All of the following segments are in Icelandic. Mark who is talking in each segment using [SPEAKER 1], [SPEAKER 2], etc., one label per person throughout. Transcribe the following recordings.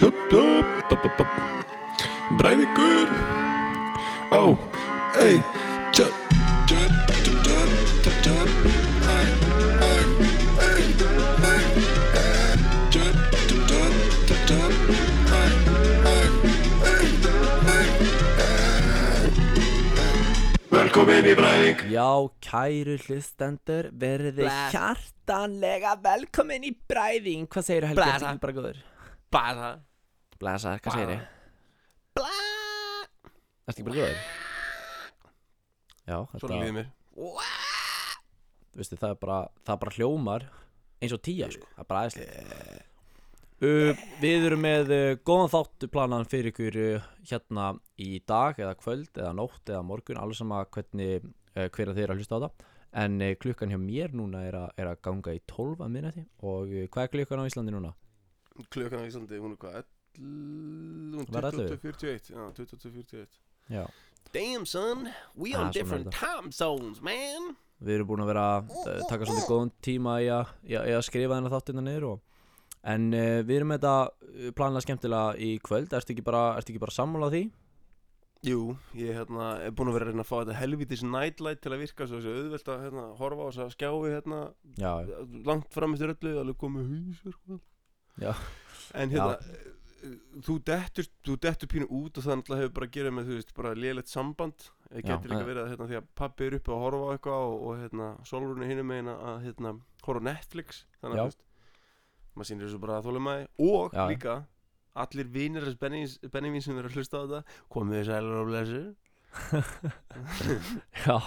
[SPEAKER 1] Hup, hup, hup, hup, hup. Breivikur. Á,
[SPEAKER 2] Oh,
[SPEAKER 1] ei, tjö, tjö, tjö, tjö, tjö, tjö. Ei, ei, ei, ei, ei. Tjö, tjö, tjö, tjö, tjö. Ei, ei, ei, ei, ei. Velkomin í Breivík
[SPEAKER 3] Já, kæru hlustendur, verið þið
[SPEAKER 2] Bless.
[SPEAKER 3] hjartanlega velkomin í bræðing Hvað segirðu Helgi?
[SPEAKER 2] Blessa.
[SPEAKER 3] Ertu ekki bara góður?
[SPEAKER 2] Bara
[SPEAKER 3] Blasa, hvað segirðu?
[SPEAKER 2] Bla
[SPEAKER 3] Ertu ekki bara góður? Já,
[SPEAKER 2] Svona
[SPEAKER 3] þetta,
[SPEAKER 2] líður mér
[SPEAKER 3] veistu, það er bara, það bara hljómar eins og tíja, sko, það er bara aðeinslegt uh, Við erum með uh, góðan þáttu planan fyrir ykkur uh, hérna í dag eða kvöld eða nótt eða morgun Alveg sama hvernig, uh, hver að þið er að hlusta á það En uh, klukkan hjá mér núna er, a, er að ganga í 12 að minnati Og uh, hvað er klukkan á Íslandi núna?
[SPEAKER 2] Klukkan á Íslandi, hún er hvað 11, hún
[SPEAKER 3] Var
[SPEAKER 2] er
[SPEAKER 3] ellefu?
[SPEAKER 2] 22.41 Já, 22.41
[SPEAKER 3] Já
[SPEAKER 2] Damn son, we on
[SPEAKER 3] Ah, svona er
[SPEAKER 2] different
[SPEAKER 3] þetta.
[SPEAKER 2] time zones man
[SPEAKER 3] Við erum búin að vera að taka svolítið góðan tíma í að, í að, í að skrifa þennan þáttina niður og En uh, við erum með þetta uh, planlega skemmtilega í kvöld Ertu ekki bara, ertu ekki bara sammálað því?
[SPEAKER 2] Jú, ég hérna, er búin að vera að reyna að fá þetta helvitis nightlight til að virka svo þessu auðvelt að hérna, horfa á þess að skjái hérna
[SPEAKER 3] Já,
[SPEAKER 2] langt fram eftir öllu, alveg komið húsur
[SPEAKER 3] Já.
[SPEAKER 2] En hérna, þú dettur, þú dettur pínu út og það náttúrulega hefur bara að gera með, þú veist, bara lélegt samband Það
[SPEAKER 3] Já,
[SPEAKER 2] getur líka
[SPEAKER 3] eh.
[SPEAKER 2] verið að hérna, því að pappi er uppi að horfa á eitthvað og, og hérna, solrunni hinum meina að hérna, horfa á Netflix Þannig að, þú
[SPEAKER 3] Já.
[SPEAKER 2] veist, maður sýnir þessu bara að þóla maður Og
[SPEAKER 3] Já, já.
[SPEAKER 2] líka, allir vinir þess Benny- Benjamin sem eru að hlusta á þetta Komið þess að og blessu
[SPEAKER 3] já,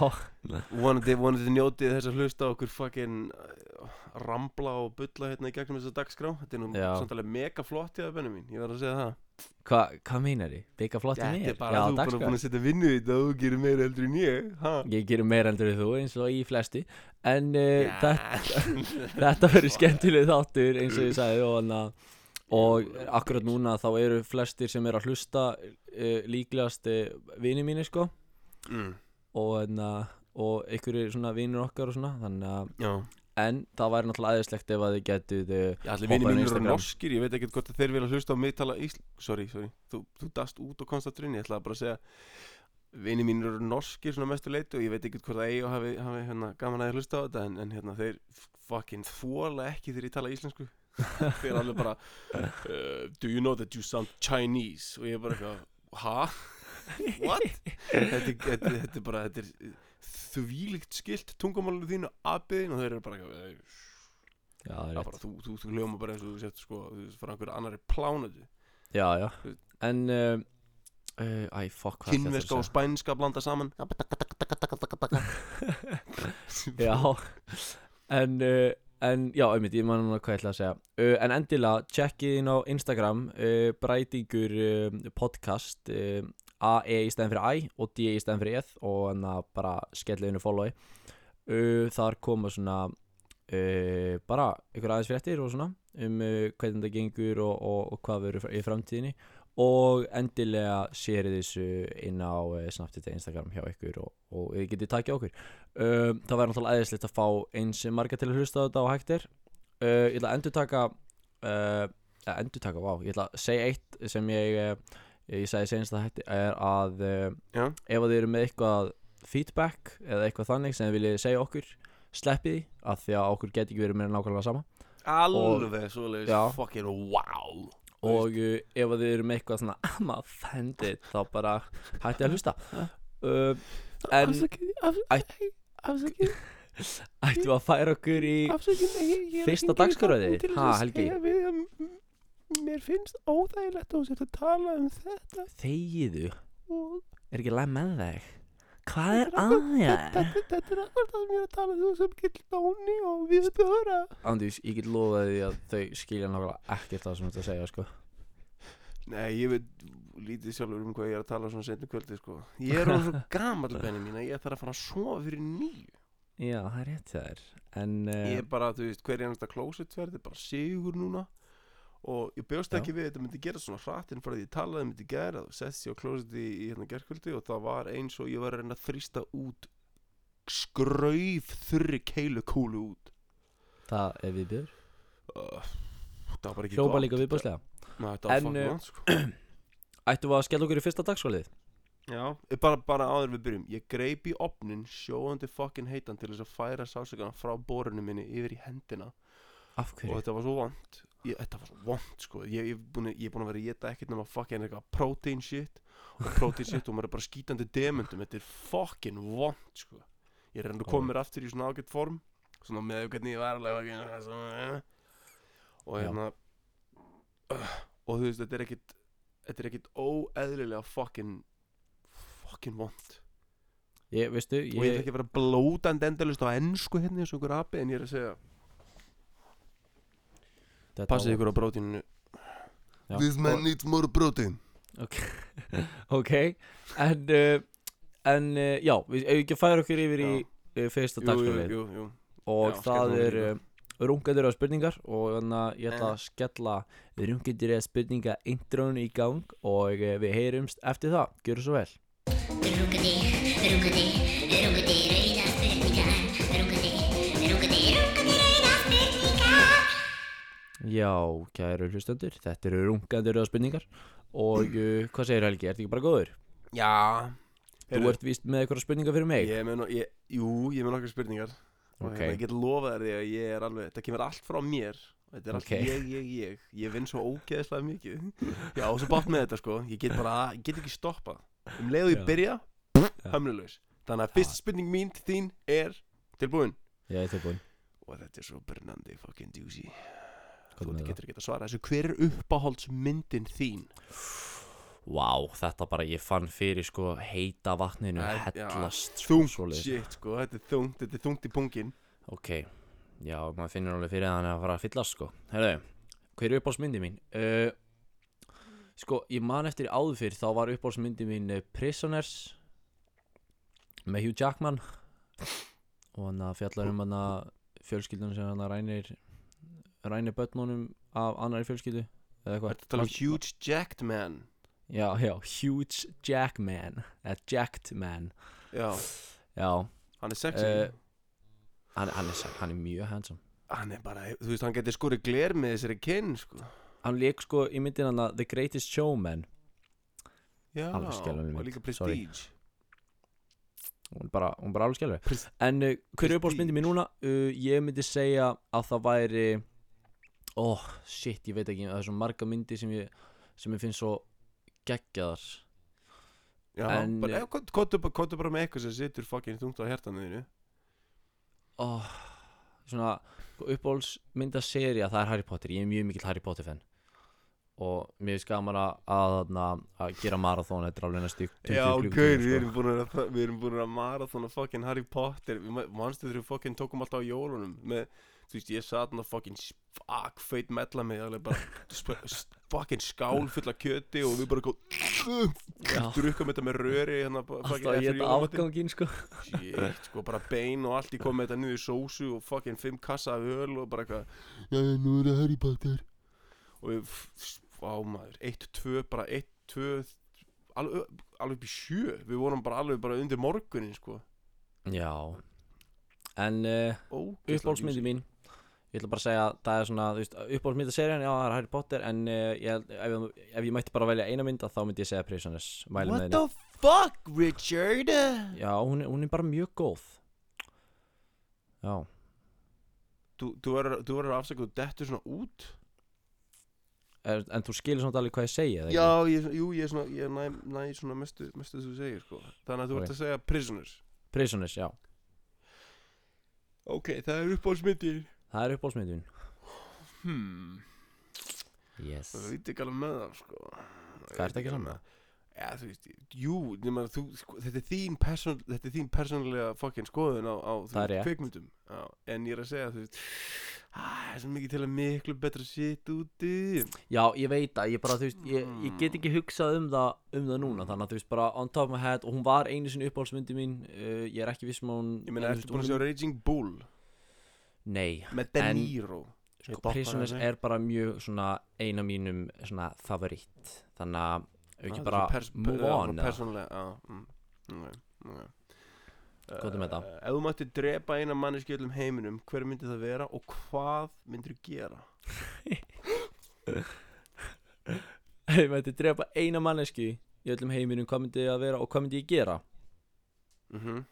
[SPEAKER 2] Vonandi, vonandi njótið þess að hlusta á okkur fucking uh, rambla og bulla hérna í gegnum þess að dagskrá Þetta er nú
[SPEAKER 3] Já.
[SPEAKER 2] samt alveg mega flott í það benni mín, ég verð að segja það
[SPEAKER 3] hvað hva meinar þið? Byggja flott í mér?
[SPEAKER 2] Þetta er bara
[SPEAKER 3] já,
[SPEAKER 2] þú bara
[SPEAKER 3] dagskrá.
[SPEAKER 2] búin að setja vinnu í þetta og þú gerir meira heldur en ég ha?
[SPEAKER 3] Ég gerum meira heldur en þú eins og í flesti En uh, þetta,
[SPEAKER 2] þetta
[SPEAKER 3] þetta verður skemmtileg þáttur eins og ég sagði og, hana, og akkurat núna þá eru flestir sem eru að hlusta uh, líklegast uh, vini mínir sko
[SPEAKER 2] mm,
[SPEAKER 3] og, hana, og einhverju svona vinur okkar og svona þannig að
[SPEAKER 2] Já,
[SPEAKER 3] en það væri náttúrulega æðislegt ef að þið getið uh,
[SPEAKER 2] Já, allir
[SPEAKER 3] Hoppaðu
[SPEAKER 2] vinni
[SPEAKER 3] á
[SPEAKER 2] mínir eru
[SPEAKER 3] Instagram.
[SPEAKER 2] norskir, ég veit ekkert hvort að þeir vilja hlusta á mig tala ísl Sorry, sorry, þú, þú dast út og komst að trunni, ég ætlaði bara að segja Vinni mínir eru norskir svona mestu leitu og ég veit ekkert hvort að eigi og hafi, hafi hérna, gaman að hlusta á þetta En, en hérna, þeir fucking þóla ekki þegar ég tala íslensku Þeir eru allir bara uh, Do you know that you sound Chinese? Og ég er bara eitthvað, ha? What? þetta, er- þetta, er- þetta er bara, þetta er þvílíkt skilt tungumálunum þínu, abiðin og þeir eru bara eitthvað "Eh,
[SPEAKER 3] já, það er
[SPEAKER 2] Já,
[SPEAKER 3] rétt.
[SPEAKER 2] bara, þú, þú, þú hljóma bara eins og þú sett sko, þú veist, frá einhverju annari plánuðu
[SPEAKER 3] já, já, en uh, uh, æ, fuck, hvað ætlaði ég
[SPEAKER 2] Kynveska
[SPEAKER 3] að
[SPEAKER 2] og spænska blanda saman
[SPEAKER 3] Já, en, uh, en já, einmitt, ég man núna hvað ég ætla að segja uh, En endilega, checkið inn á Instagram uh, Brætingur uh, podcast uh, AE í stæðan fyrir I og DE í stæðan fyrir ETH Og en að bara skella inn og followi uh, Þar koma svona uh, bara einhver aðeins fréttir og svona Um uh, hvernig það gengur og, og, og hvað verður í framtíðinni og endilega sérið þessu inn á uh, Snapchat eða Instagram hjá ykkur og, og þið getið takja okkur um, það væri náttúrulega æðislegt að fá eins marga til að hlusta á þetta og hægt er uh, ég ætla að endur taka uh, endur taka, vá, ég ætla að segja eitt sem ég uh, ég sagði senast að hætti er að uh,
[SPEAKER 2] Já.
[SPEAKER 3] ef að þið eru með eitthvað feedback eða eitthvað þannig sem þið viljið segja okkur sleppið því að því að okkur geti ekki verið meira nákvæmlega sama
[SPEAKER 2] Alveg svoleiðis
[SPEAKER 3] Já.
[SPEAKER 2] Fucking wow
[SPEAKER 3] og uh, ef að þið eru með eitthvað svona I'm offended þá bara hætti að hlusta uh, en
[SPEAKER 2] Afsakið Afsakið
[SPEAKER 3] ættum við að færa okkur í
[SPEAKER 2] Afsakið ég
[SPEAKER 3] er að Fyrsta hringja í dagskrárið þáttinn þitt? til Ha, þess að Helgi? segja
[SPEAKER 2] við að Mér finnst óþægilegt að þú sett að tala um þetta
[SPEAKER 3] þegiðu
[SPEAKER 2] og
[SPEAKER 3] er ekki læg með þig hvað er að þér?
[SPEAKER 2] þetta er akkur það sem ég er að tala um. þú sem gill dóni og við spjóra
[SPEAKER 3] Andís, ég get lofað því að þau skilja nákvæmlega ekkert það sem þetta segja sko
[SPEAKER 2] Nei, ég veit lítið sjálfur um hvað ég er að tala svona setni kvöldi sko. Ég er orðinn svo gamall benni mín að ég þarf að fara að sofa fyrir nýju
[SPEAKER 3] já, það er rétt það er en
[SPEAKER 2] Ég
[SPEAKER 3] uh,
[SPEAKER 2] er bara, þú veist, hver er ennasta klósetverð er bara sigur núna og ég bjóst
[SPEAKER 3] Já.
[SPEAKER 2] ekki við að þetta myndi gera svona hrattinn frá því ég talaði um þetta í gær að sett sér á klóseti í, í hérna gerkvöldi og það var eins og ég var að reyna að þrýsta út skrauf þurri keilu kúlu út
[SPEAKER 3] það er við byrður
[SPEAKER 2] uh, Það var bara ekki
[SPEAKER 3] hljópa
[SPEAKER 2] gott.
[SPEAKER 3] líka viðbúrslega
[SPEAKER 2] Nei, þetta var
[SPEAKER 3] En,
[SPEAKER 2] fucking
[SPEAKER 3] eh,
[SPEAKER 2] vant sko
[SPEAKER 3] Ættum við að skella okkur í fyrsta dagskvælið?
[SPEAKER 2] Já, eh, bara, bara áður en við byrjum Ég greip í opnin sjóðandi fucking heitan til þess að færa sásökan frá borunum minni yfir í hendina
[SPEAKER 3] Af
[SPEAKER 2] og
[SPEAKER 3] hverju?
[SPEAKER 2] þetta var svo vond ég, þetta var svo vond sko ég, ég, er búinn að- ég er búin að vera að geta ekkert nema fucking eitthvað protein shit og protein shit og maður er bara skítandi demundum þetta er fucking vond sko ég er endur komið mér aftur í svona ágætt form svona með hvernig ég var alveg fucking, svona, eh. og
[SPEAKER 3] Já.
[SPEAKER 2] hérna uh, og þú veist þetta er ekkit þetta er ekkit óeðlilega fucking fucking vond
[SPEAKER 3] Ég, veistu,
[SPEAKER 2] og ég er
[SPEAKER 3] ég,
[SPEAKER 2] ekki að vera blótandi endalust á ennsku hérna eins og einhver api en ég er að segja
[SPEAKER 3] þetta
[SPEAKER 2] passið
[SPEAKER 3] var-
[SPEAKER 2] ykkur á prótíninu
[SPEAKER 3] Já.
[SPEAKER 2] man needs more protein
[SPEAKER 3] Ok, en, uh, en uh, já, við eigum ekki að færa okkur yfir í uh, fyrsta
[SPEAKER 2] Jú, jú,
[SPEAKER 3] dagskvælið
[SPEAKER 2] jú, jú.
[SPEAKER 3] og
[SPEAKER 2] Já,
[SPEAKER 3] það
[SPEAKER 2] skellum
[SPEAKER 3] er
[SPEAKER 2] við
[SPEAKER 3] uh, rungandur af spurningar og þannig að ég ætla
[SPEAKER 2] Eh.
[SPEAKER 3] að skella rungandur af spurninga intronu í gang og uh, við heyrumst eftir það, gjöru svo vel
[SPEAKER 4] Rungandi, rungandi, rungandi rauða spurningar Rungandi, rungandi, rungandi rauða spurningar
[SPEAKER 3] Já, kæru hlustendur, þetta eru rungandur af spurningar og uh, hvað segir Helgi, ertu ekki bara góður?
[SPEAKER 2] Já
[SPEAKER 3] Þú ert víst með eitthvað spurningar fyrir mig
[SPEAKER 2] Ég er með, no, ég, jú, ég er með nokkar spurningar Og
[SPEAKER 3] Ok.
[SPEAKER 2] hérna, Ég get lofað þér því að ég er alveg Þetta kemur allt frá mér Þetta er allt
[SPEAKER 3] Ok.
[SPEAKER 2] ég, ég, ég Ég vinn svo ógeðslega mikið Já, og svo bátt með þetta sko Ég get bara, ég get ekki stoppað Um leið og
[SPEAKER 3] Já.
[SPEAKER 2] ég byrja,
[SPEAKER 3] Já. Ah.
[SPEAKER 2] hömlulegs Þannig að fyrst spurning mín til þín er Tilbúin
[SPEAKER 3] Ég er tilbúin,
[SPEAKER 2] Og þetta er svo brennandi fucking doozy
[SPEAKER 3] hvað
[SPEAKER 2] Þú
[SPEAKER 3] með það?
[SPEAKER 2] getur ekki að svara þessu Hver er uppáhaldsmyndin þín?
[SPEAKER 3] Vá, þetta bara, ég fann fyrir sko heita vatninu
[SPEAKER 2] Æ, já,
[SPEAKER 3] hellast sko,
[SPEAKER 2] Þungt,
[SPEAKER 3] svoleiðis.
[SPEAKER 2] shit sko, þetta er þungt Þetta er þungt í pungin
[SPEAKER 3] Ok, já, maður finnir alveg fyrir að hann er að fara að fyllast sko Herðu, hver er uppáhaldsmyndi mín? Uh, sko, ég man eftir áður fyrr þá var uppáhaldsmyndi mín eh, Prisoners með Hugh Jackman og hann að fjallar um hann að fjölskyldunum sem hann að rænir rænir börnunum af annari fjölskyldu eða
[SPEAKER 2] Þetta
[SPEAKER 3] eitthvað
[SPEAKER 2] er talað um Huge Jacked Man
[SPEAKER 3] Já, já, Hugh Jackman eða Jacked Man
[SPEAKER 2] Já,
[SPEAKER 3] Já,
[SPEAKER 2] hann er sexy
[SPEAKER 3] Eh, hann, hann, er, hann er mjög handsome
[SPEAKER 2] Hann er bara, þú veist, hann getur skorið gler með þessari kinn, sko
[SPEAKER 3] Hann leik sko í myndin hann að The Greatest Showman
[SPEAKER 2] Já,
[SPEAKER 3] Alveg skelfileg
[SPEAKER 2] og
[SPEAKER 3] mynd,
[SPEAKER 2] líka
[SPEAKER 3] sorry.
[SPEAKER 2] prestige
[SPEAKER 3] hún er bara, hún er bara alveg skelvið
[SPEAKER 2] Pres-
[SPEAKER 3] en uh, hver er
[SPEAKER 2] Prestige.
[SPEAKER 3] uppáhaldsmyndin mín núna? Uh, ég myndi segja að það væri ó, oh, shit, ég veit ekki það er svo marga myndi sem ég sem ég finnst svo geggjaðar
[SPEAKER 2] Já,
[SPEAKER 3] En,
[SPEAKER 2] bara,
[SPEAKER 3] eh,
[SPEAKER 2] eh, kottu- kottu bara, kottu bara með eitthvað sem situr fucking þungt á hjartanu þínu
[SPEAKER 3] ó, oh, svona uppáhaldsmyndaserja, það er Harry Potter ég er mjög mikill Harry Potter fan og mér finnst gaman að, að, að, að gera marathón, þetta er alveg næstu 20
[SPEAKER 2] Já, ok,
[SPEAKER 3] klukkutíma, sko.
[SPEAKER 2] við erum búin að, við erum búin að mara þannig fucking Harry Potter Við ma- Manstu þegar við fucking tókum alltaf á jólunum með, Þú veist, ég satt hann að fucking fuck feit mella mig alveg bara sp- s- fucking skál full af kjöti og við bara góð
[SPEAKER 3] Já.
[SPEAKER 2] drukkum þetta með röri hérna, bara fucking
[SPEAKER 3] alltaf
[SPEAKER 2] eftir
[SPEAKER 3] ég þetta
[SPEAKER 2] jólamatinn.
[SPEAKER 3] afgangin sko
[SPEAKER 2] Shit, sko, bara bein og allt í komið þetta niður í sósu og fucking fimm kassa af öl og bara eitthvað Já, já, nú er það Harry Potter Og við, f- á maður, eitt, tvö, bara eitt, tvö alveg, alveg upp í sjö Við vorum bara alveg bara undir morgunin, sko
[SPEAKER 3] já en uh,
[SPEAKER 2] Ógeðslega
[SPEAKER 3] uppbólsmyndi
[SPEAKER 2] djúsí.
[SPEAKER 3] mín ég ætla bara að segja að það er svona uppbólsmynda serían, já það er Harry Potter en uh, ég, held- ef, ef ég mætti bara velja eina mynd þá myndi ég segja Prisoners mæli
[SPEAKER 2] What
[SPEAKER 3] með henni.
[SPEAKER 2] the fuck, Richard?
[SPEAKER 3] já hún, er- hún er bara mjög góð já
[SPEAKER 2] Þú þú verður þú verður að afsaka, þú dettur svona út
[SPEAKER 3] er, en þú skilur svona alveg hvað ég segi eða ekki?
[SPEAKER 2] Já, ég, jú, ég, er svona, ég næ, næ svona mestu, mestu þú segir, sko Þannig að þú
[SPEAKER 3] Ok.
[SPEAKER 2] ert að segja prisoners
[SPEAKER 3] Prisoners, já
[SPEAKER 2] Ok, það er uppbólsmyndir
[SPEAKER 3] það er uppbólsmyndi mín
[SPEAKER 2] Hmm
[SPEAKER 3] yes
[SPEAKER 2] Það veit ekki alveg með það sko
[SPEAKER 3] Hvað ertu ekki sammála?
[SPEAKER 2] Já, þú veist, jú, nema, þú, sko, þetta, er þín person, þetta er þín persónulega fucking skoðun á, á þú
[SPEAKER 3] Það er
[SPEAKER 2] veist,
[SPEAKER 3] rétt.
[SPEAKER 2] kvikmyndum já, En ég er að segja, þú veist Æ, það er svo mikið til að miklu betra shit úti
[SPEAKER 3] já ég veit að ég bara þú veist ég, ég get ekki hugsað um það um það núna þannig að þú veist bara on top of my head og hún var einu sinni uppbólsmyndi mín uh, ég er ekki viss um að hún
[SPEAKER 2] Ég meina,
[SPEAKER 3] en,
[SPEAKER 2] ertu búin
[SPEAKER 3] þú
[SPEAKER 2] að
[SPEAKER 3] veist,
[SPEAKER 2] sjá Raging Bull
[SPEAKER 3] hún- nei
[SPEAKER 2] með De
[SPEAKER 3] En-
[SPEAKER 2] Niro Ég
[SPEAKER 3] sko,
[SPEAKER 2] boppa
[SPEAKER 3] Prisoners
[SPEAKER 2] þessu.
[SPEAKER 3] er bara mjög svona eina mínum svona favoritt þannig að ef
[SPEAKER 2] Já,
[SPEAKER 3] ekki
[SPEAKER 2] það er
[SPEAKER 3] bara
[SPEAKER 2] svo pers-
[SPEAKER 3] move
[SPEAKER 2] já,
[SPEAKER 3] on
[SPEAKER 2] svona
[SPEAKER 3] eða?
[SPEAKER 2] Persónulega, já mm, ok, ok.
[SPEAKER 3] Hvað er með það?
[SPEAKER 2] Eh, Ef þú mætti drepa eina manneski í öllum heiminum, hver myndi það vera og hvað myndir þú gera?
[SPEAKER 3] Ef ég mætti drepa eina mannesku í öllum heiminum, hvað myndi ég að vera og hvað myndi ég gera?
[SPEAKER 2] mm
[SPEAKER 3] Mhm.
[SPEAKER 2] -hmm.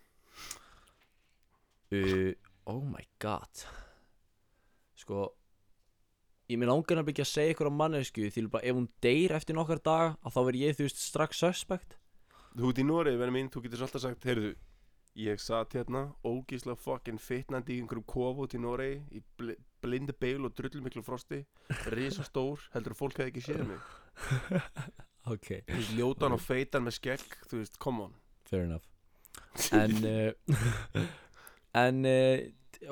[SPEAKER 3] Uh, oh my god Sko Ég mér langar að byggja að segja ykkur á mannesku Því bara ef hún deyr eftir nokkar daga að Þá verð ég þú veist strax suspect
[SPEAKER 2] Þú ert í Noregi, verður mín, þú getur alltaf sagt Heyrðu, ég satt hérna ógíslega fucking fitnandi í einhverjum kofa út í Noregi í bl blindi beil og drullumiklu frosti risa stór, heldur að fólk hefði ekki séð mig
[SPEAKER 3] Ok,
[SPEAKER 2] Þú veist, ljótan og feitan með skegg þú veist, come on
[SPEAKER 3] fair enough En uh, En uh,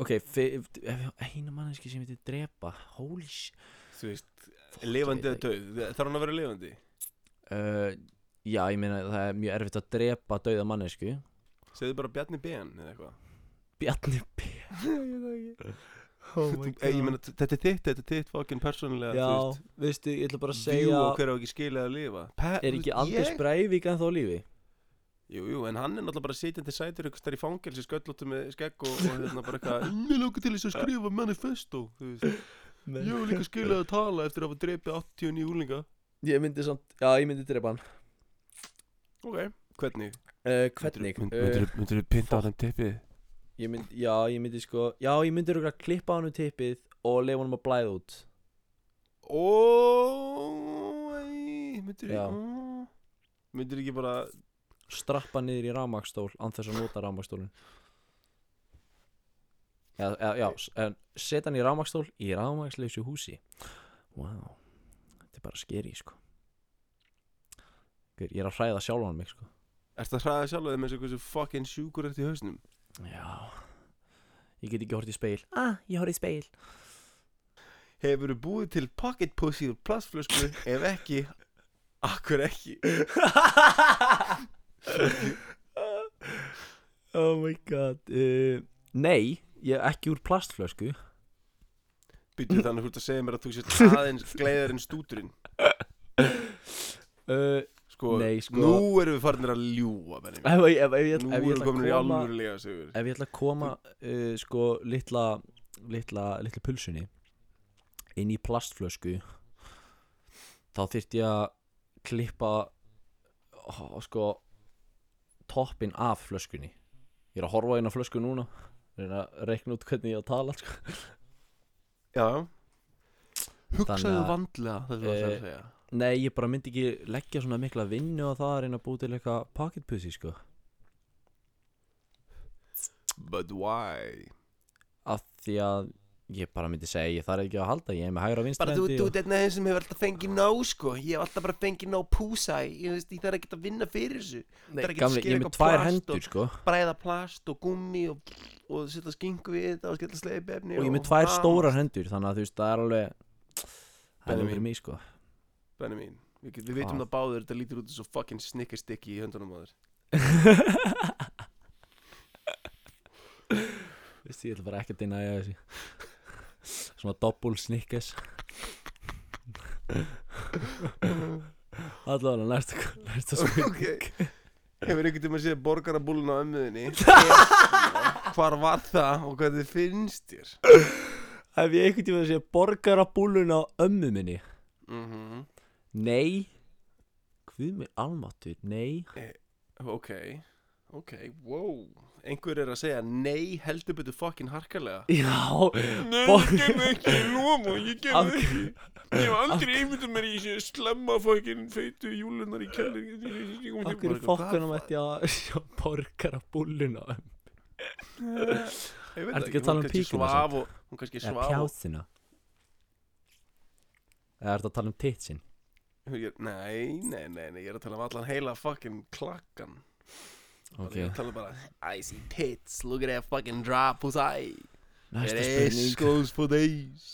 [SPEAKER 3] Ok, fi- eina mannesku sem ég myndi drepa Holy sh
[SPEAKER 2] þú veist, lifandi
[SPEAKER 3] veit
[SPEAKER 2] eða döð þarf hann að vera lifandi
[SPEAKER 3] uh, Já, ég meina það er mjög erfitt að drepa dauða mannesku
[SPEAKER 2] segðu bara Bjarni Ben eða eitthvað
[SPEAKER 3] Bjarni B Oh
[SPEAKER 2] Þú- Ei, ég meina, þetta er þitt, þetta er þitt fucking persónulega
[SPEAKER 3] Já,
[SPEAKER 2] þú veist,
[SPEAKER 3] veistu, ég ætla bara að
[SPEAKER 2] view
[SPEAKER 3] segja
[SPEAKER 2] og hver á ekki skilja að lifa Pe
[SPEAKER 3] Er ekki Anders Breivik en þá lífi?
[SPEAKER 2] Jú, jú, en hann er náttúrulega bara sitjandi sætur ykkur starf í fangelsi, sköllóttu með skegg og, og hérna bara eitthvað Mér langar til þess að skrifa manifesto þú veist. Ég vil líka skilja að tala eftir að hafa drepið 89 úlinga
[SPEAKER 3] Ég myndi samt, já ég myndi drepa hann
[SPEAKER 2] Ok, hvernig?
[SPEAKER 3] uh, Hvernig? Uh,
[SPEAKER 2] Myndur þú pinta á þeim tippið?
[SPEAKER 3] ég myndi, já ég myndi sko Já ég myndi röglega klippa hann úr tippið Og lefa hann að blæða út
[SPEAKER 2] Óóóó Myndur
[SPEAKER 3] Já.
[SPEAKER 2] þú Myndur ekki bara
[SPEAKER 3] Strappa niður í rafmagstól Án þess að nota rafmagstólin Já, já, já s- en Seta hann í rafmagstól Í rafmagsleysu húsi Wow Þetta er bara skeri sko Ég er að hræða sjálfan mig sko
[SPEAKER 2] Ertu að hraða sjálf þeim eins og hversu fucking sjúkur ert í hausnum?
[SPEAKER 3] Já Ég get ekki hort í speil Ah, ég hort í speil
[SPEAKER 2] Hefur þú búið til pocket pussy úr plastflösku? Ef ekki, akkur ekki
[SPEAKER 3] Oh my god uh, Nei, ég er ekki úr plastflösku
[SPEAKER 2] Býtum þannig að þú ert að segja mér að þú sér aðeins gleiðar en stúturinn
[SPEAKER 3] uh,
[SPEAKER 2] Sko,
[SPEAKER 3] Nei, sko.
[SPEAKER 2] nú erum við farinir að ljúa Benjamin.
[SPEAKER 3] ef, ég- ef, ef, ég,
[SPEAKER 2] Nú
[SPEAKER 3] ætla- ef ég
[SPEAKER 2] erum við
[SPEAKER 3] ætla
[SPEAKER 2] komin í
[SPEAKER 3] að koma
[SPEAKER 2] alvörulega sigur
[SPEAKER 3] Ef ég ætla að koma uh, sko litla litla, litla pulsunni inn í plastflösku þá þyrft ég að klippa ó, sko toppin af flöskunni Ég er að horfa inn á flösku núna reyna að reikna út hvernig ég á að tala sko.
[SPEAKER 2] Já Hugsaðu
[SPEAKER 3] Þannig að-
[SPEAKER 2] vandlega Það er það
[SPEAKER 3] Eh,
[SPEAKER 2] að segja
[SPEAKER 3] Nei, ég bara myndi ekki leggja svona mikla vinnu á það að reyna að búi til eitthvað pocketpussy sko
[SPEAKER 2] But why?
[SPEAKER 3] af því að ég bara myndi segja ég þarf ekki að halda, ég er með hægra
[SPEAKER 2] Bara þú,
[SPEAKER 3] vinstrendi
[SPEAKER 2] þú, þetta er þeim sem hefur alltaf fengið ná sko Ég hef alltaf bara fengið ná púsa Ég, ég, veist, ég þarf ekki að vinna fyrir þessu
[SPEAKER 3] Nei,
[SPEAKER 2] það er ekki að
[SPEAKER 3] gamli,
[SPEAKER 2] skera
[SPEAKER 3] ég er með
[SPEAKER 2] eitthvað
[SPEAKER 3] tvær
[SPEAKER 2] plast
[SPEAKER 3] hendur
[SPEAKER 2] og-
[SPEAKER 3] sko
[SPEAKER 2] Bræða plast og gummi og, og setja skingu við þetta og skella sleip efni
[SPEAKER 3] og ég er með tvær stórar hendur þannig að þú veist, það er alveg það er alveg
[SPEAKER 2] Benjamin.
[SPEAKER 3] fyrir mig sko
[SPEAKER 2] Benni mín Við, get- við vitum
[SPEAKER 3] Hvað?
[SPEAKER 2] það báður, þetta lítur út eins og fucking snikkastikki í höndunum á þér
[SPEAKER 3] Vist, ég ætla bara ekki að dina að þessi svona doppul snikkes allavega næsta næsta spurning
[SPEAKER 2] Ok Hefur einhvern tíma séð borgarabúlun á ömmuðinni Hvar var það og hvað þið finnst þér?
[SPEAKER 3] Hef ég einhvern tíma að segja borgarabúlun á ömmu minni?
[SPEAKER 2] Mm
[SPEAKER 3] Nei Guð mig almáttur, nei
[SPEAKER 2] Ok, ok, wow Einhver er að segja nei heldur betur fucking harkalega
[SPEAKER 3] Já
[SPEAKER 2] Nei,
[SPEAKER 3] Bo-
[SPEAKER 2] ég gem ekki, ég lofa, ég gem
[SPEAKER 3] Af-
[SPEAKER 2] ekki Ég hef aldrei einmyndum mér í þessu slemma fucking feitu júlunar í kjallin
[SPEAKER 3] Akkur fokkunum ætti að sjá borgarabúlun á ömmu
[SPEAKER 2] Ég veit
[SPEAKER 3] Ertu
[SPEAKER 2] ekki,
[SPEAKER 3] ekki að tala
[SPEAKER 2] hún
[SPEAKER 3] um
[SPEAKER 2] kannski
[SPEAKER 3] píkuna
[SPEAKER 2] svaf og Hún kannski
[SPEAKER 3] Eða
[SPEAKER 2] svaf og
[SPEAKER 3] pjásina Eða ertu að tala um titsin
[SPEAKER 2] Ég- Nei, nei, nei, nei, ég er að tala um allan heila fucking klakkan
[SPEAKER 3] Ok,
[SPEAKER 2] Ég tala bara I see tits, look at that fucking drop who's I
[SPEAKER 3] næsta
[SPEAKER 2] It is
[SPEAKER 3] spurning
[SPEAKER 2] goes for days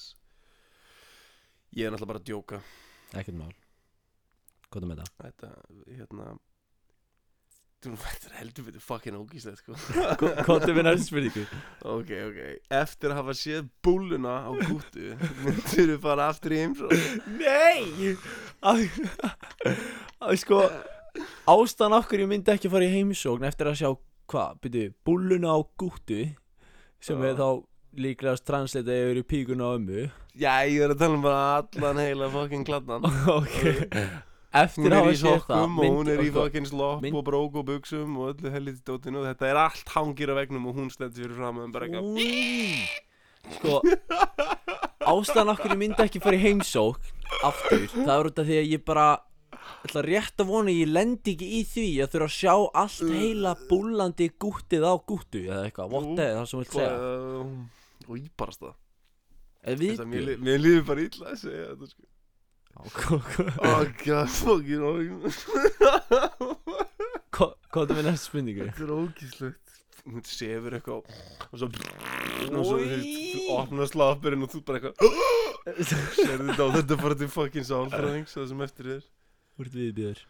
[SPEAKER 2] Ég er náttúrulega bara að djóka
[SPEAKER 3] Ekkert mál Hvað er með það?
[SPEAKER 2] Þetta, hérna Þú nú þetta er heldur betur fucking ógíslegt sko
[SPEAKER 3] Hvað er með næsta spurningu?
[SPEAKER 2] Ok, ok Eftir að hafa séð búluna á kútu Myndir þú fara aftur í heimsókn
[SPEAKER 3] Nei að, að sko Ástæðan okkur ég myndi ekki fara í heimsókn Eftir að sjá, hvað, byrju Búluna á gúttu Sem
[SPEAKER 2] Já.
[SPEAKER 3] er þá líklegast translita yfir í píkun á ömmu
[SPEAKER 2] Já, ég er að tala um bara allan heila fucking kladnan
[SPEAKER 3] ok eftir
[SPEAKER 2] Hún
[SPEAKER 3] að
[SPEAKER 2] er
[SPEAKER 3] hafa
[SPEAKER 2] í
[SPEAKER 3] séð það
[SPEAKER 2] sokkum og
[SPEAKER 3] myndi-
[SPEAKER 2] hún er í
[SPEAKER 3] sko,
[SPEAKER 2] fucking slopp
[SPEAKER 3] mynd-
[SPEAKER 2] og brók og buksum og öllu helviti dótinu og þetta er allt hangir á vegnum og hún stendur fyrir fram en bara eitthvað
[SPEAKER 3] Úí. Sko Ástæðan okkur ég myndi ekki fara í heimsókn Aftur Það er út af því að ég bara ætla rétt að vona að ég lendi ekki í því að þurfa að sjá allt
[SPEAKER 2] Mm.
[SPEAKER 3] heila búllandi gúttið á gúttu eða eitthvað, what the, það sem þú vilt
[SPEAKER 2] Sko,
[SPEAKER 3] segja
[SPEAKER 2] uh, Og íbarast það
[SPEAKER 3] eða
[SPEAKER 2] Þess að mér
[SPEAKER 3] við
[SPEAKER 2] lí- Mér líður bara illa að segja þetta sko Oh god, fucking oh
[SPEAKER 3] hvað er með næst spurningu
[SPEAKER 2] Þetta er ógíslegt Hún sefur eitthvað og- og svo og svo þú veist, þú opnar slappurinn og þú bara eitthvað Serðu þetta á þetta bara til fucking sálfræðings það sem eftir er
[SPEAKER 3] Hvort við býður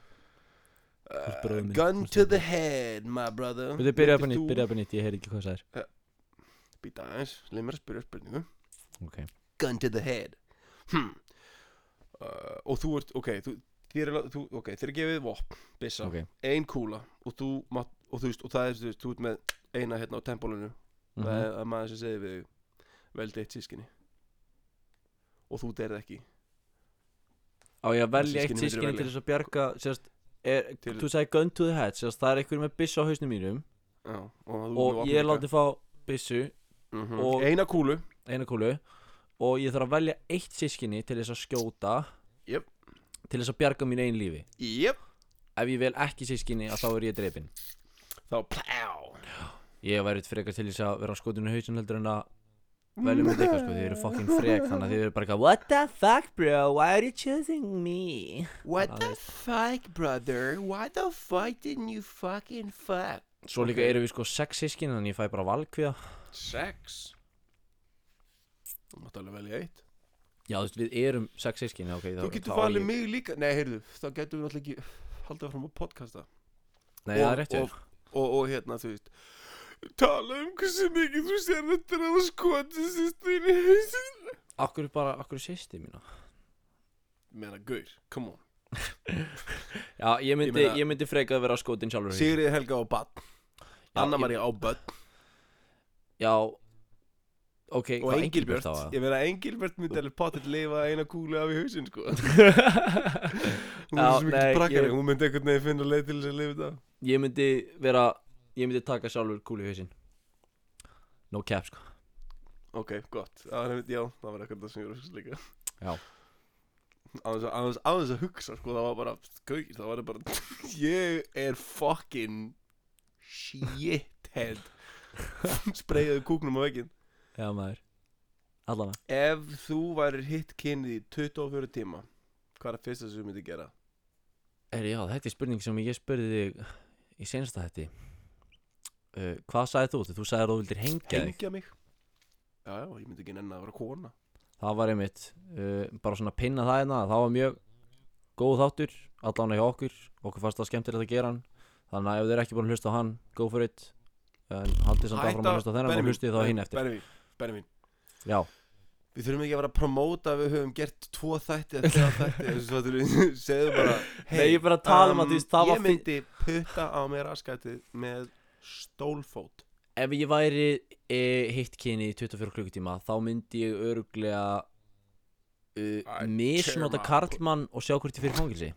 [SPEAKER 3] ert bróðir minn.
[SPEAKER 2] Gun to the head, my brother
[SPEAKER 3] Við þau byrjaði upp að nýtt, byrjaði upp að nýtt, ég heyri ekki hvað það er
[SPEAKER 2] Býta aðeins, leið mér að spyrja spurningu
[SPEAKER 3] Ok,
[SPEAKER 2] Gun to the head hmm. uh, Og þú ert, ok, þú, þér, er, lá- þú, okay, þér er gefið vopn, byssa,
[SPEAKER 3] ok
[SPEAKER 2] ein kúla og þú, mátt, og þú veist, og það er, þú veist, þú ert með eina hérna á tempólinu það
[SPEAKER 3] Mhm.
[SPEAKER 2] er að maður sem segir við þig, veldi eitt sískinni og þú derð ekki
[SPEAKER 3] Á ég að velja eitt
[SPEAKER 2] Systkini myndirðu
[SPEAKER 3] sískinni til
[SPEAKER 2] velja?
[SPEAKER 3] þess að bjarga sérst, er,
[SPEAKER 2] Til-
[SPEAKER 3] Þú sagði gun to the head sérst, Það er einhver með byssu á hausnum mínum
[SPEAKER 2] Já, og,
[SPEAKER 3] Og ég láti fá byssu
[SPEAKER 2] mm
[SPEAKER 3] og-
[SPEAKER 2] eina kúlu
[SPEAKER 3] Eina kúlu Og ég þarf að velja eitt sískinni til þess að skjóta
[SPEAKER 2] Jöp.
[SPEAKER 3] Til þess að bjarga mín einn lífi
[SPEAKER 2] yep.
[SPEAKER 3] Ef ég vel ekki sískinni að þá er ég drepin
[SPEAKER 2] þá pljá
[SPEAKER 3] Ég væri frekar til þess að vera skotinu hausin heldur en að velja mig eitthvað sko, þið eru fucking frek þannig að þið eru bara eitthvað What the fuck bro, why are you choosing me?
[SPEAKER 2] What
[SPEAKER 3] the
[SPEAKER 2] fuck brother why the fuck didn't you fucking fuck
[SPEAKER 3] Svo líka
[SPEAKER 2] Ok.
[SPEAKER 3] eru við sko sex sískinni þannig ég fæ bara valkviða
[SPEAKER 2] sex þú mátt alveg velja eitt
[SPEAKER 3] Já, þú veist, við erum sex sískinni, ok
[SPEAKER 2] þú getur valið mig líka nei heyrðu þá getum við alltaf ekki haldið fram að podcasta
[SPEAKER 3] Nei, það er
[SPEAKER 2] og-
[SPEAKER 3] rétt hjá
[SPEAKER 2] og- og, og hérna þú veist tala um hversu mikið þú sér þetta að skotið sýstin í hausin
[SPEAKER 3] Akkur bara, akkur sýsti mína
[SPEAKER 2] meina gaur come on
[SPEAKER 3] Já, ég myndi, ég
[SPEAKER 2] meina-
[SPEAKER 3] myndi freka að vera skotin sjálfur mig.
[SPEAKER 2] Sigriði Helga á badn
[SPEAKER 3] Já,
[SPEAKER 2] Anna
[SPEAKER 3] ég-
[SPEAKER 2] María á badn
[SPEAKER 3] Já, ok,
[SPEAKER 2] og
[SPEAKER 3] hvað
[SPEAKER 2] Engilbjört
[SPEAKER 3] Engilbjört þá?
[SPEAKER 2] ég meina Engilbjört myndi alveg potið lifa eina kúlu af í hausinn sko hún er
[SPEAKER 3] Já,
[SPEAKER 2] svo
[SPEAKER 3] nei,
[SPEAKER 2] mikið brakkari
[SPEAKER 3] ég-
[SPEAKER 2] hún myndi einhvern veginn finna leið til þess að lifa þetta
[SPEAKER 3] Ég myndi vera, ég myndi taka sjálfur kúli í hausinn No cap, sko
[SPEAKER 2] ok, gott það var, einmitt- já, það var eitthvað það sem ég var að hugsa líka
[SPEAKER 3] Já.
[SPEAKER 2] Án þess að- án þess- án þess að hugsa sko það var bara gaur, það var bara ég er fucking shithead spreyjaði kúknum á veginn
[SPEAKER 3] Já, maður Allana
[SPEAKER 2] ef þú værir hitt kynið í 24 tíma hvað er það fyrsta sem þú myndi gera
[SPEAKER 3] Er, já, þetta er spurning sem ég spurði þig í senasta hætti uh, Hvað sagði þú? Þú sagði að þú vildir hengja þig
[SPEAKER 2] hengja mig já, já, ég myndi ekki nenni að vera kona
[SPEAKER 3] það var einmitt uh, bara svona pinna það hérna það var mjög góð þáttur allan hjá okkur, okkur fannst það skemmtilegt að gera hann þannig að ef þið er ekki búin að hlusta á hann go for it, en haldið samt áfram að hlusta á þennan og hlustið þá hinn eftir
[SPEAKER 2] Benjamin, Benjamin,
[SPEAKER 3] já,
[SPEAKER 2] við þurfum ekki að vera að promóta að við höfum gert tvo þætti eða þegar þætti þessu svo þú segðu bara hey,
[SPEAKER 3] Nei, ég er bara að tala um að þú veist, það var
[SPEAKER 2] ég
[SPEAKER 3] fín-
[SPEAKER 2] myndi putta á mér raskætið með stólfót
[SPEAKER 3] ef ég væri e, hitt kyni í 24 klukkutíma þá myndi ég öruglega uh,
[SPEAKER 2] I tear
[SPEAKER 3] misnota
[SPEAKER 2] my-
[SPEAKER 3] karlmann og sjá hvort ég fyrir fangilsi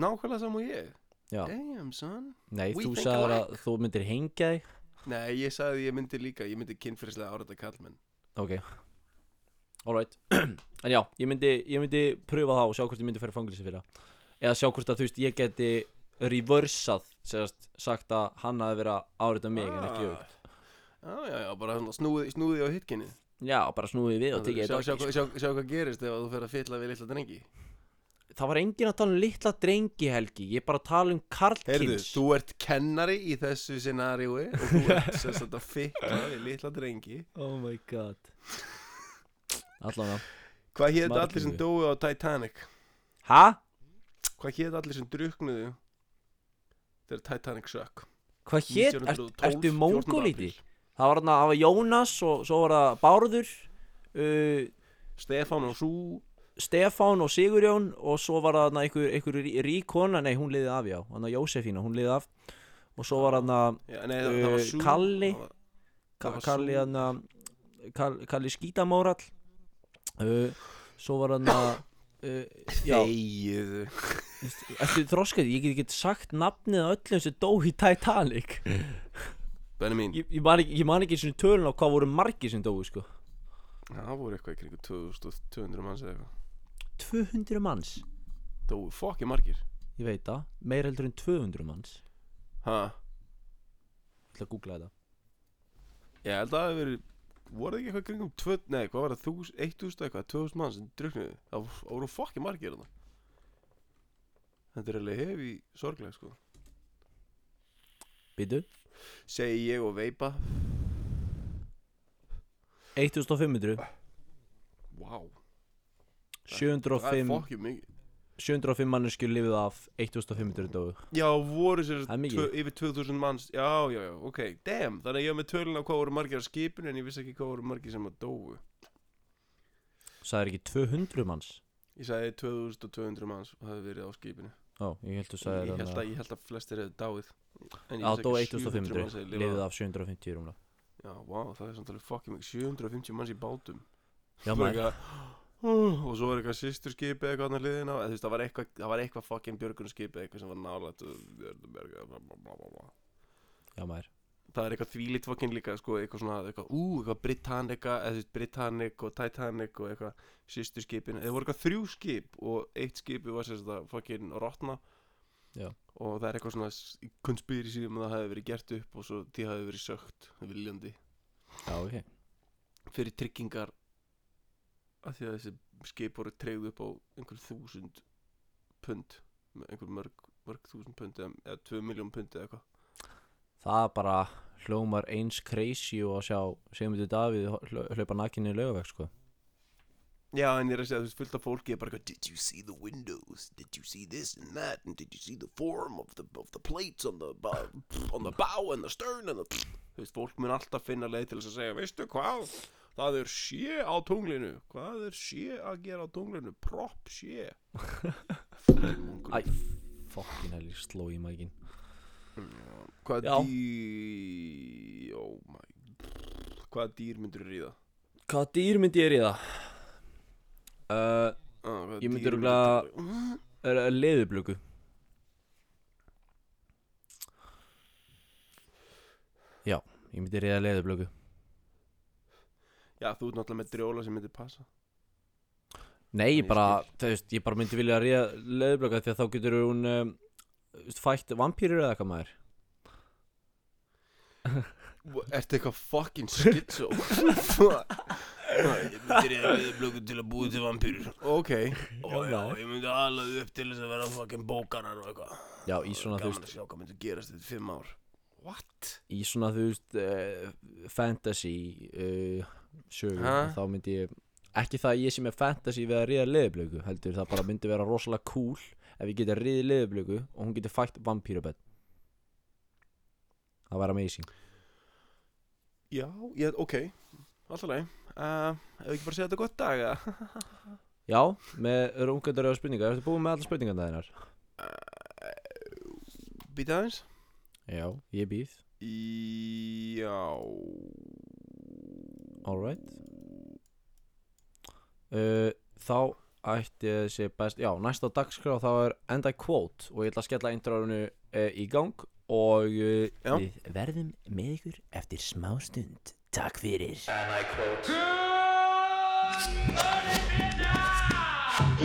[SPEAKER 2] nákvæmlega saman og ég
[SPEAKER 3] já,
[SPEAKER 2] damn son
[SPEAKER 3] nei,
[SPEAKER 2] We
[SPEAKER 3] þú
[SPEAKER 2] think
[SPEAKER 3] sagðir að
[SPEAKER 2] alike.
[SPEAKER 3] þú myndir hengja þig
[SPEAKER 2] nei, ég sagði ég myndi líka, ég myndi kynfyrslega áræta kallmenn
[SPEAKER 3] ok, alright en já, ég myndi, ég myndi pröfa það og sjá hvort ég myndi færa fangilsi fyrir það eða sjá hvort að þú veist ég geti reversað sérst, sagt að hann hafi verið að áreita mig en
[SPEAKER 2] Ah.
[SPEAKER 3] ekki aukt
[SPEAKER 2] já, já, já, bara svona snúði, snúði á hitkinni
[SPEAKER 3] já, bara snúið við og tekið
[SPEAKER 2] sjá, sjá,
[SPEAKER 3] þetta sko.
[SPEAKER 2] sjá,
[SPEAKER 3] ok,
[SPEAKER 2] sjá, sjá hvað gerist ef að þú fer að fylla við litla drengi
[SPEAKER 3] sko. það var engin að tala um litla drengi helgi ég er bara að tala um
[SPEAKER 2] Heyrðu,
[SPEAKER 3] karlkins
[SPEAKER 2] þú ert kennari í þessu scenaríu og þú ert sem sagt að fikla við litla drengi
[SPEAKER 3] oh my god allavega
[SPEAKER 2] Hvað hétt
[SPEAKER 3] Marglyttu.
[SPEAKER 2] allir sem dói á Titanic?
[SPEAKER 3] ha?
[SPEAKER 2] Hvað hétt allir sem druknuðu þegar Titanic sökk?
[SPEAKER 3] hvað hér?
[SPEAKER 2] 1912,
[SPEAKER 3] ertu
[SPEAKER 2] 14.
[SPEAKER 3] mongolíti?
[SPEAKER 2] apríl.
[SPEAKER 3] það var hann að hafa Jónas og svo var það Bárður uh,
[SPEAKER 2] Stefán og Sú
[SPEAKER 3] Stefán og Sigurjón og svo var það einhver, einhver rí- rík kona, nei hún liði af já, hann að Jósefína, hún liði af og svo var hann að
[SPEAKER 2] Já, nei, það, það var
[SPEAKER 3] Uh,
[SPEAKER 2] Sú
[SPEAKER 3] Kalli.
[SPEAKER 2] það var-
[SPEAKER 3] Ka-
[SPEAKER 2] Það var
[SPEAKER 3] Karli
[SPEAKER 2] sú-
[SPEAKER 3] hana Karl, Karli Skítamórall uh, Svo var hana uh, Já,
[SPEAKER 2] Þegiðu
[SPEAKER 3] eftir þroskaði Ég get ekki sagt nafnið á öllum sem dó í Titanic
[SPEAKER 2] Benni mín
[SPEAKER 3] Ég, ég man ekki, ég man ekki svona tölun á hvað voru margir sem dói sko
[SPEAKER 2] Það voru eitthvað í kringu 2200 manns eða eitthvað
[SPEAKER 3] 200 manns
[SPEAKER 2] Dó fokki margir
[SPEAKER 3] Ég veit það, meira heldur en 200 manns
[SPEAKER 2] Ha
[SPEAKER 3] Ég ætla að googla þetta
[SPEAKER 2] Ég held að það hefur verið Voru það ekki eitthvað í kringum tvö, Nei, hvað var það? Þús, 1000 eitthvað 2000 manns sem druknuðu Það voru- það voru fokki margir þarna Þetta er alveg hefi sorglega sko
[SPEAKER 3] Býtu
[SPEAKER 2] Segi ég og veipa
[SPEAKER 3] 1500
[SPEAKER 2] Vá wow, Það er
[SPEAKER 3] 705
[SPEAKER 2] fokki mikið
[SPEAKER 3] 705 manneskjur lifið af 1500 dói
[SPEAKER 2] Já, voru sér
[SPEAKER 3] Það er mikið.
[SPEAKER 2] tvö, yfir 2000 manns Já, já, já, ok Damn, þannig að ég var með tölun á hvað voru margir á skipinu En ég vissi ekki hvað voru margir sem að dóu
[SPEAKER 3] Það er ekki 200 manns
[SPEAKER 2] Ég sagði 2200 manns hafi verið á skipinu
[SPEAKER 3] Já, ég held að það
[SPEAKER 2] ég, held
[SPEAKER 3] er
[SPEAKER 2] að, ég held að flestir hefði dáið En ég
[SPEAKER 3] Já,
[SPEAKER 2] vissi
[SPEAKER 3] dó
[SPEAKER 2] ekki 700 manns
[SPEAKER 3] 1500
[SPEAKER 2] hefði
[SPEAKER 3] Lifið af 750 rúmla
[SPEAKER 2] Já, vá, það er samtalið fucking mikið 750 manns í bátum
[SPEAKER 3] Já,
[SPEAKER 2] Bara
[SPEAKER 3] maður
[SPEAKER 2] eitthvað, Og svo var eitthvað sýsturskipið eitthvað annar hliðina Eða, þú veist, það, var eitthvað, það var eitthvað fucking björgunarskipið Eitthvað sem var nálægt og- Það
[SPEAKER 3] Já, maður
[SPEAKER 2] er eitthvað þvílitt fucking líka sko, Eitthvað svona, eitthvað, ú, eitthvað Britannica Eða þú veist, Britannic og Titanic Og eitthvað sýsturskipin Það voru eitthvað þrjú skip Og eitt skipi var sérst að fucking rotna
[SPEAKER 3] Já.
[SPEAKER 2] Og það er eitthvað svona Conspiracy um að það hefði verið gert upp Og svo því hafi verið sögt viljandi
[SPEAKER 3] Já, ok
[SPEAKER 2] fyrir tryggingar af því að þessi skip voru treyð upp á einhver þúsund pund með einhver mörg, mörg þúsund pund eða, eða tvö miljón pund eða eitthvað
[SPEAKER 3] Það bara hljómar eins crazy og að sjá Sigmundur Davíð hlau- hlaupa nakinni í laugaveg sko
[SPEAKER 2] Já, en ég er að segja að þú veist fullt af fólki er bara eitthvað Did you see the windows? Did you see this and that? And did you see the form of the, of the plates on the, bo- on the bow and the stern and the Þú veist, fólk mun alltaf finna leið til þess að segja Veistu hvað? Það er sé á tunglinu Hvað er sé að gera á tunglinu? Prop sé
[SPEAKER 3] Æ, fokkin helgi sló í mækin
[SPEAKER 2] Hvað
[SPEAKER 3] Já.
[SPEAKER 2] dýr oh my Hvað dýr myndur þú ríða?
[SPEAKER 3] Hvaða dýr myndi ég ríða? Uh,
[SPEAKER 2] Ah, hvaða
[SPEAKER 3] Ég myndi
[SPEAKER 2] dýr
[SPEAKER 3] örugglega-
[SPEAKER 2] myndirðu ríða?
[SPEAKER 3] leðublöku Já, ég myndi ríða leðublöku
[SPEAKER 2] Já, þú ert náttúrulega með drjóla sem myndir passa
[SPEAKER 3] Nei, ég
[SPEAKER 2] Ég
[SPEAKER 3] bara, þú veist, ég bara myndi vilja ríða leðublöka því að þá getur hún um, þú veist, fætt vampýrur eða eitthvað maður
[SPEAKER 2] Wha- Ertu eitthvað fucking schizo? ég myndi reyða leðurblöku til að búi til vampýrur Ok Ó, já,
[SPEAKER 3] maður.
[SPEAKER 2] Ég myndi alaðu upp til þess að vera fucking bókarar og eitthvað
[SPEAKER 3] Já, í svona, þú
[SPEAKER 2] Gaman að
[SPEAKER 3] veist,
[SPEAKER 2] sjá hvað myndi gerast þetta fimm ár What?
[SPEAKER 3] í svona, þú veist, uh, fantasy uh, sögu
[SPEAKER 2] Ha?
[SPEAKER 3] Þá myndi ég, ekki það að ég sem er fantasy við að ríða leðublöku Heldur, það bara myndi vera rosalega cool ef ég geti ríði leðublöku og hún geti fætt vampýrubett Það væri amazing
[SPEAKER 2] Já, ég, ok Alltaf leið uh, Ef ekki bara segja þetta gott dag eða?
[SPEAKER 3] Já, með rungundaröða spurningar, ertu búin með allar spurningarna þeinar?
[SPEAKER 2] Býta aðeins
[SPEAKER 3] Já, ég býð,
[SPEAKER 2] Já
[SPEAKER 3] alright uh, Þá ætti þessi best, já, næsta á dagskrá þá er enda quote og ég ætla að skella introinu uh, í gang og uh,
[SPEAKER 2] Já.
[SPEAKER 3] við verðum með ykkur eftir smá stund Takk fyrir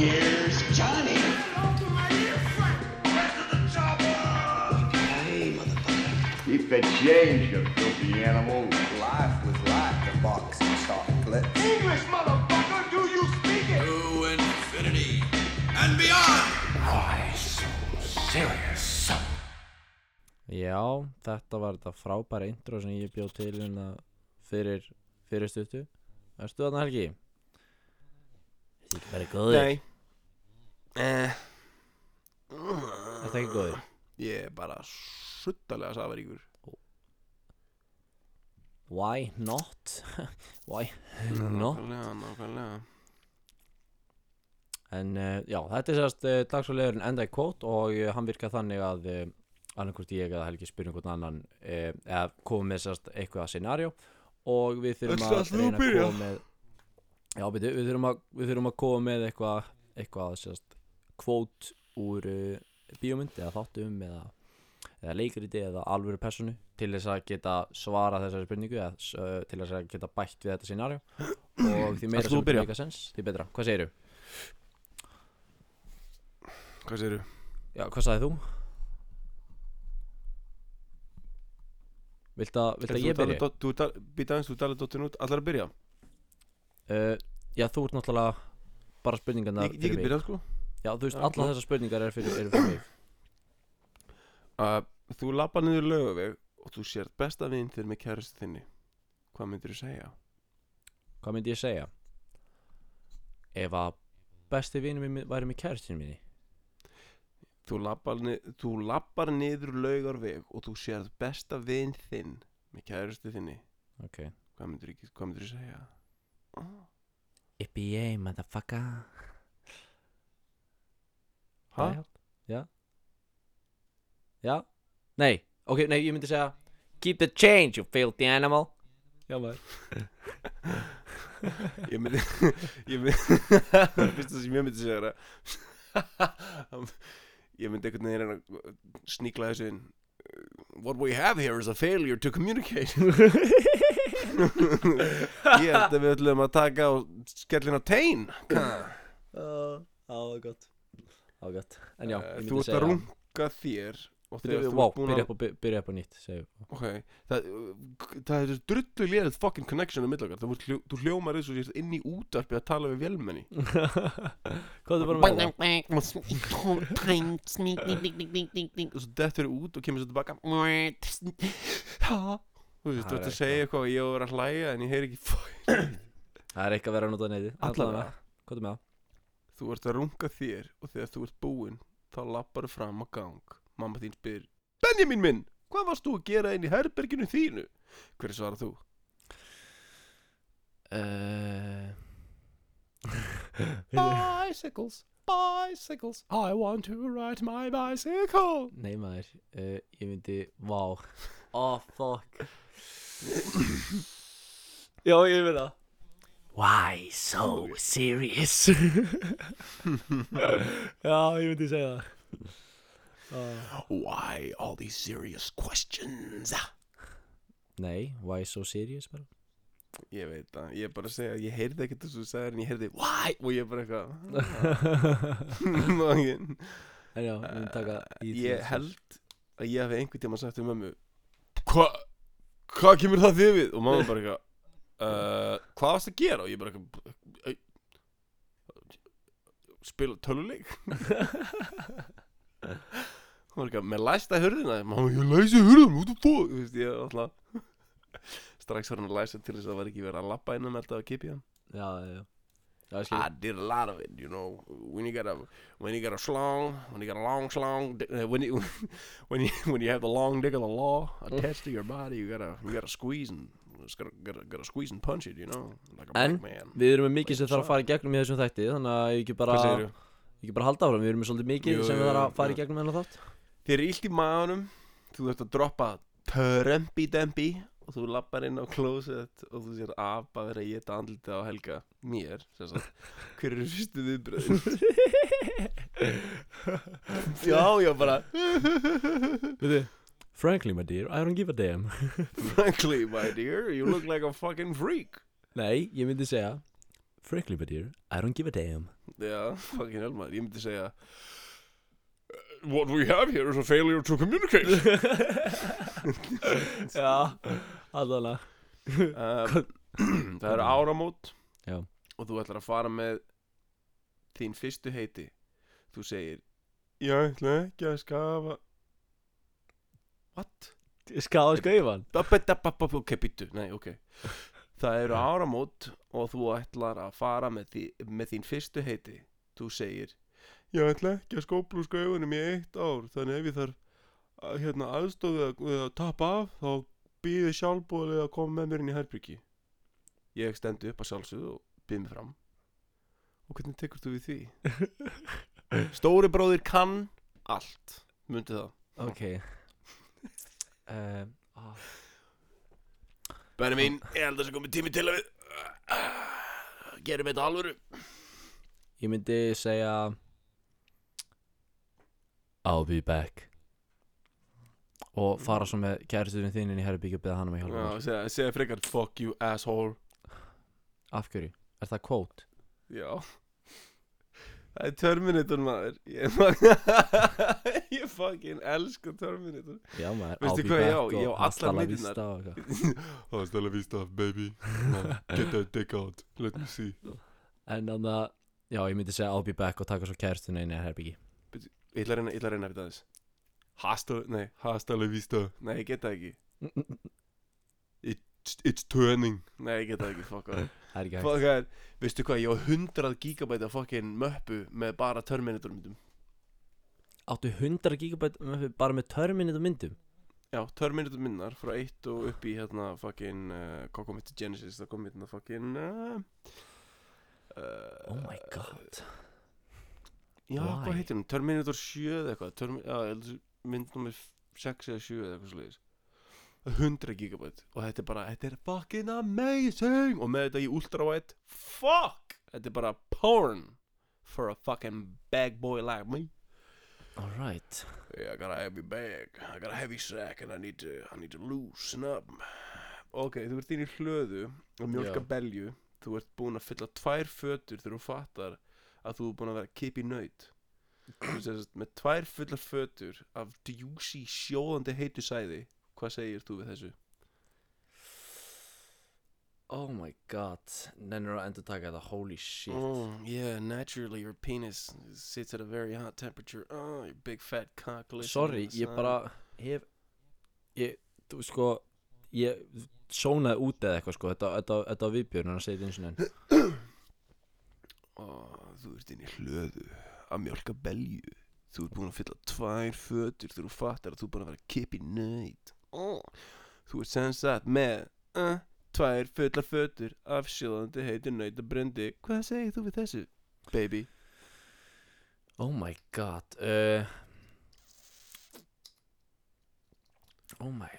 [SPEAKER 5] Here's Johnny. Hey, motherfucker.
[SPEAKER 6] Keep the change, you filthy animal.
[SPEAKER 7] Life was like a box of chocolate.
[SPEAKER 8] English, motherfucker, do you speak it?
[SPEAKER 5] To infinity and beyond.
[SPEAKER 3] Já, þetta var þetta frábæra intro sem ég bjóð til hérna fyrir, fyrir stuttu Erstu þarna Helgi? Þetta er ekki bara góður
[SPEAKER 2] Nei eh,
[SPEAKER 3] Þetta er ekki góður
[SPEAKER 2] Ég er bara suttalega safaríkur
[SPEAKER 3] Why not? Why not?
[SPEAKER 2] Nákvæmlega, nákvæmlega
[SPEAKER 3] En uh, já, þetta er sérst uh, dagsfálegurinn enda í kvót og uh, hann virkar þannig að eh, uh, annarkvort ég eða Helgi spyrir einhvern annan uh, eða komið með sérst eitthvað scenario og við þurfum
[SPEAKER 2] Öll
[SPEAKER 3] að
[SPEAKER 2] ætlum við að
[SPEAKER 3] reyna að
[SPEAKER 2] byrja?
[SPEAKER 3] koma með já, við, við, þurfum að, við þurfum að koma með eitthvað eitthvað sérst, kvót úr uh, bíómynd eða þáttum eða, eða leikriti eða alvöru personu til þess að geta svara þessari spurningu eða s- uh, til þess að geta bætt við þetta scenario og því meira
[SPEAKER 2] Ætlar þú að
[SPEAKER 3] sem
[SPEAKER 2] byrja?
[SPEAKER 3] meika sens, því betra hvað segirðu?
[SPEAKER 2] Hvað segir
[SPEAKER 3] Já, hvað sagði þú? Vilt að, vilt að ég byrja?
[SPEAKER 2] Þú býta aðeins, þú talar dottin út, allar að byrja
[SPEAKER 3] Uh, já, þú ert náttúrulega bara spurningarna
[SPEAKER 2] Ég, ég get byrjað sko
[SPEAKER 3] Já, þú veist,
[SPEAKER 2] Já,
[SPEAKER 3] allar
[SPEAKER 2] klá-
[SPEAKER 3] þessar spurningar eru fyrir, eru fyrir mig
[SPEAKER 2] uh, Þú lappa niður lögaveg og þú sér besta vin þér með kærust þinni Hvað myndir þú segja?
[SPEAKER 3] Hvað myndi ég segja? Ef að besti vinur minn væri með kærtinu minni
[SPEAKER 2] Þú lappar, niður, þú lappar niður laugarveg og þú sér besta vin þinn með kærustu þinni
[SPEAKER 3] Ok
[SPEAKER 2] Hvað myndir þú hvað myndirðu segja? Ah,
[SPEAKER 3] IPA, motherfucker
[SPEAKER 2] Ha?
[SPEAKER 3] Það er allt. Já Já Nei, ok, nei, ég myndi segja Keep the change, you filthy animal Já, maður
[SPEAKER 2] Ég myndi Ég myndi Fyrsta sem ég myndi segja er að Ég myndi einhvern veginn reyna að sníkla þessu inn What we have here is a failure to communicate Ég held að við ætlum að taka og skellin á tein
[SPEAKER 3] Það var gott Það var gott En já,
[SPEAKER 2] Eh,
[SPEAKER 3] ég
[SPEAKER 2] Þú
[SPEAKER 3] myndi
[SPEAKER 2] ert að
[SPEAKER 3] segja
[SPEAKER 2] runga þér og þegar
[SPEAKER 3] Byrja,
[SPEAKER 2] þú
[SPEAKER 3] wow,
[SPEAKER 2] ert búin
[SPEAKER 3] byrja
[SPEAKER 2] að
[SPEAKER 3] upp, á- byrja upp á nýtt segjum.
[SPEAKER 2] Ok, það, það er drullu lérið fucking connection á milli okkar Það voru hljó, þú hljómar eins og sést inn í útarpi að tala við vélmenni
[SPEAKER 3] Hvað er bara með það?
[SPEAKER 2] Og svo dettur þú út og kemur svo tilbaka Þú veist, þú ert að segja eitthvað og ég á að vera að hlæja en ég heyri ekki fuck
[SPEAKER 3] Það er ekki að vera að nota neyði
[SPEAKER 2] Allavega.
[SPEAKER 3] Hvað er með það?
[SPEAKER 2] Þú ert að runga þér og þegar þú ert búinn þá lappar þú fram á gang Mamma þín spyr Benjamin minn, hvað varst þú að gera inn í herberginu þínu? Hver svarar þú?
[SPEAKER 3] Uh,
[SPEAKER 2] Bicycles, bicycles, I want to ride my bicycle
[SPEAKER 3] nei maður, uh, ég myndi, vá, oh fuck Já, ég veit það Why so serious? Já, ég myndi segja það
[SPEAKER 2] Why all these serious questions?
[SPEAKER 3] Nei, why so serious bara
[SPEAKER 2] Ég veit það, ég er bara að segja, ég heyrði ekkert þessu sagðar en ég heyrði why og ég er bara "Ah, eitthvað Mangin.
[SPEAKER 3] En já, ég myndi taka í því
[SPEAKER 2] Eh,
[SPEAKER 3] sko.
[SPEAKER 2] Ég held að ég hafi einhvern tíma sagt um mömmu Hva, hvað kemur það þið við? Og mamma bara eitthvað uh, Hvað varst að gera? Og ég bara eitthvað "Ei, Spila töluleik Hún var eitthvað með læsta hurðina Mamma, ég læsi hurðum, út og bó Þú veist, ég var alltaf Strax var hann að læsa til þess að það var ekki verið að labba innan með þetta að kipja hann
[SPEAKER 3] Já, já, já Já, ég
[SPEAKER 2] I
[SPEAKER 3] skil
[SPEAKER 2] did a lot of it, you know. When you got a when you got a slong, when you got a long slong, di- uh, when you when you when you have the long dick of the law attached to your body, you gotta you gotta squeeze and it's gotta gotta, gotta squeeze and punch it, you know, like a
[SPEAKER 3] En
[SPEAKER 2] black man.
[SPEAKER 3] við erum með mikið sem þarf að fara í gegnum í þessum þætti Þannig að ég ekki bara,
[SPEAKER 2] Hvað segirðu?
[SPEAKER 3] ég ekki bara halda áfram Við erum með svolítið mikið
[SPEAKER 2] Jú, jú,
[SPEAKER 3] sem við þarf
[SPEAKER 2] jú,
[SPEAKER 3] að fara í
[SPEAKER 2] jú.
[SPEAKER 3] gegnum enn þátt
[SPEAKER 2] Þér er illt í maðunum, þú ert að droppa törempi dempi og þú lappar inn á klósett og þú sér apa verið að geta andlita á helga mér, sem sagt hver eru fyrstu viðbröðin? já, já, bara
[SPEAKER 3] Veitu, frankly my dear, I don't give a damn
[SPEAKER 2] frankly, my dear, you look like a fucking freak
[SPEAKER 3] Nei, ég myndi segja Frankly my dear, I don't give a damn
[SPEAKER 2] já, fucking helmaður, ég myndi segja "Uh, what we have here is a failure to communicate
[SPEAKER 3] Já, allavega
[SPEAKER 2] Um, Það eru áramót
[SPEAKER 3] Já.
[SPEAKER 2] Og þú ætlar að fara með Þín fyrstu heiti Þú segir Ég ætla ekki að skafa What?
[SPEAKER 3] Skáðu skaufan
[SPEAKER 2] Babadababab- Ok, býttu, nei, ok Það eru áramót Og þú ætlar að fara með, því, með þín fyrstu heiti Þú segir Ég ætla ekki að skóplu skauðunum í eitt ár Þannig ef ég þarf að, hérna, aðstofið að, við að tappa af Þá býði sjálfbúðlega að koma með mér inn í herbyrgi Ég stendi upp að sjálfsögðu og býð mig fram Og hvernig tekur þú við því? Stóri bróðir kann allt Mundi það
[SPEAKER 3] Eh, Ok um, ah.
[SPEAKER 2] Bæri mín, ég held að það komið tími til að við ah, Gerum þetta alvöru
[SPEAKER 3] Ég myndi segja I'll be back Og fara svo með kæristuðin þín inn í herrbyggja og beða hann um að hjálpa
[SPEAKER 2] Já,
[SPEAKER 3] mér
[SPEAKER 2] segja, segja frekar Fuck you asshole
[SPEAKER 3] Af hverju? Er það quote?
[SPEAKER 2] Já Það er Terminator maður Ég, maður, ég fucking elska Terminator
[SPEAKER 3] Já maður,
[SPEAKER 2] Veistu
[SPEAKER 3] I'll be
[SPEAKER 2] hvað,
[SPEAKER 3] back
[SPEAKER 2] já,
[SPEAKER 3] og
[SPEAKER 2] ég á
[SPEAKER 3] hasta
[SPEAKER 2] allar
[SPEAKER 3] la
[SPEAKER 2] myndirnar.
[SPEAKER 3] vista og eitthvað.
[SPEAKER 2] Það er stæla víst af baby Get that dick out Let me see
[SPEAKER 3] En þannig að, já ég myndi segja I'll be back og taka svo kæristuðin inn í herrbyggja
[SPEAKER 2] Ég ætla að reyna, ég ætla að reyna að vita þess Hasta, nei Hasta la vista Nei, ég get það ekki It's, it's turning Nei, ég get það ekki, fuck off
[SPEAKER 3] Það er ekki hægt
[SPEAKER 2] Fuck off Veistu hvað, ég á 100 gigabæta fucking möppu Með bara Terminator myndum
[SPEAKER 3] Áttu 100 gigabæt bara með törminni og myndum
[SPEAKER 2] Já, Terminator minnar frá 1 og upp í hérna fucking uh, Hvað kom þetta Genesis, það kom hérna fucking uh, uh,
[SPEAKER 3] Oh my god
[SPEAKER 2] Já, hvað
[SPEAKER 3] why?
[SPEAKER 2] heitir hún? Terminator 7 eða eitthvað Termi, Já, ég held að þessi mynd nummer 6 eða 7 eða eitthvað sliðis 100 gigabæt og þetta er bara, þetta er fucking amazing og með þetta í ultrawide Fuck! Þetta er bara porn for a fucking bag boy like me
[SPEAKER 3] Alright
[SPEAKER 2] Yeah, I got a heavy bag. I got a heavy sack and I need to, I need to loosen up. Ok, þú ert inn í hlöðu og mjölka
[SPEAKER 3] Já.
[SPEAKER 2] belju. Þú ert búinn að fylla tvær fötur þegar þú fattar að þú ert búinn að vera kip í nöyt. Þú sést, með tvær fullar fötur af djúsi sjóðandi heitu sæði. Hvað segir þú við þessu?
[SPEAKER 3] Oh my god Nennir að endur taka þetta, holy shit
[SPEAKER 2] Oh, Mm, yeah, naturally your penis sits at a very hot temperature. Oh, your big fat cock.
[SPEAKER 3] Sorry, ég bara hef ég, þú sko ég sónaði út eða eitthvað sko þetta, þetta, þetta var viðbjörn, hann segið eins og enn
[SPEAKER 2] og þú ert inn í hlöðu að mjölka belju þú ert búin að fylla tvær fötur þegar þú fattar að þú er búin að vera kipp í nöyt oh. þú ert sem sagt með uh, tvær fullar fötur af sjóðandi heitir nöyt og brendi hvað segir þú við þessu, baby?
[SPEAKER 3] Oh my god uh, Oh my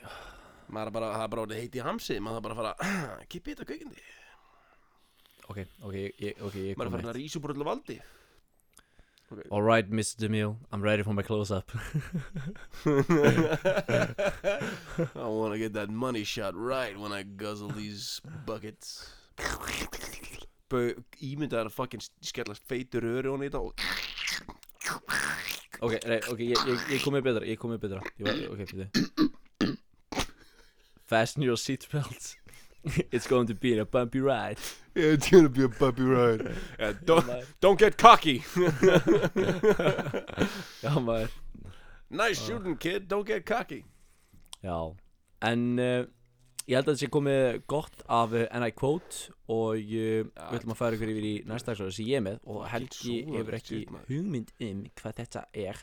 [SPEAKER 2] maður er bara, það er bara orðið heiti í hamsi maður er bara að fara, "Ah, kippa í þetta kveikindi
[SPEAKER 3] Ok, ok, ég, ég- ok, ég
[SPEAKER 2] maður er
[SPEAKER 3] kom
[SPEAKER 2] farin
[SPEAKER 3] eitt
[SPEAKER 2] að rísa úr öllu valdi
[SPEAKER 3] Alright, Mr. DeMille, I'm ready for my close-up
[SPEAKER 2] I wanna get that money shot right when I guzzle these buckets Bau, ímyndaðar að fucking skellast feitur öru honni í þetta og
[SPEAKER 3] Ok, rey, ok, ég, ég, ég kom með betra, ég kom með betra ég var, Ok, fyrir Fasten your seatbelts It's going to be a bumpy ride
[SPEAKER 2] Yeah, it's gonna be a puppy ride yeah, don't, don't get cocky
[SPEAKER 3] Já, maður
[SPEAKER 2] Nice
[SPEAKER 3] Ah.
[SPEAKER 2] shooting kid, don't get cocky
[SPEAKER 3] Já, en uh, ég held að þetta sé komið gott af uh, NI Quote og uh, við ætlum að fara ykkur yfir í næsta dagskrá sem ég er með og Helgi
[SPEAKER 2] súralegt
[SPEAKER 3] hefur ekki
[SPEAKER 2] shit, maður.
[SPEAKER 3] hugmynd um hvað þetta er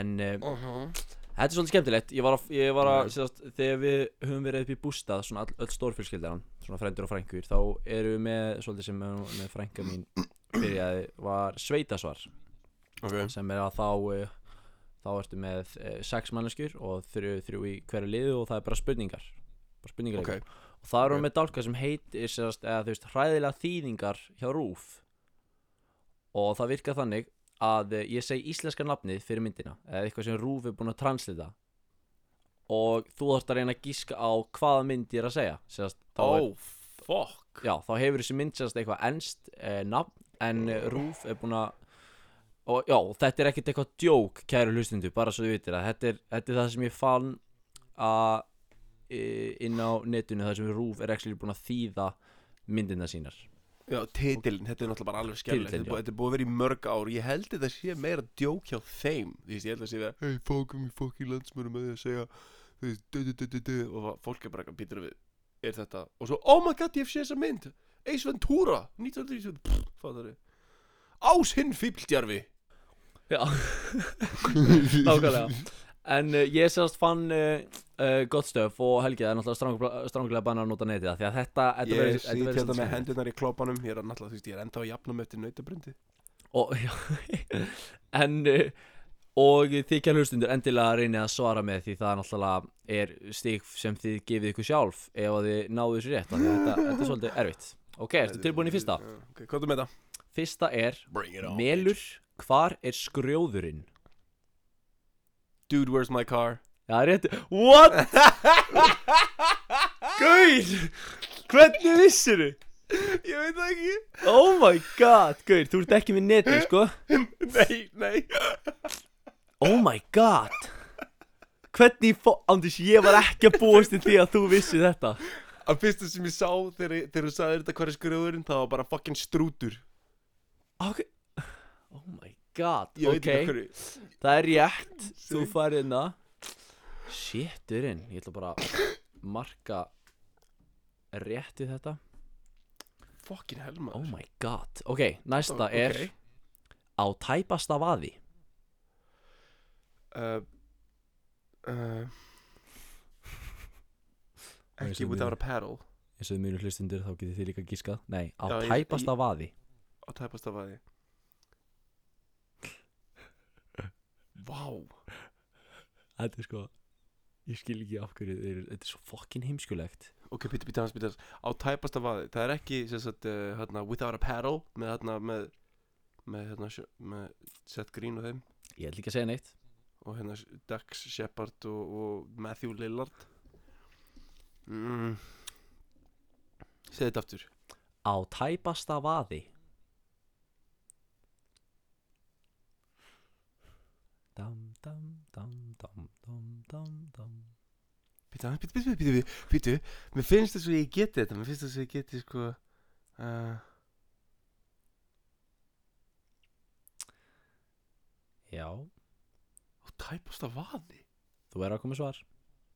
[SPEAKER 3] en uh,
[SPEAKER 2] uh -huh.
[SPEAKER 3] þetta er svolítið skemmtilegt ég var að, ég var að sérst, þegar við höfum verið upp í bústað svona all, öll stórfjölskyldan svona frendur og frængur þá erum við með svolítið sem með, með frænga mín byrjaði var sveitasvar
[SPEAKER 2] Ok,
[SPEAKER 3] sem er að þá eh, þá ertu með eh, sex manneskjur og þrjú, þrjú í hverju liðu og það er bara spurningar bara spurningar
[SPEAKER 2] ok
[SPEAKER 3] og það eru með dálka sem heitir sérast, eða þú veist hræðilega þýðingar hjá Rúf og það virkar þannig að eh, ég segi íslenska nafnið fyrir myndina eða eitthvað sem Rúf er búin að translita og þú þarft að reyna að gíska á hvaða mynd ég er að segja sérast, þá er-
[SPEAKER 2] Oh, fuck
[SPEAKER 3] já, þá hefur þessi mynd sérst eitthvað ennst eh, nafn en eh, Rúf er búin að og já, þetta er ekkert eitthvað djók kæru hlustundu, bara svo þið vitir að þetta er, þetta er það sem ég fann að e, inn á netinu þar sem Rúf er ekki búin að þýða myndina sínar
[SPEAKER 2] Já, titilin, þetta er náttúrulega bara alveg skemmtilegt Þetta
[SPEAKER 3] Titillinn,
[SPEAKER 2] er búið- þetta er búið að vera í mörg ár Ég held þetta sé meira djók hjá þeim Þú veist, ég held að sé vera Hei, fókum í fokkin landsmörum með því að segja Þú veist, du, du, du, du, du Og það- fólk er bara eitthvað býtur við Er þetta Og svo, oh my god, ég hef séð þessa mynd Ace Ventura 1997 Pff, Fattar þið Ás hinn fíbldjarfi
[SPEAKER 3] já, nákvæmlega en uh, ég sérst fann uh, uh, gott stöf og Helgi það er náttúrulega strang- stranglega banna að nota netið það því að þetta, þetta
[SPEAKER 2] Ég
[SPEAKER 3] verður-
[SPEAKER 2] sit
[SPEAKER 3] þetta verður
[SPEAKER 2] hérna
[SPEAKER 3] svolítið
[SPEAKER 2] með
[SPEAKER 3] skemmtilegt.
[SPEAKER 2] hendunar í klópanum Ég er að náttúrulega, þú veist, ég er enda að jafna með eftir nautabrindi
[SPEAKER 3] og, já, eh, en uh, og þið kjær hlustundur endilega reynið að svara með því það er náttúrulega er stig sem þið gefið ykkur sjálf ef að þið náðu þessu rétt af því að þetta, þetta er svolítið erfitt ok, ertu tilbúin í fyrsta?
[SPEAKER 2] Já, Ok, hvað er með það?
[SPEAKER 3] fyrsta er melur, hvar er skrjóðurinn?
[SPEAKER 2] Dude, where's my car?
[SPEAKER 3] Já, rétt, what? Gauð, hvernig vissir þú?
[SPEAKER 2] Ég veit það ekki
[SPEAKER 3] Oh my god, Gauð, þú ert ekki með neti, sko
[SPEAKER 2] Nei, nei
[SPEAKER 3] Oh my god Hvernig, fó- Andris, ég var ekki að búast til því að þú vissi þetta
[SPEAKER 2] Að fyrsta sem ég sá þegar, ég- þegar þú sagði þetta hver er skrjóðurinn Það var bara fucking strútur
[SPEAKER 3] Ok Oh my god,
[SPEAKER 2] Ég veit
[SPEAKER 3] ok
[SPEAKER 2] ekki af hverju
[SPEAKER 3] Það er rétt, þú farið inna Shitturinn, ég ætla bara að marka rétt í þetta
[SPEAKER 2] Fucking helma
[SPEAKER 3] Oh my god, ok, næsta er
[SPEAKER 2] Ok.
[SPEAKER 3] á tæpasta vaði
[SPEAKER 2] uh, uh, Ekki
[SPEAKER 3] sem
[SPEAKER 2] without
[SPEAKER 3] þið-
[SPEAKER 2] a paddle
[SPEAKER 3] eins og mjög hlustundur þá getið þið líka gískað Nei, á
[SPEAKER 2] Já, ég-
[SPEAKER 3] tæpasta vaði
[SPEAKER 2] á tæpast af aði Vá
[SPEAKER 3] Þetta er sko, ég skil ekki af hverju þeir, þetta er svo fokkin heimskulegt
[SPEAKER 2] Ok, píti, píti, hans, píti, hans Á tæpast af aði, það er ekki sem sagt, uh, hérna, without a paddle með, hérna, með, með, hérna, sjö- með Seth Green og þeim
[SPEAKER 3] Ég ætla ekki að segja neitt
[SPEAKER 2] og hérna Dax Shepard og, og Matthew Lillard mm. Segðu þetta aftur
[SPEAKER 3] Á tæpasta vaði Dam, dam, dam, dam, dam, dam, dam
[SPEAKER 2] Píti, píti, píti, píti, píti, píti Mér finnst þess að ég geti þetta Mér finnst þess að ég geti sko uh,
[SPEAKER 3] Já,
[SPEAKER 2] á tæpast af aði
[SPEAKER 3] þú verður að koma með svar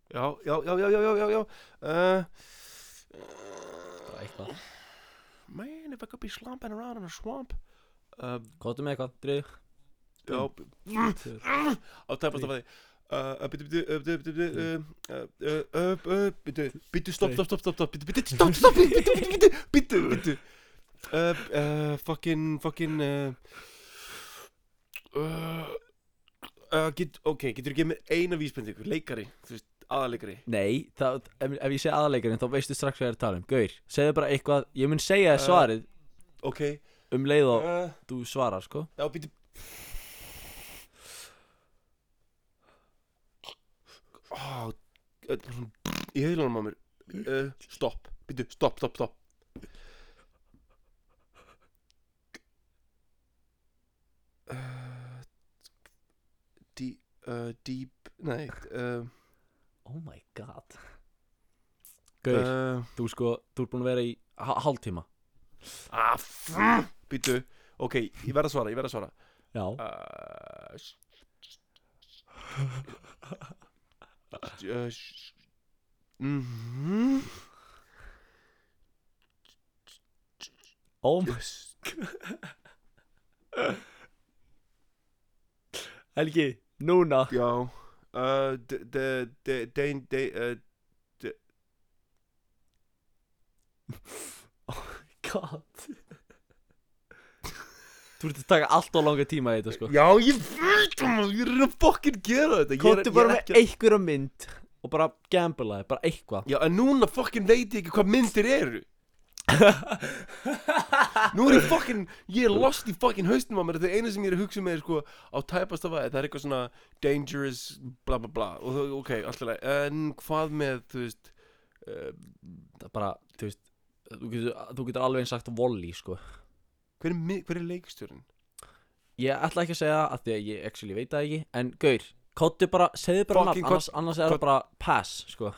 [SPEAKER 2] Já, já, já, já, já, já, já, já. Uh,
[SPEAKER 3] Bara eitthvað
[SPEAKER 2] Man, if I could be slumping around in a swamp uh,
[SPEAKER 3] Kóttu með eitthvað, drið
[SPEAKER 2] Já Mm.
[SPEAKER 3] Tvö.
[SPEAKER 2] Á tæpast af aði Bítu, bítu, bítu, bítu Bítu, bítu, stopp, stopp, stopp, stopp, stopp Bítu, bítu, stopp, stopp, bítu, bítu, bítu Bítu, bítu Uh, uh, Fucking, fucking uh, uh, uh, get, Ok, getur þú gefið mér eina vísbendingu Leikari, þú veist, aðaleikari
[SPEAKER 3] Nei, það, ef, ef ég segi aðaleikurinn þá veistu strax hvað ég er að tala um Gaur, segðu bara eitthvað, ég mun segja þér
[SPEAKER 2] Eh.
[SPEAKER 3] svarið
[SPEAKER 2] Ok
[SPEAKER 3] um leið og
[SPEAKER 2] uh,
[SPEAKER 3] þú svarar sko
[SPEAKER 2] Já, býtu Ó, ö, svona Í heilunum á mér uh, Stopp, býtu, stopp, stopp, stopp Uh, dí- uh, Deep, nei uh,
[SPEAKER 3] Oh my god Gaur,
[SPEAKER 2] uh,
[SPEAKER 3] þú sko, þú ert búin að vera í hálftíma
[SPEAKER 2] ah, f- Býtu, ok, ég verð að svara, ég verð að svara
[SPEAKER 3] Já
[SPEAKER 2] Uh, s- uh, s- mhm.
[SPEAKER 3] Oh my
[SPEAKER 2] Yes.
[SPEAKER 3] Helgi, núna
[SPEAKER 2] Já Uh, d- d- d- dein- de- uh,
[SPEAKER 3] God Þú ert að taka allt á langa tíma í þetta sko
[SPEAKER 2] Já, ég veit það maður, Ég er að fokkin gera þetta Ég er-
[SPEAKER 3] Kóttu
[SPEAKER 2] ég er
[SPEAKER 3] bara
[SPEAKER 2] ekki að-
[SPEAKER 3] með einhverja mynd og bara gamblaði, bara eitthvað
[SPEAKER 2] Já, en núna fokkin veit ég ekki hvað myndir eru Nú er ég fokkin Ég er lost í fokkin haustum á mér Það eina sem ég er að hugsa með er sko Á tæpast af aðeins, það er eitthvað svona Dangerous, bla bla bla Og það, ok, alltaf leið En hvað með, þú veist uh,
[SPEAKER 3] Það bara, þú veist þú getur, þú getur alveg eins sagt volley sko
[SPEAKER 2] hver, er, mi- hver er leikstjórinn?
[SPEAKER 3] Ég ætla ekki að segja það af því að ég actually veit það ekki En Gaur, kóttu bara, segðu bara
[SPEAKER 2] Fucking
[SPEAKER 3] nafn annars, annars er
[SPEAKER 2] kott-
[SPEAKER 3] það bara pass sko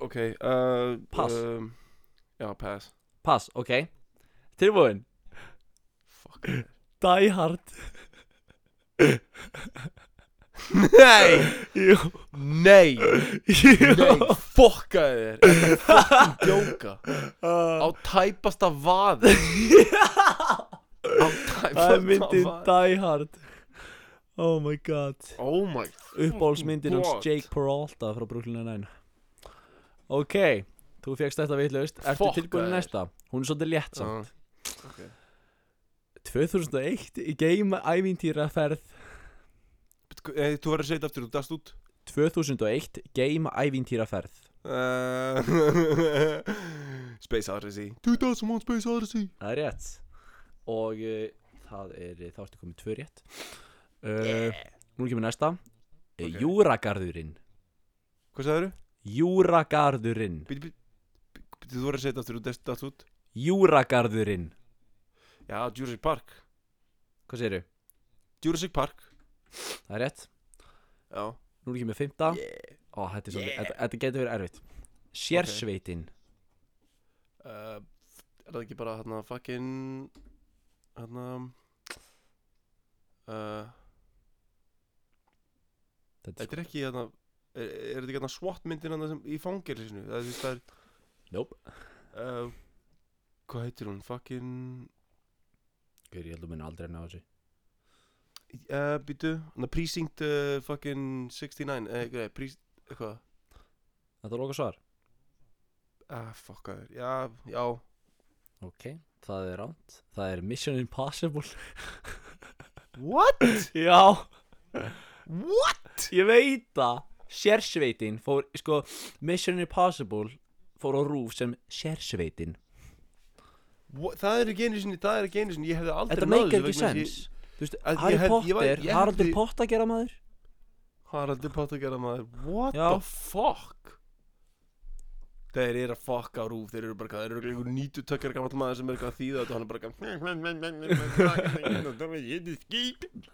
[SPEAKER 2] Ok, uh,
[SPEAKER 3] Pass.
[SPEAKER 2] um, Já, pass
[SPEAKER 3] Pass, ok Tilbúin
[SPEAKER 2] Fuck
[SPEAKER 3] Die Hard
[SPEAKER 2] Nei,
[SPEAKER 3] Jú
[SPEAKER 2] nei, nei Fokkaði þér Þetta er fokkin djóka
[SPEAKER 3] Ah.
[SPEAKER 2] Á tæpasta vaði Á tæpasta
[SPEAKER 3] Það er myndin
[SPEAKER 2] vaði.
[SPEAKER 3] Die Hard Oh my god
[SPEAKER 2] Oh my
[SPEAKER 3] Uppbólsmyndin hans
[SPEAKER 2] God.
[SPEAKER 3] Jake Peralta frá Brooklyn Nine-Nine Ok, þú fegst þetta vitlaust Ertu
[SPEAKER 2] Fuck,
[SPEAKER 3] tilbúin í
[SPEAKER 2] maður.
[SPEAKER 3] næsta? Hún er svolítið létt samt
[SPEAKER 2] God Uh.
[SPEAKER 3] 2001 í game ævintýraferð
[SPEAKER 2] eh, Þú verður að segja þetta aftur, þú dast út
[SPEAKER 3] 2001 Game ævintýraferð
[SPEAKER 2] Uh, Space Odyssey 2001 Space Odyssey
[SPEAKER 3] Það er rétt Og uh, það er, þá ertu komið tvö rétt uh, Nú kemur næsta okay. Júragarðurinn
[SPEAKER 2] Hvað sagður þau?
[SPEAKER 3] Júragarðurinn
[SPEAKER 2] Býtu, býtu, þú voru að setja aftur út eftir allt út
[SPEAKER 3] Júragarðurinn
[SPEAKER 2] Já, Jurassic Park
[SPEAKER 3] Hvað segirðu?
[SPEAKER 2] Jurassic Park
[SPEAKER 3] Það er rétt
[SPEAKER 2] Já
[SPEAKER 3] Nú kemur fimmta yeah. Ó, þetta, er svolítið, þetta, þetta getur verið erfitt Sérsveitin
[SPEAKER 2] uh, Er það ekki bara hérna fucking Hérna uh,
[SPEAKER 3] Þetta
[SPEAKER 2] Þetta er ekki hérna Er, er þetta ekki hérna SWAT myndin hérna sem í fangelsinnu Það er því það
[SPEAKER 3] Nope
[SPEAKER 2] er uh, Hvað heitir hún? Fucking
[SPEAKER 3] Guður, ég held að minna aldrei að ná þessu
[SPEAKER 2] uh, Býtu Hérna Precinct uh, fucking 69 Eh, uh, Precinct Eitthvað
[SPEAKER 3] Þetta er loka svar
[SPEAKER 2] Ah, fuck að þér Já, já
[SPEAKER 3] Ok, það er ránt Það er Mission Impossible
[SPEAKER 2] What?
[SPEAKER 3] Já
[SPEAKER 2] What?
[SPEAKER 3] Ég veit það Sérsveitin fór, sko Mission Impossible fór á rúf sem Sérsveitin
[SPEAKER 2] What? Það er ekki einu sinni, það er ekki einu sinni, ég hefði aldrei
[SPEAKER 3] Þetta
[SPEAKER 2] náð þessu
[SPEAKER 3] meikar ekki
[SPEAKER 2] vegna þess að
[SPEAKER 3] sens
[SPEAKER 2] ég-
[SPEAKER 3] Þú veist,
[SPEAKER 2] að ég hef-
[SPEAKER 3] Harry
[SPEAKER 2] ég var-
[SPEAKER 3] Potter,
[SPEAKER 2] ég hefði-
[SPEAKER 3] Haraldur Potter gera maður
[SPEAKER 2] Haraldur Potter gera maður, what
[SPEAKER 3] Já.
[SPEAKER 2] the fuck? Þeir eru að fucka á rúf, þeir eru bara, eitthvað- þeir eru einhver nýtu tökkar gammal maður sem er eitthvað að þýða þetta og hann er bara eitthvað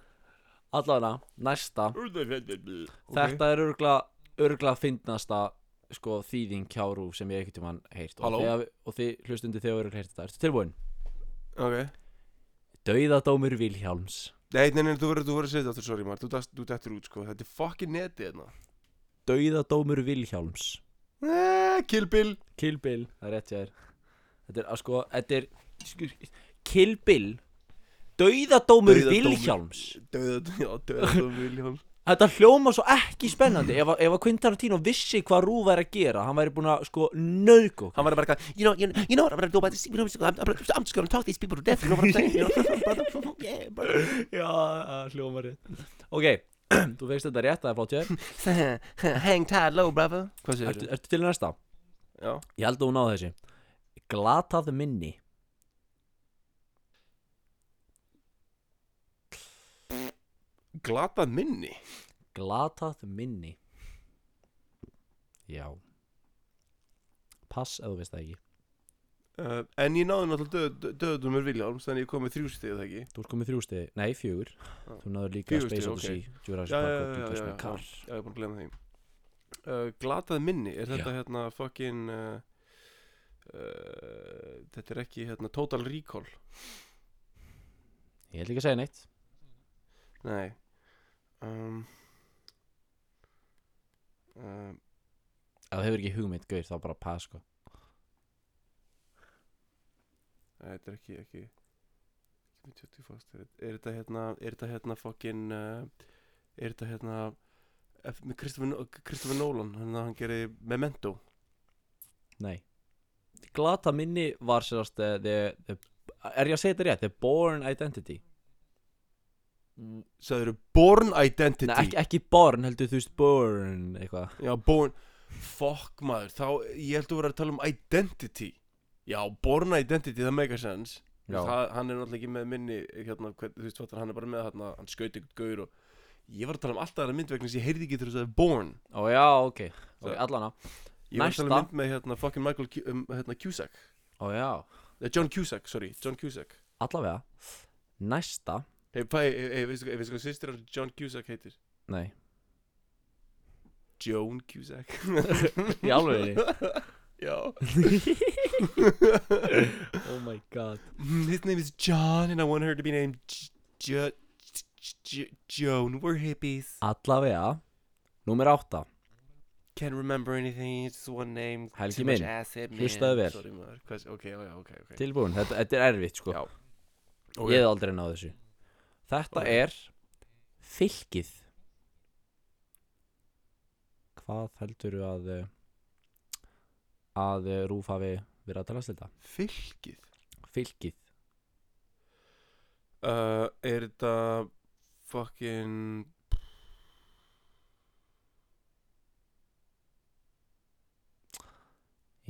[SPEAKER 3] Allavega, næsta Þetta er örgla, örgla fyndnasta sko, þýðing hjá rúf sem ég ekkert um hann heyrt og,
[SPEAKER 2] Halló?
[SPEAKER 3] þegar, og þið hlustundi þegar örgla heyrt þetta Ertu tilbúin?
[SPEAKER 2] Ok,
[SPEAKER 3] Dauðadómur Vilhjálms
[SPEAKER 2] nei, nei, nei, þú verður þú verður að segja þetta aftur, sorry maður, þú dast- þú dettur út sko, þetta er fucking netið hérna
[SPEAKER 3] Dauðadómur Vilhjálms
[SPEAKER 2] Eh, Kill Bill
[SPEAKER 3] Kill Bill Það er rétt hjá þér Þetta er að sko Þetta er skur- Kill Bill Dauðadómur
[SPEAKER 2] Dauðadómur.
[SPEAKER 3] Vilhjálms
[SPEAKER 2] Dauðað, já, dauðað William
[SPEAKER 3] Þetta hljóma svo ekki spennandi Ef, að- ef að Quentin Tarantino vissi hvað Rú væri að gera Hann væri búin að sko nöðgó
[SPEAKER 2] Hann var bara eitthvað, you know, you know, you know what I'm gonna do about this, you know, I'm, I'm, I'm just gonna talk these people to death, you know what I'm saying, you know, brother, yeah, brother.
[SPEAKER 3] Já, það hljóma rétt Ok, þú veist þetta rétt Það er flott hjá þér
[SPEAKER 2] Hang tight low, brother. Hvað segir
[SPEAKER 3] Ertu- Ertu til í næsta?
[SPEAKER 2] Já.
[SPEAKER 3] Ég held að hún náði þessi Glatað minni
[SPEAKER 2] Glatað minni?
[SPEAKER 3] Glatað minni Já Pass ef þú veist það ekki
[SPEAKER 2] Uh, en ég náði náttúrulega döð, döðumur Viljáms, þannig ég kom með þrjú stíð, það ekki?
[SPEAKER 3] Þú ert komið þrjú stegi, nei fjögur Þú náður líka
[SPEAKER 2] Fjögur
[SPEAKER 3] Space
[SPEAKER 2] stig,
[SPEAKER 3] Odyssey, Jurassic
[SPEAKER 2] Já,
[SPEAKER 3] Park
[SPEAKER 2] já,
[SPEAKER 3] og
[SPEAKER 2] já,
[SPEAKER 3] Dukas
[SPEAKER 2] já, já,
[SPEAKER 3] Makar
[SPEAKER 2] Já, ég er búin að glemja því. Uh, glatað minni, er þetta hérna fucking, uh, uh, þetta er ekki hérna Total Recall?
[SPEAKER 3] Ég ætla ekki að segja neitt
[SPEAKER 2] Nei um, um,
[SPEAKER 3] Ef þú hefur ekki hugmynd, gauð, þá bara pass sko
[SPEAKER 2] Nei, eh, þetta er ekki, ekki ekki með 20 fast er, er þetta hérna, er þetta hérna fokkin uh, er þetta hérna F, með Christopher, Nol- Christopher Nolan hann, hann gerir Memento
[SPEAKER 3] Nei Glata minni var sérast uh, the, the, Er ég að segja þetta rétt? The Born Identity
[SPEAKER 2] sagður Born Identity
[SPEAKER 3] Nei, ekki, ekki Born, heldur þú veist Born eitthvað
[SPEAKER 2] já, Born fokk maður, þá, ég held að vera að tala um Identity já, Born Identity, það meikar sens
[SPEAKER 3] Já.
[SPEAKER 2] það, hann er náttúrulega ekki með minni hérna, hvern, þú veist fattar, hann er bara með hérna, hann skaut ykkur gaur og ég var að tala um alltaf aðra myndvegna sem ég heyrði ekki þegar þú sagði Born
[SPEAKER 3] Ó já, ok, ok, allana
[SPEAKER 2] Ég var að tala um
[SPEAKER 3] Næsta.
[SPEAKER 2] mynd með hérna fucking Michael Q, um, hérna Cusack
[SPEAKER 3] Ó já,
[SPEAKER 2] Nei, John Cusack, sorry, John Cusack
[SPEAKER 3] allavega Næsta,
[SPEAKER 2] Hei, pæ, hei, hei, veistu hvað, veistu hvað sýstir hans John Cusack heitir?
[SPEAKER 3] nei,
[SPEAKER 2] Joan Cusack
[SPEAKER 3] í alveg
[SPEAKER 2] Já
[SPEAKER 3] Oh my god
[SPEAKER 2] Mm, His name is John and I want her to be named J- J- J- Joan, we're hippies
[SPEAKER 3] Allavega, númer átta
[SPEAKER 2] Can't remember anything, it's just one name
[SPEAKER 3] Helgi
[SPEAKER 2] too much
[SPEAKER 3] minn,
[SPEAKER 2] acid, man.
[SPEAKER 3] hlustaðu vel.
[SPEAKER 2] Sorry maður, hvað, ok, já, já, ok, ok
[SPEAKER 3] Tilbúin, þetta, þetta er erfitt sko
[SPEAKER 2] Já.
[SPEAKER 3] Ég hef aldrei náð þessu Þetta
[SPEAKER 2] Ok.
[SPEAKER 3] er Fylkið Hvað heldur að eh, að eh, Rúf hafi verið að talast þetta?
[SPEAKER 2] Fylkið
[SPEAKER 3] Fylkið
[SPEAKER 2] uh, Er þetta fucking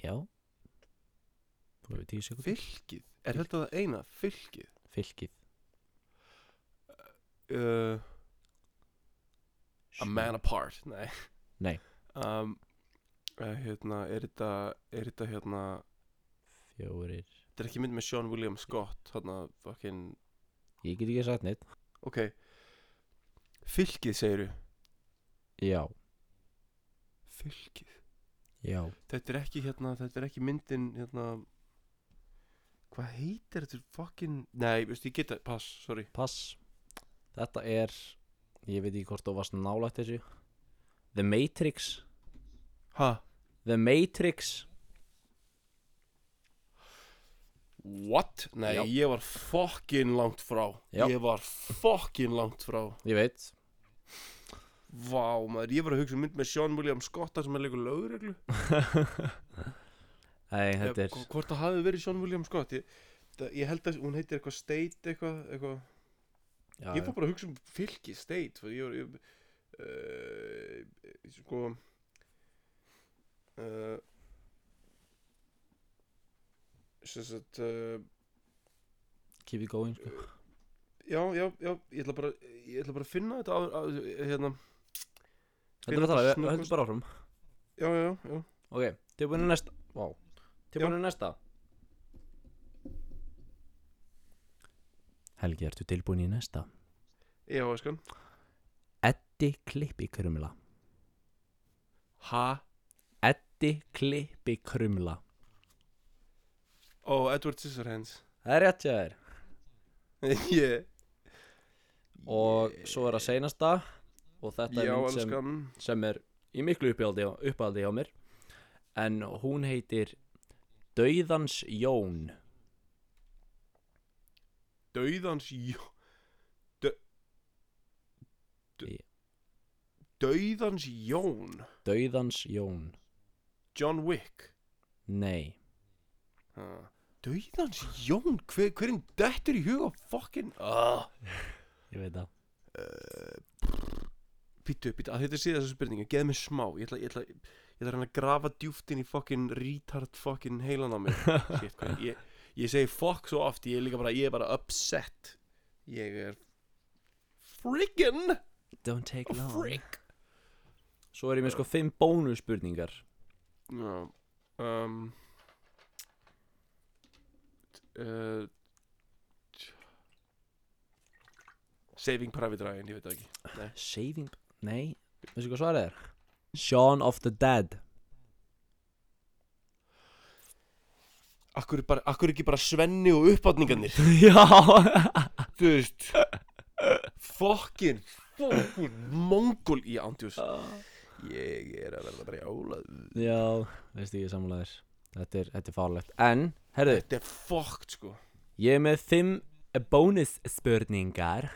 [SPEAKER 3] Já Þú hefur tíu sekúndur
[SPEAKER 2] Fylkið, er þetta það eina? Fylkið
[SPEAKER 3] Fylkið
[SPEAKER 2] uh, A Man Apart Nei
[SPEAKER 3] Nei.
[SPEAKER 2] um, uh, Hérna, er þetta Er þetta hérna
[SPEAKER 3] Fjórir
[SPEAKER 2] Þetta er ekki mynd með Sean William Scott Hérna, fucking
[SPEAKER 3] Ég get ekki sagt neitt
[SPEAKER 2] Ok Fylkið, segiru
[SPEAKER 3] Já
[SPEAKER 2] Fylkið
[SPEAKER 3] Já
[SPEAKER 2] Þetta er ekki hérna Þetta er ekki myndin hérna Hvað heitir þetta fucking Nei, veistu, ég geta Pass, sorry
[SPEAKER 3] Pass Þetta er Ég veit ekki hvort þú varst nálægt þessu The Matrix
[SPEAKER 2] Ha?
[SPEAKER 3] The Matrix
[SPEAKER 2] What? Nei,
[SPEAKER 3] Já.
[SPEAKER 2] ég var fucking langt frá
[SPEAKER 3] Já.
[SPEAKER 2] Ég var fucking langt frá
[SPEAKER 3] Ég veit
[SPEAKER 2] Vá, maður, ég var að hugsa um mynd með Sean William Scott þar sem er leikur lögreglu
[SPEAKER 3] Nei, þetta
[SPEAKER 2] Ég-
[SPEAKER 3] er
[SPEAKER 2] Hvort það hafi verið Sean William Scott Ég, það, ég held að hún heitir eitthvað State eitthvað, eitthvað.
[SPEAKER 3] já,
[SPEAKER 2] Ég
[SPEAKER 3] já.
[SPEAKER 2] fór bara að hugsa um fylki State fyrir ég var ég, uh, sko uh, sem sagt uh,
[SPEAKER 3] Keep it going sko.
[SPEAKER 2] já, já, já, ég ætla bara ég ætla bara að finna þetta á, á, hérna,
[SPEAKER 3] Þetta er að tala, við
[SPEAKER 2] snöggvast.
[SPEAKER 3] höldum bara áfram
[SPEAKER 2] já, já, já
[SPEAKER 3] Ok, tilbúinu næsta Vá, tilbúinu næsta Helgi, ertu tilbúin í næsta?
[SPEAKER 2] Já, eskan
[SPEAKER 3] Eddi klippi krumla
[SPEAKER 2] Ha?
[SPEAKER 3] Eddi klippi krumla
[SPEAKER 2] Ó, Edward Scissorhands
[SPEAKER 3] Það er rétt hjá þér
[SPEAKER 2] yeah.
[SPEAKER 3] Og svo er að seinasta Og þetta
[SPEAKER 2] Já,
[SPEAKER 3] er mynd sem,
[SPEAKER 2] elskan
[SPEAKER 3] sem er í miklu uppaldi, uppaldi hjá mér En hún heitir Dauðans Jón
[SPEAKER 2] Dauðans Jón Dau... Dau...
[SPEAKER 3] Í-
[SPEAKER 2] Dauðans Jón
[SPEAKER 3] Dauðans Jón
[SPEAKER 2] John Wick
[SPEAKER 3] Nei,
[SPEAKER 2] ha. Dauðans Jón Hver, Hverjum dettur í huga fokkin uh.
[SPEAKER 3] ég veit það
[SPEAKER 2] Pítu, pítu, að þetta sé þessu spurningu Geð mér smá, ég ætla, ég ætla, ég ætla að reyna að grafa djúpt inn í fokkin Retard fokkin heilan á mér Shit, hvað, ég, ég segi fokk svo oft Ég er líka bara, ég er bara upset Ég er Friggin
[SPEAKER 3] Don't
[SPEAKER 2] Oh,
[SPEAKER 3] take long
[SPEAKER 2] Frigg
[SPEAKER 3] Svo er ég með sko fimm bónusspurningar
[SPEAKER 2] Já um, uh, Saving Private Ryan, ég veit það ekki
[SPEAKER 3] Saving Nei, veistu hvað svarið er? Shaun of the Dead
[SPEAKER 2] Akkur, er bara, akkur er ekki bara Svenni og uppáttningarnir
[SPEAKER 3] Já
[SPEAKER 2] Þú veist Fokkin Fokkin Mongol í andjús Ég er að verða bara jálað
[SPEAKER 3] Já, veistu ég samlaðir Þetta er, þetta er farlegt En, herðu,
[SPEAKER 2] Þetta er fokkt sko
[SPEAKER 3] ég er með fimm bónusspurningar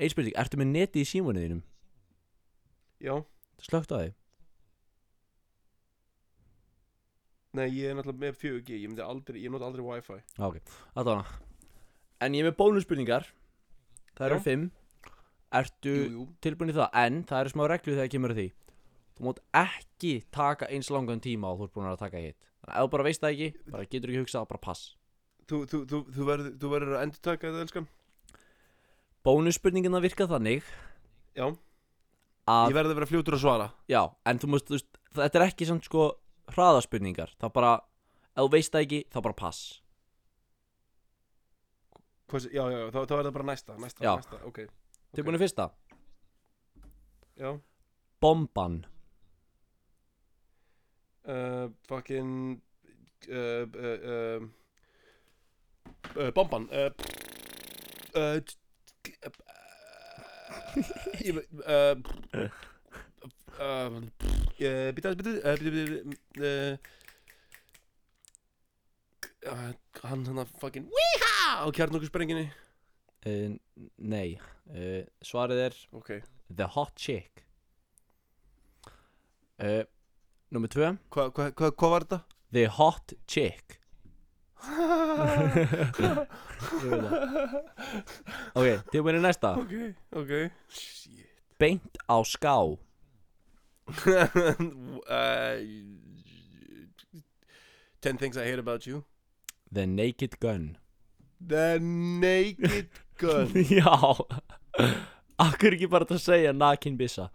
[SPEAKER 3] Ein spurning, ertu með neti í símónu þínum?
[SPEAKER 2] Já,
[SPEAKER 3] Slögt á því
[SPEAKER 2] nei ég er náttúrulega með 4G Ég myndi aldrei, ég nota aldrei Wi-Fi
[SPEAKER 3] Já, ok, þetta var En ég er með bónusspurningar Það eru
[SPEAKER 2] Já.
[SPEAKER 3] fimm Ertu
[SPEAKER 2] jú
[SPEAKER 3] tilbúin í það En það eru smá reglu þegar kemur að því Þú mátt ekki taka eins langan tíma og þú ert búin að taka hitt Þannig að ef þú bara veist það ekki, bara getur ekki hugsað, bara pass
[SPEAKER 2] Þú, þú, þú, þú verður þú verður að endur taka þetta elskan
[SPEAKER 3] Bónusspurningina virka þannig
[SPEAKER 2] Já
[SPEAKER 3] að,
[SPEAKER 2] Ég verði að vera fljótur að svara
[SPEAKER 3] já, en þú mást, þú veist, þetta er ekki samt sko hraðaspurningar Það bara, ef þú veist það ekki, þá bara pass
[SPEAKER 2] Hvað, sé- Já, já, já, þá, þá er það bara næsta Næsta,
[SPEAKER 3] Já.
[SPEAKER 2] næsta, ok
[SPEAKER 3] Tilbúin í fyrsta
[SPEAKER 2] Já
[SPEAKER 3] Bomban
[SPEAKER 2] uh, Fucking uh, uh, uh, uh, Bomban uh, uh, t- t- uh, Ég veit uh, uh, uh, Býta, býta, uh, býta, býta uh, uh, Hann hann að fucking Weeha! Og kjarn okkur sprenginni
[SPEAKER 3] uh, Nei, uh, svarið er
[SPEAKER 2] Ok
[SPEAKER 3] The Hot Chick uh, Númer 2
[SPEAKER 2] Hvað hva, hva, hva var þetta?
[SPEAKER 3] The Hot Chick
[SPEAKER 2] Ah.
[SPEAKER 3] Ég veit það. Ok, tilbúin í næsta
[SPEAKER 2] Ok, ok Shit
[SPEAKER 3] Beint á ská
[SPEAKER 2] uh, 10 Things I Hate About You
[SPEAKER 3] The Naked Gun
[SPEAKER 2] The Naked Gun
[SPEAKER 3] Já Akkur ekki bara að segja nakin bissa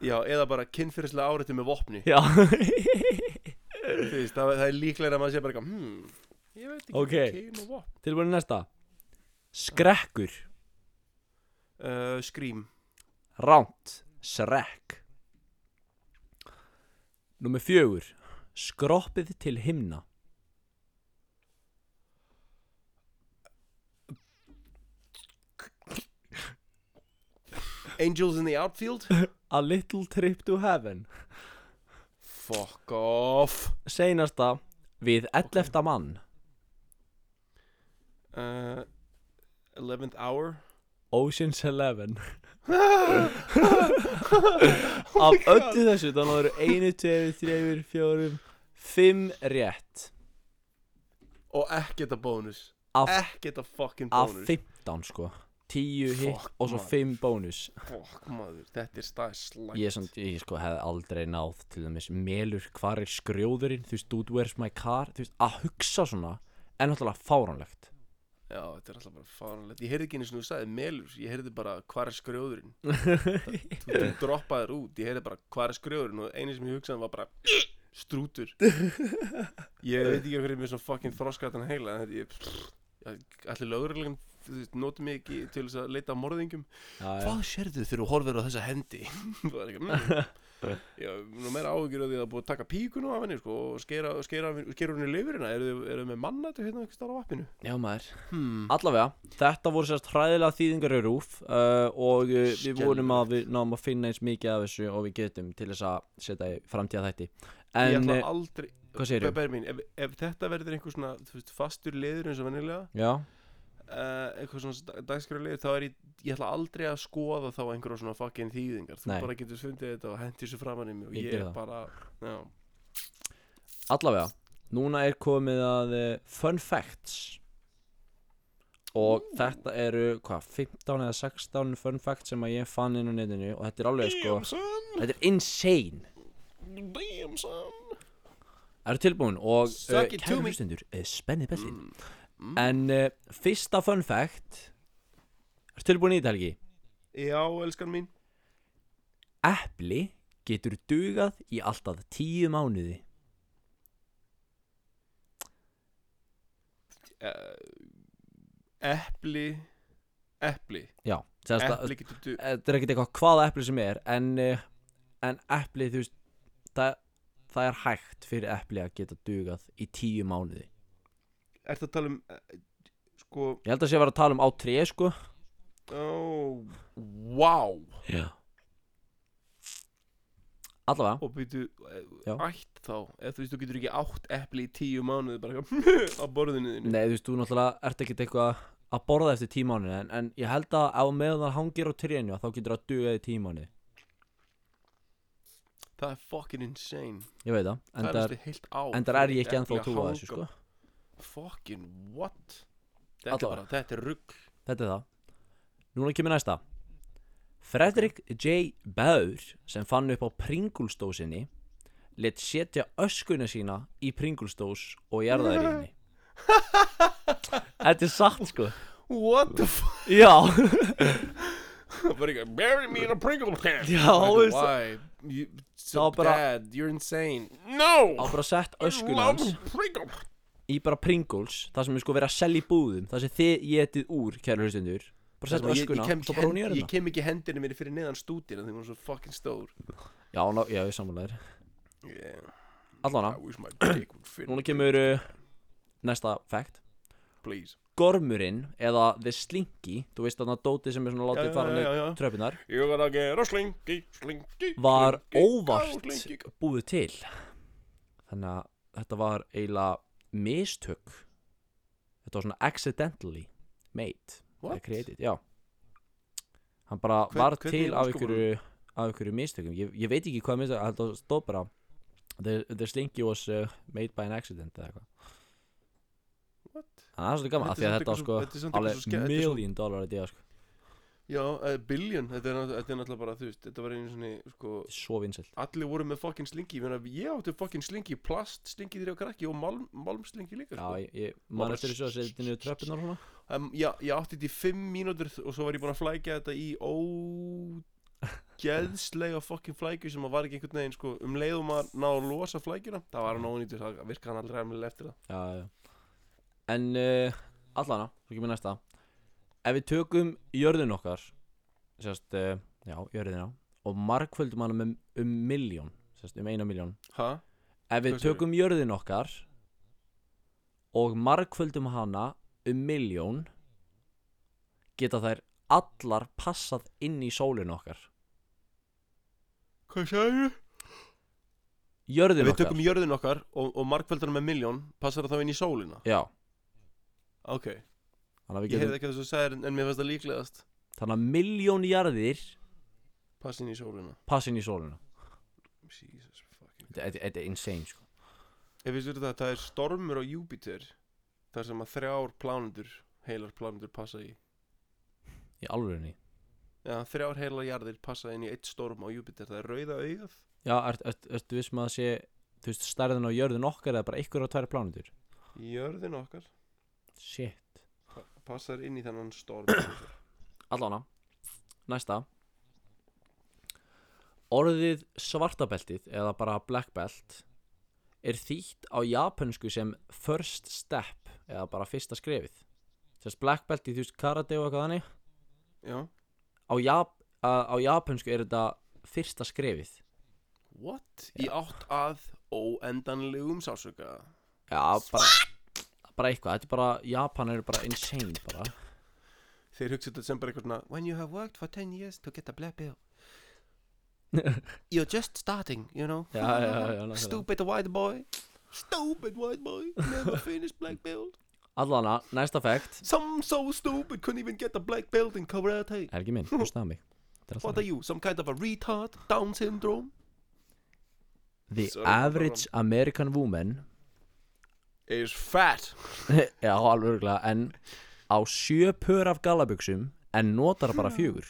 [SPEAKER 2] Já, eða bara kynfyrirslega áriðti með vopni
[SPEAKER 3] Já
[SPEAKER 2] Þú veist, það, það er líklega að maður sé bara eitthvað hmm, Ég veit ekki
[SPEAKER 3] Ok.
[SPEAKER 2] kyn og vopn
[SPEAKER 3] Tilbúin í næsta Skrekkur
[SPEAKER 2] uh, Scream
[SPEAKER 3] Ránt Srekk Númer fjögur Skroppið til himna
[SPEAKER 2] Angels in the Outfield
[SPEAKER 3] A little trip to heaven
[SPEAKER 2] Fuck off
[SPEAKER 3] Seinasta Við 11. mann
[SPEAKER 2] uh, 11th Hour
[SPEAKER 3] Ocean's Eleven
[SPEAKER 2] Oh
[SPEAKER 3] Af öllu þessu þannig að það eru 1, 2, 3, 4, 5 rétt
[SPEAKER 2] Og ekkert að bónus
[SPEAKER 3] Af-
[SPEAKER 2] Ekkert að fucking
[SPEAKER 3] Af
[SPEAKER 2] bónus
[SPEAKER 3] 15 sko 10 hitt
[SPEAKER 2] Fuck,
[SPEAKER 3] og svo
[SPEAKER 2] maður.
[SPEAKER 3] 5 bónus
[SPEAKER 2] Fuck maður, þetta er stæð slæmt
[SPEAKER 3] Ég, samt, ég sko hefði aldrei náð til dæmis Melur, hvar er skrjóðurinn? Þú veist, dude, where's my car? Þú veist, að hugsa svona En náttúrulega fáránlegt
[SPEAKER 2] Já, þetta er alltaf bara fáranlegt Ég heyrði ekki einu sinni þú sagði melur Ég heyrði bara hvar er skrjóðurinn Þú- Þú droppaðir út Ég heyrði bara hvar er skrjóðurinn Og einu sem ég hugsaði var bara Strútur Ég veit ekki hverju með svona fucking þroskatan heila en þetta- ég- Allir lögurlegin Nótum mig ekki til þess að leita að morðingum
[SPEAKER 3] Já, já.
[SPEAKER 2] Hvað sérðu þegar þú horfir á þessa hendi? Það er ekki mm. Já, nú meira áhugjur að því að það er búið að taka píkunu af henni sko, og skera, skera, skera henni lifurina eru þið, eru þið með mannættu hérna einhvers staðar á vappinu?
[SPEAKER 3] já maður
[SPEAKER 2] Hmm.
[SPEAKER 3] Allavega, þetta voru sérst hræðilega þýðingar í rúf uh, og uh, við vonum að við náum að finna eins mikið af þessu og við getum til þess að setja í framtíða þætti
[SPEAKER 2] Ég
[SPEAKER 3] En,
[SPEAKER 2] ætla
[SPEAKER 3] eh,
[SPEAKER 2] aldrei
[SPEAKER 3] hvað segirðu?
[SPEAKER 2] Bæri mín, ef, ef þetta verður einhver svona þú veist, fastur liður eins og vennilega
[SPEAKER 3] já,
[SPEAKER 2] uh, eitthvað svona dagskrið liður þá er ég, ég ætla aldrei að skoða þá einhverja svona fucking þýðingar þú
[SPEAKER 3] Nei.
[SPEAKER 2] bara getur fundið þetta og hendi þessu framan í mig og
[SPEAKER 3] Ég
[SPEAKER 2] ég,
[SPEAKER 3] geri
[SPEAKER 2] er
[SPEAKER 3] það.
[SPEAKER 2] bara já,
[SPEAKER 3] allavega Núna er komið að uh, Fun Facts og þetta eru, hvað, 15 eða 16 fun facts sem að ég fann inn á netinu og þetta er alveg sko,
[SPEAKER 2] Damn son,
[SPEAKER 3] þetta er insane
[SPEAKER 2] damn son
[SPEAKER 3] Það eru tilbúin og uh,
[SPEAKER 2] Suck it to
[SPEAKER 3] kæru
[SPEAKER 2] me. Mm,
[SPEAKER 3] hlustundur, uh, spennið beltin En uh, fyrsta fun fact Er tilbúin í þetta helgi?
[SPEAKER 2] Já, elskan mín
[SPEAKER 3] Epli getur dugað í alltaf tíu mánuði
[SPEAKER 2] uh, Epli Epli
[SPEAKER 3] Já, sérst að
[SPEAKER 2] Epli getur du
[SPEAKER 3] Þetta er ekkert eitthvað hvaða epli sem er En, uh, en epli, þú veist það, það er hægt fyrir epli að geta dugað í tíu mánuði
[SPEAKER 2] Ertu að tala um eh, Sko
[SPEAKER 3] Ég held að sé að vera að tala um á tré, sko
[SPEAKER 2] oh, Wow
[SPEAKER 3] Já Allavega
[SPEAKER 2] Og býtu eh,
[SPEAKER 3] Já.
[SPEAKER 2] Ætt þá Ef þú veist þú getur ekki átt epli í tíu mánuði Bara eitthvað á borðinu þínu
[SPEAKER 3] Nei, þú veist, þú náttúrulega ert ekkert eitthvað að borða eftir tímánuði en, en ég held að ef meðan það hangir á trénu þá getur það dugað í tímánuði
[SPEAKER 2] Það er fucking insane
[SPEAKER 3] Ég veit það,
[SPEAKER 2] Það er
[SPEAKER 3] endar,
[SPEAKER 2] næstu heilt á
[SPEAKER 3] endar er ég ekki ennþá að trúa þessu sko
[SPEAKER 2] Fucking what Þetta er
[SPEAKER 3] Allavega.
[SPEAKER 2] bara Þetta er rugg
[SPEAKER 3] Þetta er það Núna kemur næsta Frederick J. Baur sem fann upp á Pringulstósinni let setja öskuna sína í Pringulstós og jarðaðurinni Þetta er satt sko
[SPEAKER 2] What the fuck
[SPEAKER 3] Já
[SPEAKER 2] Bara eitthvað Bury me in a Pringle can
[SPEAKER 3] Já,
[SPEAKER 2] Like,
[SPEAKER 3] veist-
[SPEAKER 2] Why you,
[SPEAKER 3] Það
[SPEAKER 2] so
[SPEAKER 3] var bara-
[SPEAKER 2] Dad You're insane No
[SPEAKER 3] á bara sett öskuna hans í bara Pringles það sem er sko verið að selja í búðum það sem þið getið úr, kæru hlustundur bara sett
[SPEAKER 2] Ég, ég,
[SPEAKER 3] öskuna,
[SPEAKER 2] kem ekki
[SPEAKER 3] svo bara hérna. hún í
[SPEAKER 2] hend- ég
[SPEAKER 3] jörðina
[SPEAKER 2] kem ekki hendinu minni fyrir neðan stúdina þegar hún er svo fucking stór
[SPEAKER 3] já, ná, já, ég samanlegar
[SPEAKER 2] yeah,
[SPEAKER 3] allana,
[SPEAKER 2] I wish my dick would fit
[SPEAKER 3] núna kemur uh, næsta fact
[SPEAKER 2] please
[SPEAKER 3] Gormurinn, eða The Slinky þú veist þarna dótið sem er svona
[SPEAKER 2] Já,
[SPEAKER 3] látið
[SPEAKER 2] já,
[SPEAKER 3] fara
[SPEAKER 2] já, já.
[SPEAKER 3] niður tröpunar
[SPEAKER 2] Ég var að gera slingi, slingi
[SPEAKER 3] var
[SPEAKER 2] slingi,
[SPEAKER 3] óvart
[SPEAKER 2] go, slingi, go.
[SPEAKER 3] búið til þannig að þetta var eiginlega mistök þetta var svona accidentally made eða
[SPEAKER 2] What?
[SPEAKER 3] created, já hann bara
[SPEAKER 2] Hvern-
[SPEAKER 3] var
[SPEAKER 2] hvernig
[SPEAKER 3] til
[SPEAKER 2] í
[SPEAKER 3] af
[SPEAKER 2] ósköpunum?
[SPEAKER 3] einhverju af einhverju mistökum, ég, ég veit ekki hvað mistök ég held að stóð bara the, the slinky was uh, made by an accident eða eitthvað
[SPEAKER 2] What?
[SPEAKER 3] þannig að það er svolítið gaman, af
[SPEAKER 2] Þetta
[SPEAKER 3] því
[SPEAKER 2] er
[SPEAKER 3] að
[SPEAKER 2] samt
[SPEAKER 3] þetta
[SPEAKER 2] eitthvað
[SPEAKER 3] var sko
[SPEAKER 2] svo- þetta er samt eitthvað svo ske-
[SPEAKER 3] alveg
[SPEAKER 2] þetta er svo-
[SPEAKER 3] million dollar idea sko
[SPEAKER 2] Já, uh, Billion, þetta er, nátt- þetta er náttúrulega bara, þú veist, þetta var einu svona, sko,
[SPEAKER 3] Þetta er Svo vinsælt
[SPEAKER 2] allir voru með fucking slingi, ég meina, ég átti fucking slingi, plast slingi þegar ég var krakki og malm, malmslingi líka,
[SPEAKER 3] Já,
[SPEAKER 2] sko.
[SPEAKER 3] ég, ég man eftir þessu að setja þetta niður tröppunar og svona
[SPEAKER 2] Um, já, ég átti þetta í fimm mínútur og svo var ég búin að flækja þetta í ógeðslega fucking flækju sem að var ekki einhvern veginn, sko, um leiðum að ná að losa flækjuna, það var hann ónýtur, það virkaði hann aldrei alveg eftir það.
[SPEAKER 3] Já, já En uh, allana, svo kemur næsta Ef við tökum jörðin okkar Sérst, uh, já, jörðina Og markvöldum hann um, um miljón Sérst, um eina miljón
[SPEAKER 2] Ha?
[SPEAKER 3] Ef við
[SPEAKER 2] Hvað segirðu?
[SPEAKER 3] tökum jörðin okkar Og markvöldum hana um miljón Geta þær allar passað inn í sólinu okkar
[SPEAKER 2] Hvað segir ég?
[SPEAKER 3] Jörðin
[SPEAKER 2] Við
[SPEAKER 3] okkar
[SPEAKER 2] tökum jörðin okkar og, og markveldar með miljón, passar það þá inn í sólina?
[SPEAKER 3] Já,
[SPEAKER 2] Ok,
[SPEAKER 3] þannig að við
[SPEAKER 2] ég
[SPEAKER 3] getum
[SPEAKER 2] hefði ekki þess að segja en, en mér finnst það líklegast,
[SPEAKER 3] Þannig að miljón jarðir
[SPEAKER 2] passa inn í sólina.
[SPEAKER 3] passa inn í sólinu
[SPEAKER 2] Jesus fucking
[SPEAKER 3] Þetta þetta- þetta er insane sko
[SPEAKER 2] Ef við styrir það, það er stormur á Júpiter þar sem að þrjár plánundur heilar plánundur passa í
[SPEAKER 3] Í alvörinni
[SPEAKER 2] Já, þrjár heilar jarðir passa inn í eitt storm á Júpiter það er rauða augað
[SPEAKER 3] Já, ert, ert, ertu viss maður að sé þú veist, stærðin á jörðin okkar eða bara ykkur á tvær plánutur?
[SPEAKER 2] Jörðin okkar
[SPEAKER 3] Shit
[SPEAKER 2] pa- passar inn í þennan storm Júpíter.
[SPEAKER 3] Allána, næsta Orðið svartabeltið eða bara black belt er þýtt á japönsku sem first step eða bara fyrsta skrefið Sérst black beltið, þú veist, karate og eitthvað þannig
[SPEAKER 2] Já,
[SPEAKER 3] á, jap, uh, á japönsku er þetta fyrsta skrefið
[SPEAKER 2] what? Í átt að óendanlegum sásöka
[SPEAKER 3] Já, bara, bara eitthvað, þetta er bara Japan eru bara insane bara
[SPEAKER 2] Þeir hugsa þetta sem bara eitthvað svona When you have worked for 10 years to get a black bill You're just starting, you know
[SPEAKER 3] Já, já, já, já, nákvæmlega.
[SPEAKER 2] Stupid white boy Stupid white boy Never finish black bill
[SPEAKER 3] Allana, næsta fakt
[SPEAKER 2] Some so stupid couldn't even get a black belt in karate.
[SPEAKER 3] Er ekki minn, hlustaðu mig Þetta er alltaf
[SPEAKER 2] What are you, some kind of a retard, Down syndrome?
[SPEAKER 3] minn. The
[SPEAKER 2] Sorry,
[SPEAKER 3] average American woman
[SPEAKER 2] Is fat.
[SPEAKER 3] Já, alveg örgulega En á sjö pör af gallabuxum En notar bara fjögur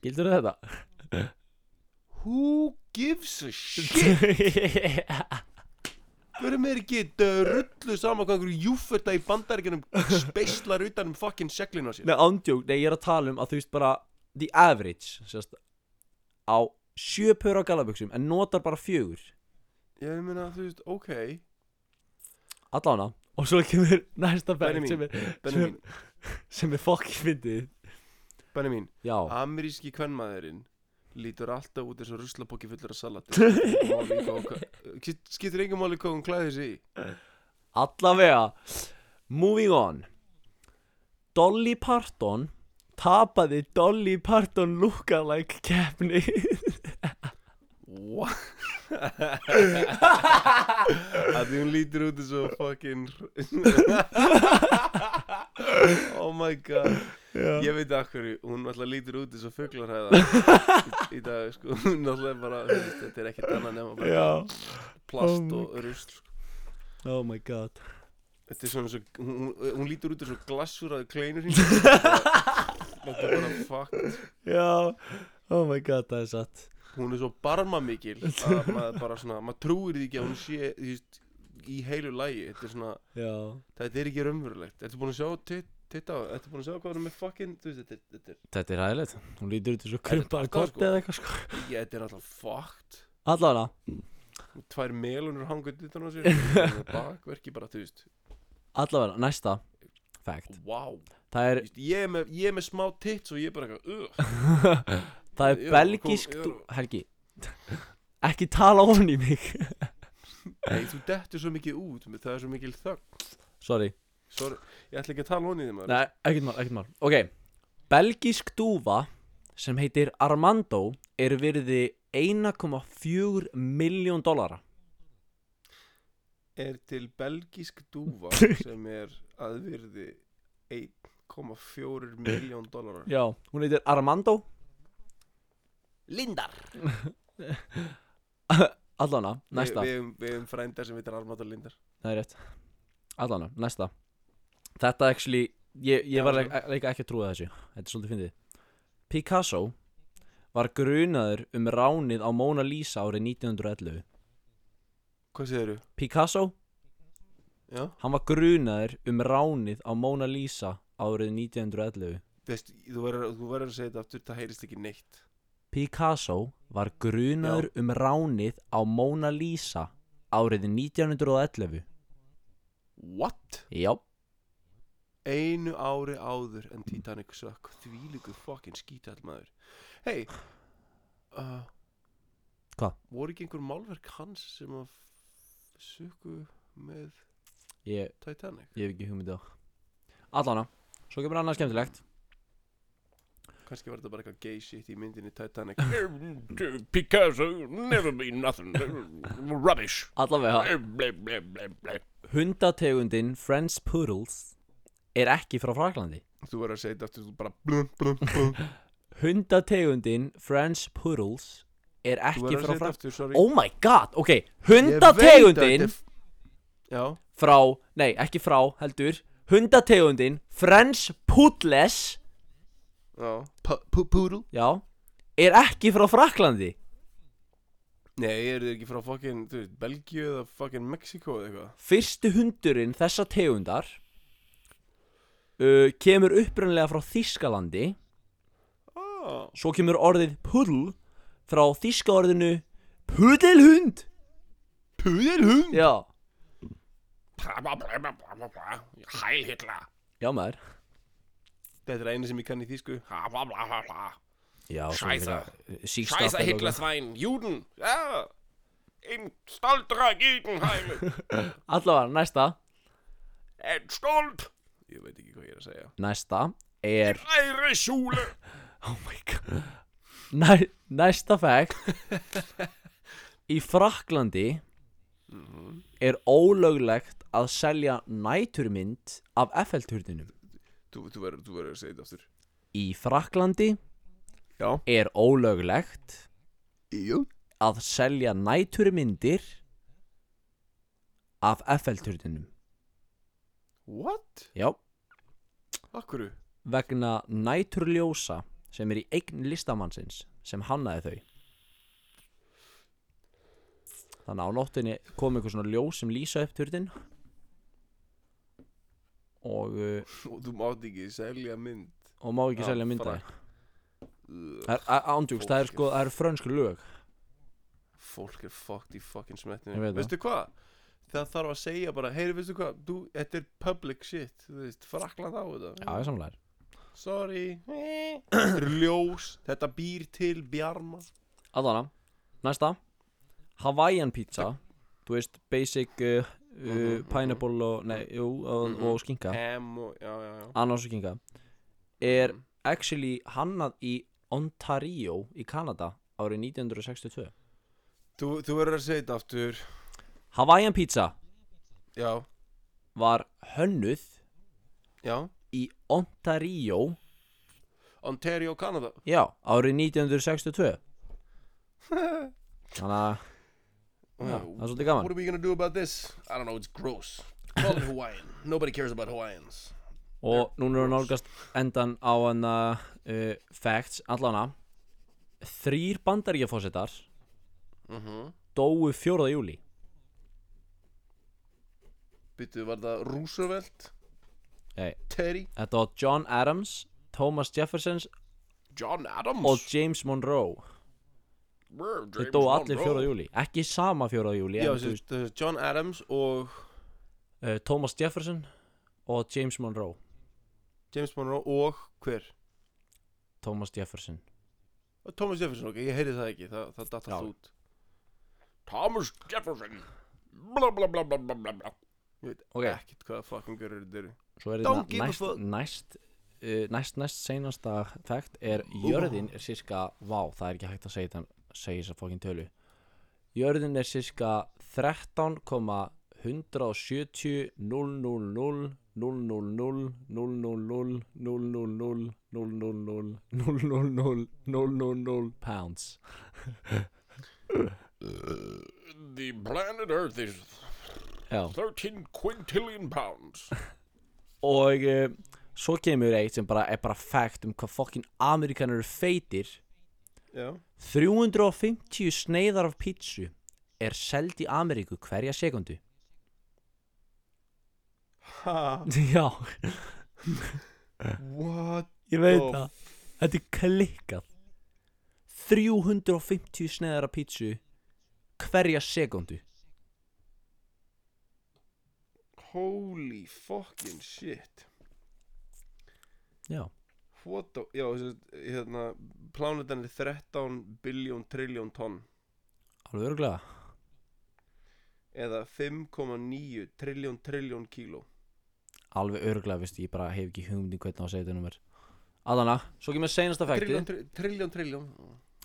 [SPEAKER 3] Skildur þetta?
[SPEAKER 2] Who gives a shit?
[SPEAKER 3] Shit
[SPEAKER 2] Verum er ekki uh, rullu saman hvað einhverju júfurta í bandaríkjunum speislar utan um fucking seglinu á sér?
[SPEAKER 3] Nei, ándjók, nei, ég er að tala um að þú veist bara The average sérst, Á sjö pör af gallabuxum En notar bara fjögur
[SPEAKER 2] Ég meina, þú veist, ok.
[SPEAKER 3] Allána Og svo kemur næsta færi
[SPEAKER 2] Benjamin,
[SPEAKER 3] sem er, sem,
[SPEAKER 2] Benjamin,
[SPEAKER 3] sem er fokkin fyndið
[SPEAKER 2] Benjamin,
[SPEAKER 3] Já
[SPEAKER 2] ameríski kvennmaðurinn lítur alltaf út eins og ruslapokki fullur af salati. Skiptir engum máli hvað hún klæði sig í.
[SPEAKER 3] Allavega Moving on Dolly Parton Tapaði Dolly Parton lookalike keppni
[SPEAKER 2] What? að því hún lítur út eins og fucking Oh my god Ég veit að hverju, hún alltaf lítur út eins og fuglarhæða í, í dag sko, hún alltaf bara þú veist, þetta er ekkert annað nema bara
[SPEAKER 3] Já
[SPEAKER 2] plast
[SPEAKER 3] Oh
[SPEAKER 2] og rusl sko.
[SPEAKER 3] Oh my god
[SPEAKER 2] Þetta er svona eins og, hún, hún- hún lítur út eins og glassuraði kleinur hins Þetta er bara fucked
[SPEAKER 3] Já Oh my god það er satt
[SPEAKER 2] hún er svo barma mikil að maður bara svona, maður trúir því ekki að hún sé þú veist, í heilu lægi þetta er svona,
[SPEAKER 3] Já
[SPEAKER 2] þetta er ekki raunverulegt ertu búin að sjá, tit- titta á, ertu búin að sjá hvað hún er með fucking, þú veist, þetta, er- þetta,
[SPEAKER 3] Þetta er hægilegt Hún lítur út eins og krumpaða
[SPEAKER 2] þetta er
[SPEAKER 3] korti
[SPEAKER 2] sko.
[SPEAKER 3] eða eitthvað sko
[SPEAKER 2] er, ég, þetta er alltaf fucked
[SPEAKER 3] Allavega
[SPEAKER 2] tvær melunur hangur utan á sér og bakverki bara, þú veist,
[SPEAKER 3] Allavega næsta Fact
[SPEAKER 2] wow
[SPEAKER 3] Það er,
[SPEAKER 2] Þú veist, ég er með, ég er með smá tits og ég er bara eitthvað uh,
[SPEAKER 3] það er
[SPEAKER 2] Ég er að
[SPEAKER 3] belgisk
[SPEAKER 2] koma- ég er
[SPEAKER 3] dú- Helgi Ekki tala ofan í mig
[SPEAKER 2] nei, þú dettur svo mikið út það er svo mikil þögn
[SPEAKER 3] Sorry
[SPEAKER 2] Sorry, ég ætla ekki að tala honi í þið maður
[SPEAKER 3] Nei, ekkert mál, ekkert mál Ok, belgísk dúfa sem heitir Armando er virði 1,4 miljón dollara
[SPEAKER 2] er til belgísk dúfa sem er aðvirði 1,4 miljón dólarar
[SPEAKER 3] Já, hún heitir Armando
[SPEAKER 2] Lindar
[SPEAKER 3] Allana, næsta
[SPEAKER 2] Við hefum vi, vi frændar sem heitir Armand og Lindar
[SPEAKER 3] Það er rétt Allana, næsta Þetta actually Ég, ég var leik- leika ekki að trúa þessu Þetta er svolítið fyndið Picasso var grunaður um ránið á Mona Lisa árið 1911
[SPEAKER 2] Hvað segir þú?
[SPEAKER 3] Picasso,
[SPEAKER 2] Já,
[SPEAKER 3] hann var grunaður um ránið á Mona Lisa árið 1911
[SPEAKER 2] Veist, þú verður þú verður að segja þetta aftur, það heyrist ekki neitt
[SPEAKER 3] Picasso var grunaður um ránið á Mona Lisa árið 1911
[SPEAKER 2] What?
[SPEAKER 3] Já,
[SPEAKER 2] Einu ári áður en Titanic sökk Þvílíku fokkin skítall maður Hei uh,
[SPEAKER 3] Hvað?
[SPEAKER 2] Voru ekki einhver málverk hans sem að sökku með
[SPEAKER 3] ég,
[SPEAKER 2] Titanic?
[SPEAKER 3] ég hef ekki hugmyndið á Allana, svo kemur annað skemmtilegt
[SPEAKER 2] Kannski var þetta bara eitthvað gay shit í myndinni Titanic
[SPEAKER 1] Picasso never been nothing. Rubbish.
[SPEAKER 3] Allavega,
[SPEAKER 1] Blah, blah, blah, blah.
[SPEAKER 3] hundategundin French Poodles er ekki frá Fraklandi
[SPEAKER 2] Þú verður að segja þetta aftur, þú bara blum, blum, blum
[SPEAKER 3] Hundategundin French Poodles er
[SPEAKER 2] Þú verður að segja
[SPEAKER 3] ekki frá
[SPEAKER 2] þetta
[SPEAKER 3] Fraklandi
[SPEAKER 2] aftur, sorry
[SPEAKER 3] Oh my god, ok
[SPEAKER 2] Ég veit að þetta
[SPEAKER 3] Hundategundin
[SPEAKER 2] er- Já,
[SPEAKER 3] frá, nei ekki frá heldur Hundategundin French Poodles
[SPEAKER 2] já P- p- Poodle
[SPEAKER 3] Já, er ekki frá Fraklandi
[SPEAKER 2] Nei, eru þið ekki frá fokkin, þú veist, Belgíu eða fokkin Mexiko eða eitthvað?
[SPEAKER 3] Fyrstu hundurinn þessa tegundar uh, kemur upprunlega frá Þískalandi
[SPEAKER 2] Ah,
[SPEAKER 3] Svo kemur orðið puddl frá þíska orðinu puddilhund
[SPEAKER 2] Pudelhund!
[SPEAKER 3] Já,
[SPEAKER 1] Blah, blah, blah, blah, blah, blah. Heil Hitler.
[SPEAKER 3] já maður
[SPEAKER 2] Þetta er einu sem ég kann í þýsku.
[SPEAKER 1] Blah, blah, blah, blah, blah.
[SPEAKER 3] Já,
[SPEAKER 1] svo Scheiße.
[SPEAKER 3] Síksta
[SPEAKER 1] Scheiße, Hitlerswein. Juden. Ja. Ein stolterer Gegenheim.
[SPEAKER 3] Allavega, næsta
[SPEAKER 1] Ein stolt.
[SPEAKER 2] Ég veit ekki hvað ég er að segja.
[SPEAKER 3] Næsta er
[SPEAKER 1] Eire Schule.
[SPEAKER 3] Oh my god Næ, Næsta fact Í Fraklandi er ólöglegt að selja næturmynd af Eiffelturninum
[SPEAKER 2] Þú, þú verður, þú verður að segja þetta aftur.
[SPEAKER 3] Í Fraklandi
[SPEAKER 2] Já.
[SPEAKER 3] er ólöglegt
[SPEAKER 2] Jú.
[SPEAKER 3] að selja næturmyndir af Eiffelturninum
[SPEAKER 2] What?
[SPEAKER 3] Já,
[SPEAKER 2] Akkuru?
[SPEAKER 3] vegna næturljósa sem er í eign listamannsins sem hannaði þau Þannig að á nóttinni kom einhver svona ljós sem lýsa upp turtin og, uh,
[SPEAKER 2] Og þú mátt ekki selja mynd.
[SPEAKER 3] og má ekki
[SPEAKER 2] Já,
[SPEAKER 3] selja mynda
[SPEAKER 2] frak.
[SPEAKER 3] Ándjúks, það er sko, það eru frönsku lög
[SPEAKER 2] Fólk er fucked í fokkin
[SPEAKER 3] Ég
[SPEAKER 2] smetninu.
[SPEAKER 3] veit það.
[SPEAKER 2] Veistu hvað? Það þarf að segja bara, heyri, veistu hvað? Þú, þetta er public shit. Þú veist, frakland á þetta.
[SPEAKER 3] Já, ég samlega
[SPEAKER 2] Sorry. Þetta er ljós. Þetta býr til bjarma.
[SPEAKER 3] Allana, næsta Hawaiian pizza Þú veist, basic uh, uh, pineapple og, nei, jú, og, og skinka
[SPEAKER 2] Ham og, já, já, já.
[SPEAKER 3] annars og kinga er actually hannað í Ontario í Kanada árið 1962
[SPEAKER 2] Þú, þú verður að segja þetta aftur.
[SPEAKER 3] Hawaiian pizza
[SPEAKER 2] Já.
[SPEAKER 3] var hönnuð
[SPEAKER 2] Já.
[SPEAKER 3] í Ontario
[SPEAKER 2] Ontario, Kanada.
[SPEAKER 3] já, árið 1962 þannig að Já, það er svolítið gaman.
[SPEAKER 2] What are we gonna do about this? I don't know, it's gross Call it Hawaiian Nobody cares about Hawaiians
[SPEAKER 3] og núna er nálgast endan á hann uh, facts allana þrýr bandaríkjafósitar dóu 4. júli
[SPEAKER 2] Byttu, var það Roosevelt?
[SPEAKER 3] Nei.
[SPEAKER 2] Terry?
[SPEAKER 3] þetta var John Adams, Thomas Jeffersons
[SPEAKER 2] John Adams?
[SPEAKER 3] og James Monroe Þau dóu allir 4. júli Ekki sama 4. júli
[SPEAKER 2] Já,
[SPEAKER 3] en, þú
[SPEAKER 2] þessi,
[SPEAKER 3] veist,
[SPEAKER 2] þessi John Adams og
[SPEAKER 3] uh, Thomas Jefferson og James Monroe
[SPEAKER 2] James Monroe og hver? Uh,
[SPEAKER 3] Thomas Jefferson
[SPEAKER 2] Thomas Jefferson, ok, ég heyri það ekki, það, það datt
[SPEAKER 3] Já.
[SPEAKER 2] allt út
[SPEAKER 1] Thomas Jefferson. Blah, blah, blah, blah, blah, blah, blah.
[SPEAKER 2] Ég veit
[SPEAKER 3] Ok.
[SPEAKER 2] ekkert hvaða fucking görur þetta eru
[SPEAKER 3] Svo er
[SPEAKER 2] Don't
[SPEAKER 3] þetta
[SPEAKER 2] give a
[SPEAKER 3] næst,
[SPEAKER 2] fuck.
[SPEAKER 3] næst uh, Næst, næst seinasta Fakt er jörðin er sirka Vá, það er ekki hægt að segja þetta Segja þess að fókin tölu Jörðin er sirka 13,170 000 000 000 000 000 000 000 pounds
[SPEAKER 1] The planet Earth is
[SPEAKER 3] Já
[SPEAKER 1] 13 quintillion pounds.
[SPEAKER 3] og uh, Svo kemur eitt sem bara er bara fact um hvað fokkin Amerikanar eru feitir
[SPEAKER 2] Já
[SPEAKER 3] 350 sneiðar af pítsu er seld í Ameríku hverja sekundu
[SPEAKER 2] ha,
[SPEAKER 3] Já,
[SPEAKER 2] What
[SPEAKER 3] ég veit
[SPEAKER 2] the
[SPEAKER 3] það Þetta er klikkað 350 sneiðar af pítsu hverja sekundu
[SPEAKER 2] Holy fucking shit
[SPEAKER 3] Já,
[SPEAKER 2] What the Já, þessi, hérna Plánetan er 13 biljón triljón tonn
[SPEAKER 3] alveg örgulega
[SPEAKER 2] Eða 5,9 triljón triljón kíló
[SPEAKER 3] Alveg örgulega, veist, ég bara hef ekki hugmyndi hvernig á að segja þetta nummer Adana, svo kemur seinasta fakti
[SPEAKER 2] Triljón tri- triljón triljón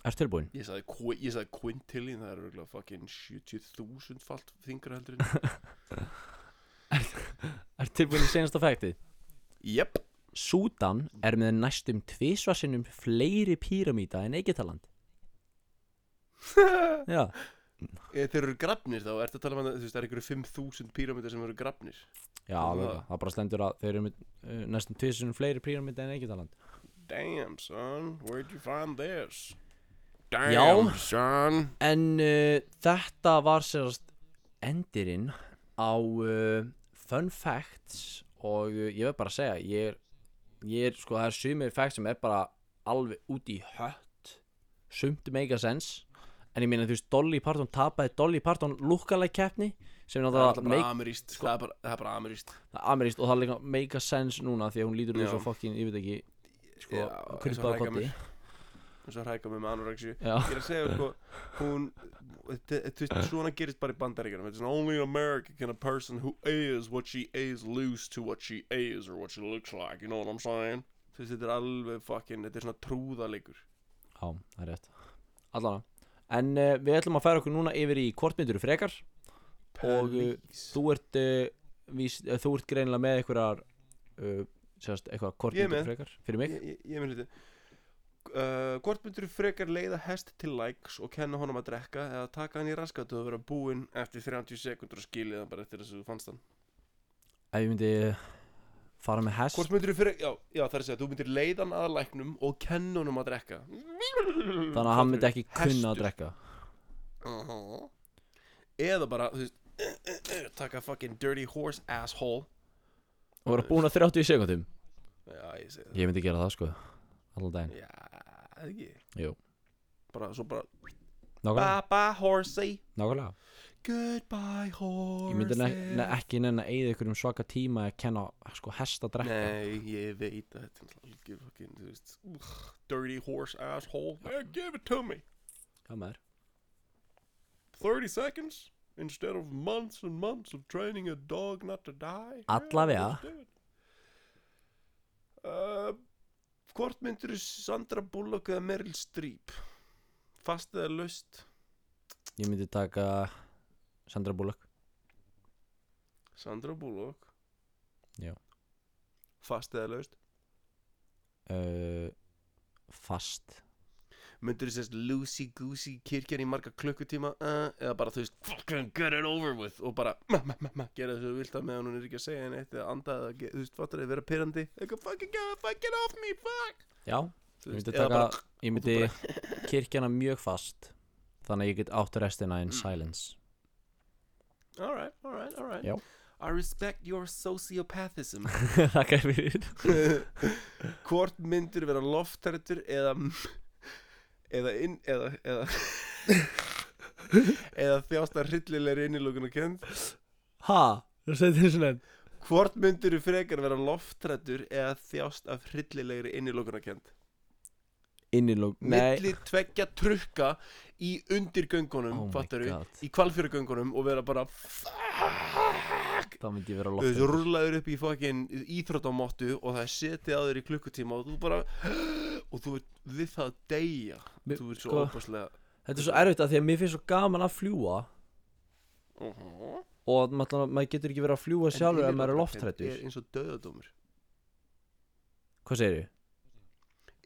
[SPEAKER 3] Ertu tilbúin?
[SPEAKER 2] Ég sagði, qu- ég sagði quintillion Það er örgulega fucking 70.000 falt þingra heldur en
[SPEAKER 3] Ertu tilbúin í seinasta fakti?
[SPEAKER 2] Jep
[SPEAKER 3] Súdan er með næstum tvisvarsinnum fleiri píramíta en Egyptaland Já,
[SPEAKER 2] Ef Eh, þeir eru grafnir þá, ertu að tala um að þú veist, það er einhverju 5.000 píramítar sem eru grafnir
[SPEAKER 3] já
[SPEAKER 2] Það-
[SPEAKER 3] alveg, það bara stendur að þeir eru með uh, næstum tvisvarsinnum fleiri píramíta en Egyptaland
[SPEAKER 2] Damn son, where'd you find this?
[SPEAKER 1] Damn,
[SPEAKER 3] Já.
[SPEAKER 1] son.
[SPEAKER 3] En uh, þetta var sérast endirinn á uh, fun facts og uh, ég verð bara að segja ég er, ég er sko það er sumir facts sem er bara alveg út í hött sumt mega sens en ég meina þú veist Dolly Parton tapaði Dolly Parton lúkkalæk keppni sem
[SPEAKER 2] Það
[SPEAKER 3] er
[SPEAKER 2] er alltaf
[SPEAKER 3] náttúrulega
[SPEAKER 2] bara sko.
[SPEAKER 3] make-
[SPEAKER 2] ameríst, það er bara, það er bara ameríst
[SPEAKER 3] amerískt og það er líka mega sens núna því að hún lítur úr
[SPEAKER 2] Já.
[SPEAKER 3] svo fokkin, ég veit ekki sko,
[SPEAKER 2] Já, eins og
[SPEAKER 3] krympaða
[SPEAKER 2] hrægamur.
[SPEAKER 3] kotti
[SPEAKER 2] eins og hræka mig með anorexíu
[SPEAKER 3] Já.
[SPEAKER 2] Ég er að segja sko, hún, þú veist, svona gerist bara í bandaríkjunum It's an only in America can a person who is what she is lose to what she is or what she looks like, you know what I'm saying? Þú veist, þetta er alveg fucking, þetta er svona trúðalegur
[SPEAKER 3] Já, það er rétt Allana En uh, við ætlum að færa okkur núna yfir í kvortmyndur frekar Og uh,
[SPEAKER 2] Please.
[SPEAKER 3] þú ert uh, vís, uh, Þú ert greinilega með einhverjar uh, Sérst, eitthvað
[SPEAKER 2] Ég er með.
[SPEAKER 3] kvortmyndur frekar Fyrir mig
[SPEAKER 2] Ég- ég, ég myndi þetta Uh, hvort myndur þú frekar leiða hest til likes og kenna honum að drekka eða taka hann í raskat og vera búinn eftir 30 sekundur og skilja hann bara eftir þess að þú fannst hann
[SPEAKER 3] Ef ég myndi fara með hest
[SPEAKER 2] hvort myndur þú frekar, já, já það er að segja þú myndir leiða hann að læknum og kenna honum að drekka
[SPEAKER 3] Þannig að hann myndi ekki kunna
[SPEAKER 2] Hestur.
[SPEAKER 3] að drekka
[SPEAKER 2] -huh. eða bara þú veist, taka fucking dirty horse asshole
[SPEAKER 3] Og vera búin að 30 sekundum
[SPEAKER 2] já ég segi það
[SPEAKER 3] Ég myndi gera það sko Allan daginn
[SPEAKER 2] já, eða ekki
[SPEAKER 3] Jú.
[SPEAKER 2] bara svo bara
[SPEAKER 3] Nákvæmlega,
[SPEAKER 2] bye bye horsey
[SPEAKER 3] nákvæmlega
[SPEAKER 2] goodbye horsey
[SPEAKER 3] Ég myndi ne ne ekki nenn að eyða ykkur um svaka tíma að kenna sko, hest að drekka
[SPEAKER 2] Nei, ég veit að þetta er náttúrulega algjör fucking, þú veist, ugh, dirty horse asshole. Yeah, give it to me.
[SPEAKER 3] Já, maður.
[SPEAKER 2] 30 seconds instead of months and months of training a dog not to die.
[SPEAKER 3] Allavega.
[SPEAKER 2] just do it. Uh, hvort myndir Sandra Bullock eða Meryl Streep? Fast eða laust?
[SPEAKER 3] Ég myndi taka Sandra Bullock
[SPEAKER 2] Sandra Bullock.
[SPEAKER 3] Já.
[SPEAKER 2] Fast eða laust?
[SPEAKER 3] uh, fast
[SPEAKER 2] myndur þú sérst Lucy Goosey kirkjan í marga klukkutíma uh, eða bara þú veist fucking get it over with og bara ma, ma, ma, ma, gera þessu vilt að meðan hún er ekki að segja henni eitt eða anda eða ge- þú veist fattur eða vera pyrrandi eitthvað fucking get, fuck, get off me fuck
[SPEAKER 3] Já,
[SPEAKER 2] Þú
[SPEAKER 3] ég
[SPEAKER 2] veist,
[SPEAKER 3] myndi
[SPEAKER 2] eða
[SPEAKER 3] taka
[SPEAKER 2] bara,
[SPEAKER 3] Ég myndi kirkjana mjög fast Þannig að ég get átt restina
[SPEAKER 2] Mm.
[SPEAKER 3] in silence
[SPEAKER 2] alright, alright, alright
[SPEAKER 3] Já.
[SPEAKER 2] I respect your sociopathism
[SPEAKER 3] Þakka þér fyrir
[SPEAKER 2] hvort myndur vera loftrættur eða eða inn eða eða eða þjásta hryllilegri innilókun og kend
[SPEAKER 3] Ha, þú segir þér svona
[SPEAKER 2] Hvort myndir þú frekar vera loftrættur eða þjást af hryllilegri innilokunarkend?
[SPEAKER 3] Innilók, nei
[SPEAKER 2] Milli tveggja trukka í undirgöngunum,
[SPEAKER 3] Oh my
[SPEAKER 2] fattar
[SPEAKER 3] God.
[SPEAKER 2] við, í kvalfjörugöngunum og vera bara fuck
[SPEAKER 3] Það myndi ég vera
[SPEAKER 2] Þú veist,
[SPEAKER 3] loftið
[SPEAKER 2] rúlaður upp í fucking íþróttamottu og það er setið á þér í klukkutíma og þú bara og þú ert við það að deyja
[SPEAKER 3] Mér-
[SPEAKER 2] Þú ert svo
[SPEAKER 3] sko-
[SPEAKER 2] óbáslega
[SPEAKER 3] Þetta er svo erfitt að því að mér finnst svo gaman að fljúa Og maður, maður getur ekki verið að fljúa sjálfur ef maður er loftrættur
[SPEAKER 2] er eins og döðadómur
[SPEAKER 3] Hvað segir þið?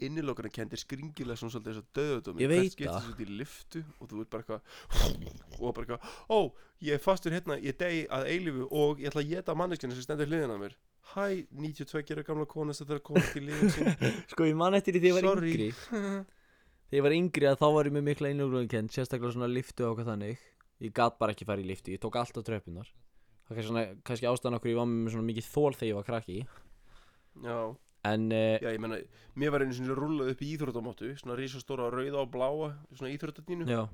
[SPEAKER 2] innilokkana kendir skringilega svona svolítið þess að döðutum
[SPEAKER 3] Ég veit það.
[SPEAKER 2] skiptist út í lyftu og þú ert bara eitthvað og bara eitthvað, ó, ég er fastur hérna ég degi að eilifu og ég ætla að geta manneskjana sem stendur hliðina á mér Hæ, 92 ára gamla kona sem þarf að komast í lífið sín
[SPEAKER 3] Sko ég man eftir því þegar ég var
[SPEAKER 2] Sorry.
[SPEAKER 3] yngri Þegar ég var yngri að þá var ég með mikla einlugurkennd Sérstaklega svona liftu og hvað þannig Ég gat bara ekki farið í liftu, ég tók alltaf tröppunar Það er kannski svona, kannski ástæðan okkur ég var með svona mikið þól þegar ég var krakki
[SPEAKER 2] Já,
[SPEAKER 3] En uh,
[SPEAKER 2] já, ég menna, mér var einu sinni rúlað upp í íþróttamáttu Svona risastóra rauða og bláa, svona íþróttatínu
[SPEAKER 3] já,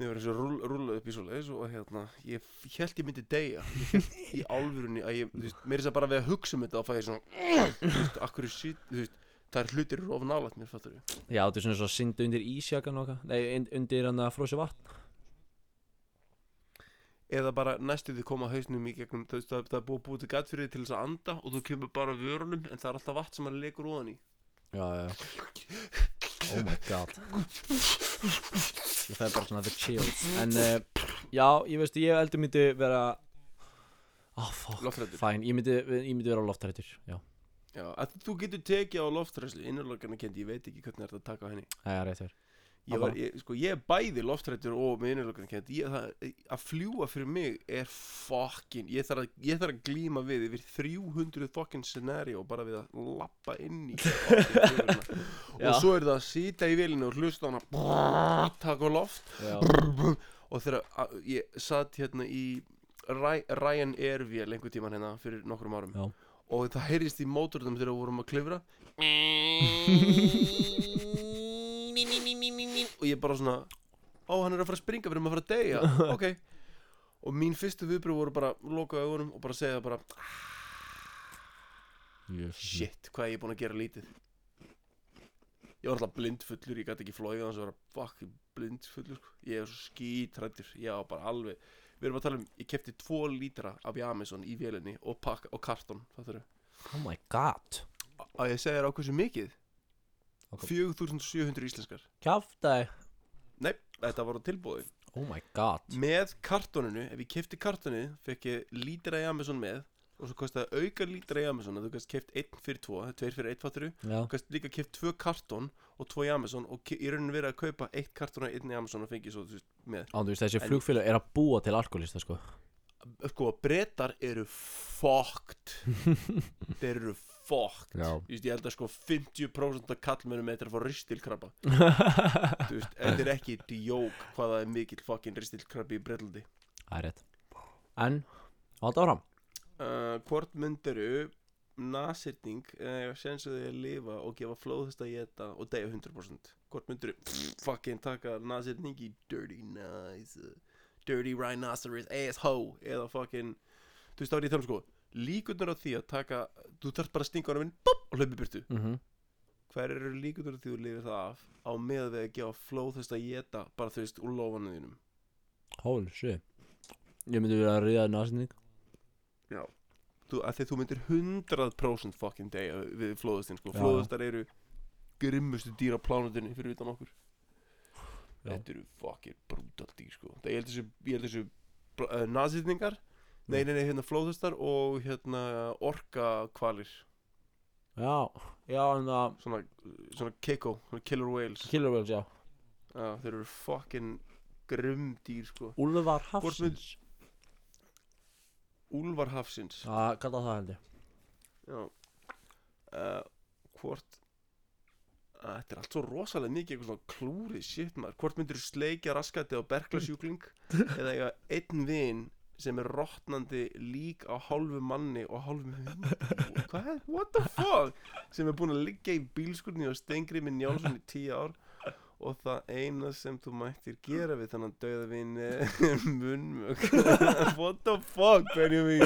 [SPEAKER 2] Mér var eins og rúl, rúla upp í svoleiðis og hérna, ég held ég myndi deyja Ég hélt í alvörunni að ég, þú veist, mér er þess að bara við að hugsa um þetta þá fæ ég svona, þú veist, akkur er sýt, þú veist, það er hlutir eru of nálægt mér, fattur ég.
[SPEAKER 3] já, þetta er svona svo syndu undir ísjakan og hvað Nei, und- undir hann að frósi vatn
[SPEAKER 2] Eða bara næstu því koma hausnum í gegnum, þú veist, það, það er búið að búið til gatt fyrir því til þess að anda og þú kemur bara vörunum en það er alltaf vatn sem að leikur úðan í.
[SPEAKER 3] Já, já Oh my god Ég fæði bara svona the chills En uh, já, ég veist, ég heldur myndi vera Ah, fuck
[SPEAKER 2] Loftræddur.
[SPEAKER 3] Fæn, ég myndi, ég myndi vera loftrættur, já
[SPEAKER 2] Já, að þú getur tekið á loftræslu, innurlokana kendi, ég veit ekki hvernig er þetta að taka á henni.
[SPEAKER 3] Það er rétt hér
[SPEAKER 2] Ég, var, ég, sko, ég er bæði loftrættur og með innurlokana kendi, ég, það, að fljúa fyrir mig er fokkin, ég þarf að, ég þarf að glíma við yfir 300 fokkin scenario bara við að lappa inn í fucking flugvélina.
[SPEAKER 3] Já.
[SPEAKER 2] og svo er það að sita í vilinu og hlusta á hana brrrr, taka á loft
[SPEAKER 3] Já,
[SPEAKER 2] og þegar að- ég satt hérna í Ry- Ryan Airvél einhver tíman hérna fyrir nokkrum árum
[SPEAKER 3] Já.
[SPEAKER 2] og það heyrðist í mótornum þegar við vorum að klifra og ég bara svona ó hann er að fara að springa, við erum að fara að deyja ok og mín fyrstu viðbröð voru bara loka augunum og bara segja bara shit, hvað er ég búin að gera lítið ég var alltaf blindfullur ég gæti ekki flóið þannig að vera fucking blindfullur sko. ég er svo skítrættur ég var bara alveg við erum að tala um ég kefti tvo lítra af Jameson í vélinni og pakka og karton það þurru
[SPEAKER 3] oh my god
[SPEAKER 2] að ég segja þér á hversu mikið
[SPEAKER 3] Ok.
[SPEAKER 2] 4700 íslenskar
[SPEAKER 3] Kjáftæ
[SPEAKER 2] nei þetta var á tilbúði
[SPEAKER 3] Oh my god
[SPEAKER 2] með kartoninu ef ég kefti kartoninu fekk ég lítra í Amazon með og svo kostaði auka lítra í Amazon að þú gæst keft einn fyrir tvo tveir fyrir einn fatturu Þú
[SPEAKER 3] Já,
[SPEAKER 2] gæst líka keft tvö kartón og tvo í Amazon og ke- í rauninni verið að kaupa eitt kartón og einn í Amazon og fengið svo þú veist, með
[SPEAKER 3] án þú veist þessi
[SPEAKER 2] En-
[SPEAKER 3] flugfélag er að búa til alkoholista sko
[SPEAKER 2] sko breytar eru fucked þeir eru fucked
[SPEAKER 3] Já.
[SPEAKER 2] Þú veist, ég held að sko 50% af kallmönum eitthvað að fá ristilkrabba Þú veist, þetta er ekki djók hvað það er mikill fucking ristilkrabbi í Breitlandi
[SPEAKER 3] Það er rétt En, halda áfram
[SPEAKER 2] uh, hvort myndiru nasirning eða séns að þið að lifa og gefa flóðhesta að geta og deyja 100% hvort myndiru fucking taka nasirning í dirty nice uh, dirty rhinoceros asshole eða fucking þú veist þá er ég að tala um sko líkurnar á því að taka þú þarft bara að stinga honum inn bop, og hlaupi burtu
[SPEAKER 3] mm
[SPEAKER 2] hver eru líkurnar á því að þú lifir það af á með við að gefa flóðhesta að geta bara þú veist úr lofanum þínum
[SPEAKER 3] Holy shit Ég myndi vera að ríða nasinning
[SPEAKER 2] þú, að því þú myndir 100% fucking deyja við flóðustin sko.
[SPEAKER 3] Já.
[SPEAKER 2] flóðustar eru grimmustu dýr á plánutinu fyrir utan okkur
[SPEAKER 3] Já.
[SPEAKER 2] þetta eru fucking brutal dýr sko. það ég held þessu, ég held þessu uh, nazitningar
[SPEAKER 3] Mm.
[SPEAKER 2] nei, nei, nei, hérna flóðustar og hérna orka kvalir
[SPEAKER 3] Já, já, en það
[SPEAKER 2] svona, svona keiko, svona killer whales
[SPEAKER 3] Killer whales, já
[SPEAKER 2] uh, þeir eru fucking grimm dýr sko.
[SPEAKER 3] Úlfar
[SPEAKER 2] Hvort mynd-
[SPEAKER 3] hafsins
[SPEAKER 2] úlvar hafsins
[SPEAKER 3] Það kalla það held ég
[SPEAKER 2] Já uh, Hvort Æ, Þetta er allt svo rosalega mikið eitthvað svona klúrið shit maður Hvort myndir þú sleikja raskati á berglasjúkling eða eiga einn vin sem er rottnandi lík á hálfu manni og hálfu hundi Hvað? What the fuck? sem er búin að liggja í bílskurni og stengri með Njálsson í tíu ár og það eina sem þú mættir gera við þannig döða vin er munmök What the fuck? Benjamin?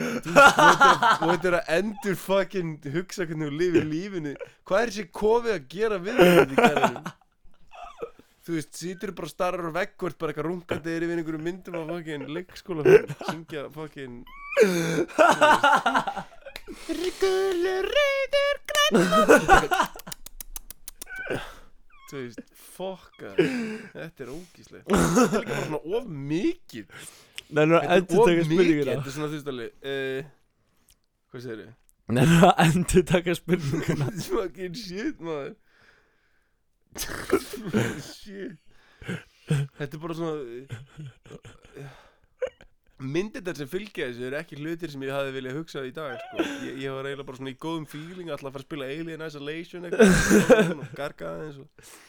[SPEAKER 2] og þetta er að endur fucking hugsa hvernig þú lifir lífinu hvað er þessi kofi að gera við þetta í gerðinum þú veist, sýtur bara og starrar á vegg hvort bara eitthvað rungandi er yfir einhverjum myndum á fucking leikskóla syngja fucking Gulur reyður grænn Þú veist, fokka Þetta er ógíslega Þetta er líka bara svona of mikið
[SPEAKER 3] Nennir
[SPEAKER 2] Þetta er of mikið. Þetta er svona, þú veist alveg uh, Hvað segir þið?
[SPEAKER 3] Nennir að endur taka spurninguna
[SPEAKER 2] Fucking shit, maður Shit Þetta er bara svona eh, myndirnar sem fylgja þessu eru ekki hlutir sem ég hafði viljað hugsa í dag sko. ég, ég var eiginlega bara svona í góðum feeling alltaf að fara að spila Alien Isolation eitthvað, og garga aðeins og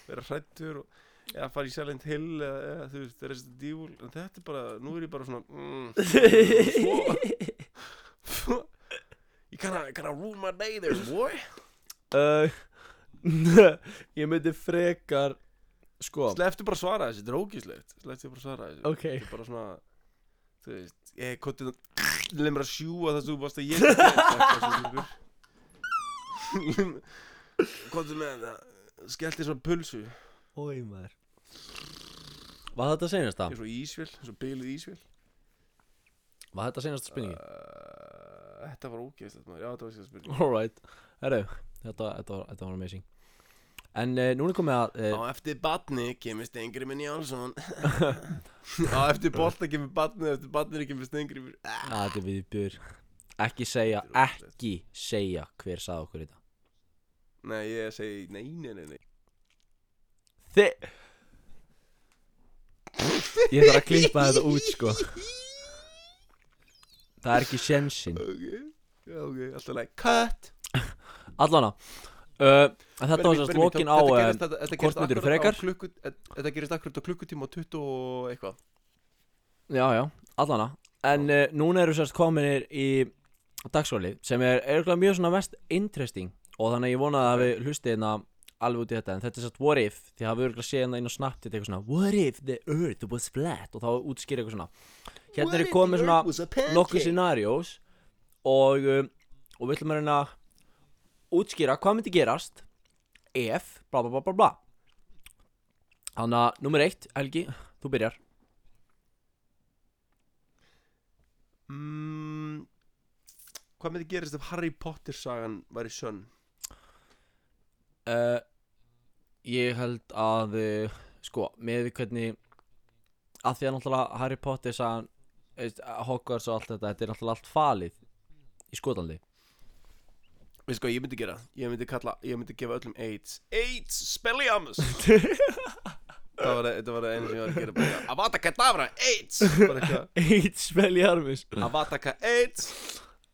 [SPEAKER 2] vera hrættur og eða fara í Silent Hill eða, eða þú veist, Resident Evil en þetta er bara, nú er ég bara svona mm, svo ég kann að, kann að rule my day there boy
[SPEAKER 3] uh, Ég myndi frekar Sko
[SPEAKER 2] sleftu bara að svara þessu, þetta er ógíslegt sleftu bara að svara þessu
[SPEAKER 3] Ok.
[SPEAKER 2] þetta er bara svona þú veist, ég kotið leið mér að sjúa það sem þú varst að ég kotið með þetta skellti svona pulsu ég
[SPEAKER 3] Ói maður Var þetta senast
[SPEAKER 2] er
[SPEAKER 3] það?
[SPEAKER 2] svo ísvél, svo bylið ísvél
[SPEAKER 3] Var þetta senast spurningi?
[SPEAKER 2] uh, þetta var ógíslegt maður, já þetta var síðan spurning
[SPEAKER 3] Alright Herru, þetta, þetta, var- þetta var amazing En uh, núna er komið að
[SPEAKER 2] á
[SPEAKER 3] uh,
[SPEAKER 2] eftir batni kemur Stengriminn Jálsson á eftir bolta kemur batni eftir batni kemur Stengriminn
[SPEAKER 3] að þetta við björ Ekki segja, ekki segja hver sagði okkur þetta
[SPEAKER 2] nei ég segi nei nei nei, nei.
[SPEAKER 3] Þi Ég þarf að klippa þetta út sko Það er ekki sjensinn
[SPEAKER 2] ok, já ok, alltaf leið cut
[SPEAKER 3] Allana uh, en Þetta var
[SPEAKER 2] Benni,
[SPEAKER 3] sérst
[SPEAKER 2] Benni,
[SPEAKER 3] lokin
[SPEAKER 2] þetta-
[SPEAKER 3] á
[SPEAKER 2] þetta
[SPEAKER 3] eh,
[SPEAKER 2] gerist- þetta- þetta
[SPEAKER 3] hvort
[SPEAKER 2] gerist
[SPEAKER 3] myndirðu
[SPEAKER 2] akkurat á
[SPEAKER 3] frekar?
[SPEAKER 2] klukku- þetta- Þetta gerist akkurat á klukkutíma og 20 og eitthvað
[SPEAKER 3] Já, já, allana En uh, núna eru sérst kominir í dagskóli sem er eiginlega mjög svona mest interesting og þannig að ég vona að við hlustið hérna alveg út í þetta en þetta er sérst what if því að við örgulega séð hérna inn á snabbt eitthvað svona what if the earth was flat og þá útskýr eitthvað svona Hérna er komið svona nokkuð scenarios og, um, og við ætlum að reyna að útskýra hvað myndi gerast ef bla bla bla bla bla þannig að nummer eitt Helgi, þú byrjar
[SPEAKER 2] mm, Hvað myndi gerist ef Harry Potter sagan væri sönn?
[SPEAKER 3] uh, ég held að uh, sko, með því hvernig að því að náttúrulega Harry Potter sagan, veist, Hogwarts og allt þetta þetta er náttúrulega allt falið í skotaldi
[SPEAKER 2] Veist hvað ég myndi gera? Ég myndi kalla, ég myndi gefa öllum AIDS AIDS, Spelliamus Það var, þetta var einu sem ég var að gera bara, Avata Kedavra, AIDS Bara eitthvað,
[SPEAKER 3] eitt spil í armis
[SPEAKER 2] Avataka AIDS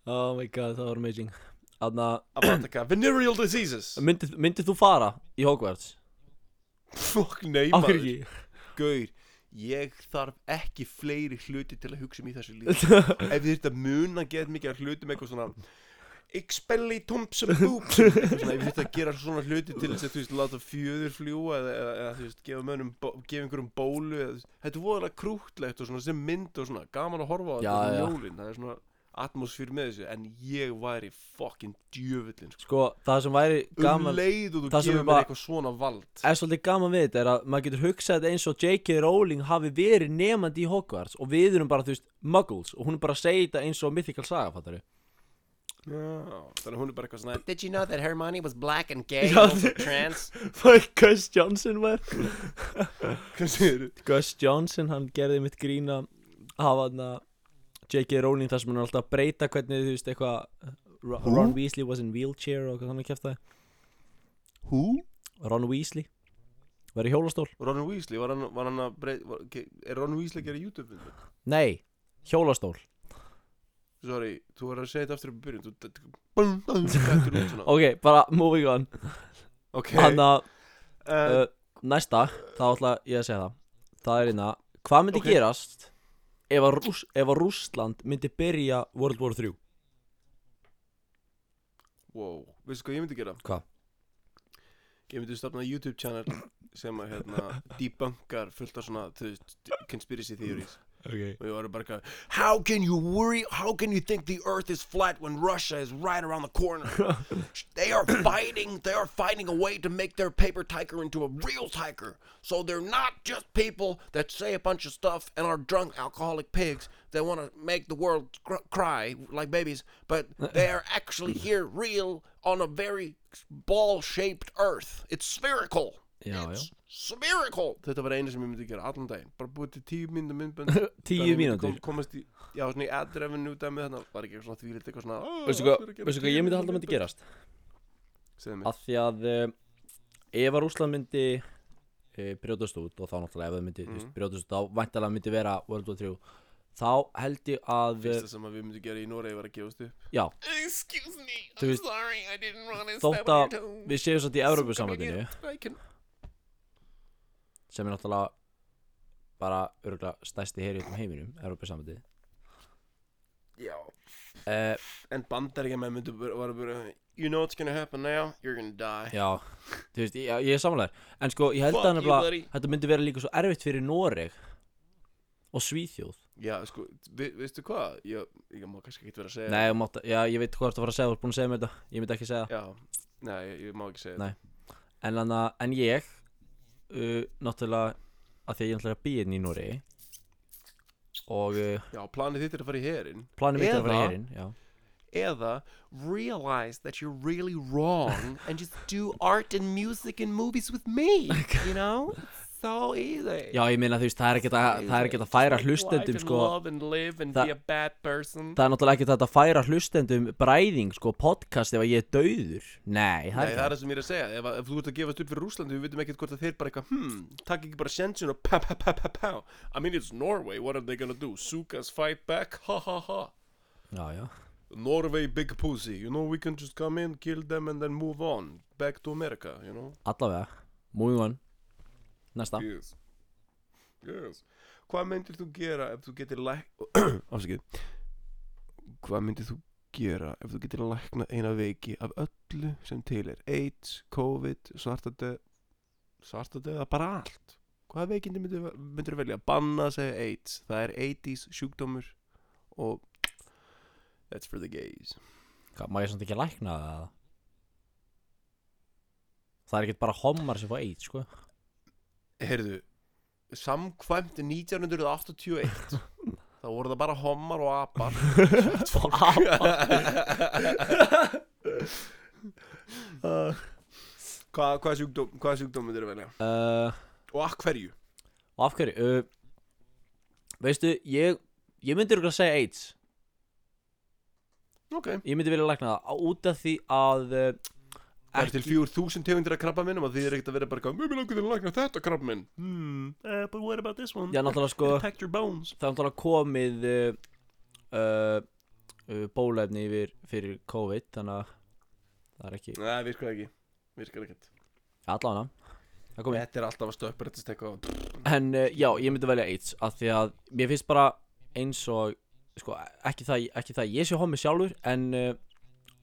[SPEAKER 3] oh my god, það var amazing þannig að
[SPEAKER 2] Avataka Venereal Diseases
[SPEAKER 3] Myndið myndi þú fara í Hogwarts?
[SPEAKER 2] Fokk nei
[SPEAKER 3] Af hverju ekki?
[SPEAKER 2] Gaur, ég þarf ekki fleiri hluti til að hugsa um í þessu lífi ef þið þurft að muna get mikið að hlutum eitthvað svona expelli tómsum búb ef þið þurft að gera svona hluti til þess að þú veist láta fjöður fljúa eða, eða, eða þú veist gefa mönnum bó- gefa einhverjum bólu eða, þú veist, þetta er voðalega krútlegt og svona sem mynd og svona gaman að horfa á
[SPEAKER 3] Já,
[SPEAKER 2] þetta
[SPEAKER 3] já.
[SPEAKER 2] um jólin það er svona atmosfýr með þessu en ég væri fucking djöfullin sko.
[SPEAKER 3] Sko, það sem væri
[SPEAKER 2] um
[SPEAKER 3] gaman
[SPEAKER 2] leið og þú
[SPEAKER 3] það sem
[SPEAKER 2] gefur
[SPEAKER 3] er
[SPEAKER 2] mér
[SPEAKER 3] bara-
[SPEAKER 2] eitthvað svona vald
[SPEAKER 3] er svolítið gaman við þetta er að maður getur hugsað þetta eins og J.K. Rowling hafi verið nefandi í Hogwarts og við erum bara, þú veist, muggles og hún er bara að segja þetta eins og mythical saga, fattar við
[SPEAKER 2] Já, þannig að hún er bara eitthvað svona
[SPEAKER 9] Did you know that Hermione was black and gay
[SPEAKER 3] Ja,
[SPEAKER 9] and also
[SPEAKER 3] det-
[SPEAKER 9] trans?
[SPEAKER 3] Hvað Gus Johnson var?
[SPEAKER 2] hvað segirðu?
[SPEAKER 3] Gus Johnson, hann gerði mitt grína hafa hann að J.K. Rowling þar sem hann er alltaf að breyta hvernig, þú veist, eitthvað Ro- Ron Weasley was in wheelchair og hvað hann er kæft
[SPEAKER 2] Who?
[SPEAKER 3] Ron Weasley Verið hjólastól?
[SPEAKER 2] Ron Weasley, var hann, var hann að breyta, var, ke- er Ron Weasley að gera YouTube við þetta?
[SPEAKER 3] Nei, hjólastól
[SPEAKER 2] Sorry, þú var að segja þetta aftur upp í byrjun, þú þetta, bum, bum, þetta er út svona.
[SPEAKER 3] Ok, bara moving on
[SPEAKER 2] Ok,
[SPEAKER 3] Þannig að
[SPEAKER 2] uh,
[SPEAKER 3] uh, næsta, þá ætla ég að segja það Það er hérna, hvað myndi
[SPEAKER 2] Ok.
[SPEAKER 3] gerast ef að, Rúss, ef að Rússland myndi byrja World War 3
[SPEAKER 2] wow, veistu hvað ég myndi gera?
[SPEAKER 3] Hvað?
[SPEAKER 2] Ég myndi stopna YouTube channel sem að, hérna, debunkar fullt af svona, þú veist, conspiracy theories.
[SPEAKER 3] Ok
[SPEAKER 2] Og ég var bara eitthvað, how can you worry, how can you think the earth is flat when Russia is right around the corner?
[SPEAKER 9] They are fighting. They are finding a way to make their paper tiger into a real tiger. So they're not just people that say a bunch of stuff and are drunk alcoholic pigs that want to make the world cr- cry like babies, but they are actually here real on a very ball-shaped earth. It's spherical.
[SPEAKER 3] Já, já
[SPEAKER 9] Spherical.
[SPEAKER 2] Þetta var einu sem ég myndi gera allan daginn Bara búið til tíu mínútur myndbönd
[SPEAKER 3] Tíu
[SPEAKER 2] Þannig ég myndi
[SPEAKER 3] mínútur?
[SPEAKER 2] kom- Komast í, já svona í adrefinu dæmi þannig að Var ekki eitthvað svona því eitthvað svona "Ó,
[SPEAKER 3] Veistu
[SPEAKER 2] allir
[SPEAKER 3] hvað,
[SPEAKER 2] að gera tíu
[SPEAKER 3] veistu hvað ég myndi
[SPEAKER 2] mínútur
[SPEAKER 3] halda myndi
[SPEAKER 2] myndbönd."
[SPEAKER 3] gerast?
[SPEAKER 9] er
[SPEAKER 2] Segðu mér
[SPEAKER 3] Að því að uh, ef að Rússland myndi eh,
[SPEAKER 2] Mhm.
[SPEAKER 3] uh, brjótast út og þá náttúrulega ef það myndi mm. brjótast út þá væntalega myndi vera World War 3 þá held ég að eh,
[SPEAKER 2] Fyrsta sem að við myndum gera í Noregi var að gefast upp
[SPEAKER 3] já,
[SPEAKER 9] Excuse me,
[SPEAKER 3] Þú
[SPEAKER 9] I'm
[SPEAKER 3] veist,
[SPEAKER 9] sorry, I didn't want to step
[SPEAKER 3] þótt
[SPEAKER 9] on your
[SPEAKER 3] að
[SPEAKER 9] toes.
[SPEAKER 3] við séum samt í Evrópusambandinu
[SPEAKER 9] I can...
[SPEAKER 3] sem er náttúrulega bara örgulega stæsti heri um heiminum Evrópusambandið
[SPEAKER 9] Já.
[SPEAKER 3] uh,
[SPEAKER 2] En bandaríkja með myndum var að vera You know what's gonna happen now, you're gonna die
[SPEAKER 3] já, þú veist, ég, ég er samanlega en sko, ég held
[SPEAKER 9] Fuck
[SPEAKER 3] að
[SPEAKER 9] you,
[SPEAKER 3] nefnilega
[SPEAKER 9] buddy.
[SPEAKER 3] þetta myndi vera líka svo erfitt fyrir Noreg og Svíþjóð
[SPEAKER 2] Já, sko, vi, veistu hvað? Ég, ég má kannski ekki vera að segja
[SPEAKER 3] Nei, þú mátt, já, ég veit hvað þú ert að fara að segja, þú ert búin að segja mér þetta Ég myndi ekki segja það
[SPEAKER 2] Já, nei, ég, ég má ekki segja
[SPEAKER 3] Nei. En, anna, en ég, uh, náttúrulega, að því að ég er náttúrulega býinn í Núri Og uh,
[SPEAKER 2] Já, planið þitt er að fara í herin
[SPEAKER 3] planið mitt er að fara í
[SPEAKER 2] Eða-
[SPEAKER 3] herinn, já
[SPEAKER 2] Eða realize that you're really wrong and just do art and music and movies with me You know? It's so easy
[SPEAKER 3] Já, ég meina þú veist, það er ekkert að, það er ekkert að færa hlustendum, sko
[SPEAKER 2] love and live and
[SPEAKER 3] Þa-
[SPEAKER 2] be a bad person
[SPEAKER 3] Það er náttúrulega ekkert að færa hlustendum bræðing, sko, podcast ef að ég er dauður
[SPEAKER 2] Nei,
[SPEAKER 3] Nei, það er
[SPEAKER 2] það er
[SPEAKER 3] ekki
[SPEAKER 2] það sem ég er að segja ef, að- ef þú ert að gefast upp fyrir Rúslandu við vitum ekkert hvort að þeir bara eitthvað hmm, takk ekki bara sjensin og pa pa pa pa pa I mean it's Norway, what are they gonna do? Suck us fight back, ha ha ha
[SPEAKER 3] Já, já
[SPEAKER 2] Norway big pussy, you know we can just come in, kill them and then move on back to America, you know
[SPEAKER 3] Allavega, moving on Næsta
[SPEAKER 2] Yes. Yes. Hvað myndir þú gera ef þú getur læk... Afsakið. Hvað myndir þú gera ef þú getur læknað eina veiki af öllu sem til er? AIDS, COVID, svartadeð, svartadeð, bara allt. Hvaða veikindi myndir, myndir velja? Banna að segja AIDS. Það er 80s sjúkdómur og that's for the gays.
[SPEAKER 3] Hvað, Má ég samt ekki lækna það? Það er ekkert bara homar sem fá eitt, sko
[SPEAKER 2] Heyrðu, samkvæmt 1981 þá voru það bara homar og apar
[SPEAKER 3] Og apa
[SPEAKER 2] Hvað hva sjúkdóm, hva sjúkdóm myndir velja?
[SPEAKER 3] uh,
[SPEAKER 2] Og að hverju?
[SPEAKER 3] Og af hverju uh, Veistu, ég Ég myndi örugglega að segja AIDS
[SPEAKER 2] Ok
[SPEAKER 3] Ég myndi vilja lækna það á- Út af því að uh,
[SPEAKER 2] Það er til 4000 tegundir af krabba minnum og því er ekkert að vera bara eitthvað Mjög mjög langur til að lagna þetta krabba minn Hmm, uh, but what about this one?
[SPEAKER 3] Já, náttúrulega sko
[SPEAKER 2] It'll Pack your bones
[SPEAKER 3] Það er náttúrulega komið uh, uh, uh, Bólefni yfir fyrir COVID Þannig að það er ekki
[SPEAKER 2] Nei, virkar ekki Virkar ekkert
[SPEAKER 3] Allána Það er komið
[SPEAKER 2] Þetta er alltaf að stöppur Þetta stekka á
[SPEAKER 3] En uh, já, ég myndi velja AIDS af því að mér finnst bara eins og sko, ekki það, ekki það ég sé homi sjálfur en uh,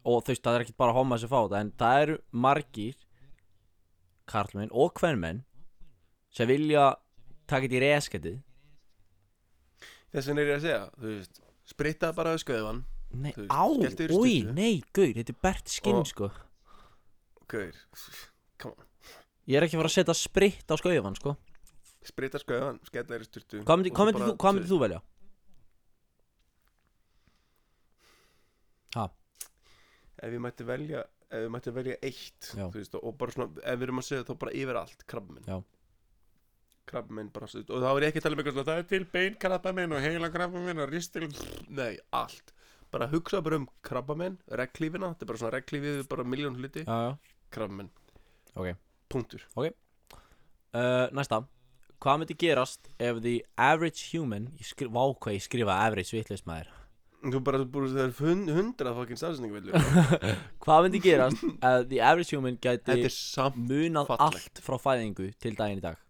[SPEAKER 3] og þú veist, það er ekkert bara homar sem fá þetta en það eru margir karlmenn og kvenmenn sem vilja taka þetta í reskati
[SPEAKER 2] Þess vegna er ég að segja Þú veist Sprittað bara öskuðan
[SPEAKER 3] Nei,
[SPEAKER 2] Þú veist,
[SPEAKER 3] á,
[SPEAKER 2] skelltu þér í
[SPEAKER 3] úi,
[SPEAKER 2] sturtu.
[SPEAKER 3] nei, gaur, þetta er bert skinn
[SPEAKER 2] Og-
[SPEAKER 3] sko
[SPEAKER 2] Gaur Come on
[SPEAKER 3] Ég er ekki að fara að setja spritt á skauðan sko
[SPEAKER 2] Sprittað öskuðan Skella þér í styrtu
[SPEAKER 3] Hvað myndir hvað myndi þú, hvað myndi þú velja? Ha,
[SPEAKER 2] ef ég mætti velja ef ég mætti velja eitt
[SPEAKER 3] Já.
[SPEAKER 2] þú veist, og bara svona, ef við erum að segja þá bara yfir allt krabbminn
[SPEAKER 3] Já.
[SPEAKER 2] krabbminn bara svo, og þá er ég ekki að tala um eitthvað svona, það er til bein krabbaminn og heila krabbaminn og ristil nei, allt bara hugsa bara um krabbaminn, reglífina þetta er bara svona reglífið, við bara miljón hluti
[SPEAKER 3] já, já,
[SPEAKER 2] krabbaminn,
[SPEAKER 3] ok
[SPEAKER 2] punktur
[SPEAKER 3] Uh, næsta Hvað myndi gerast ef the average human Ég skri, vá hvað ég skrifa average vitleis maður
[SPEAKER 2] þú bara, þú búið það er hun- hundrað fokkin stafsendingavillu
[SPEAKER 3] Hvað myndi gerast ef the average human gæti
[SPEAKER 2] þetta er samt,
[SPEAKER 3] munað
[SPEAKER 2] fallegt.
[SPEAKER 3] allt frá fæðingu til daginn í dag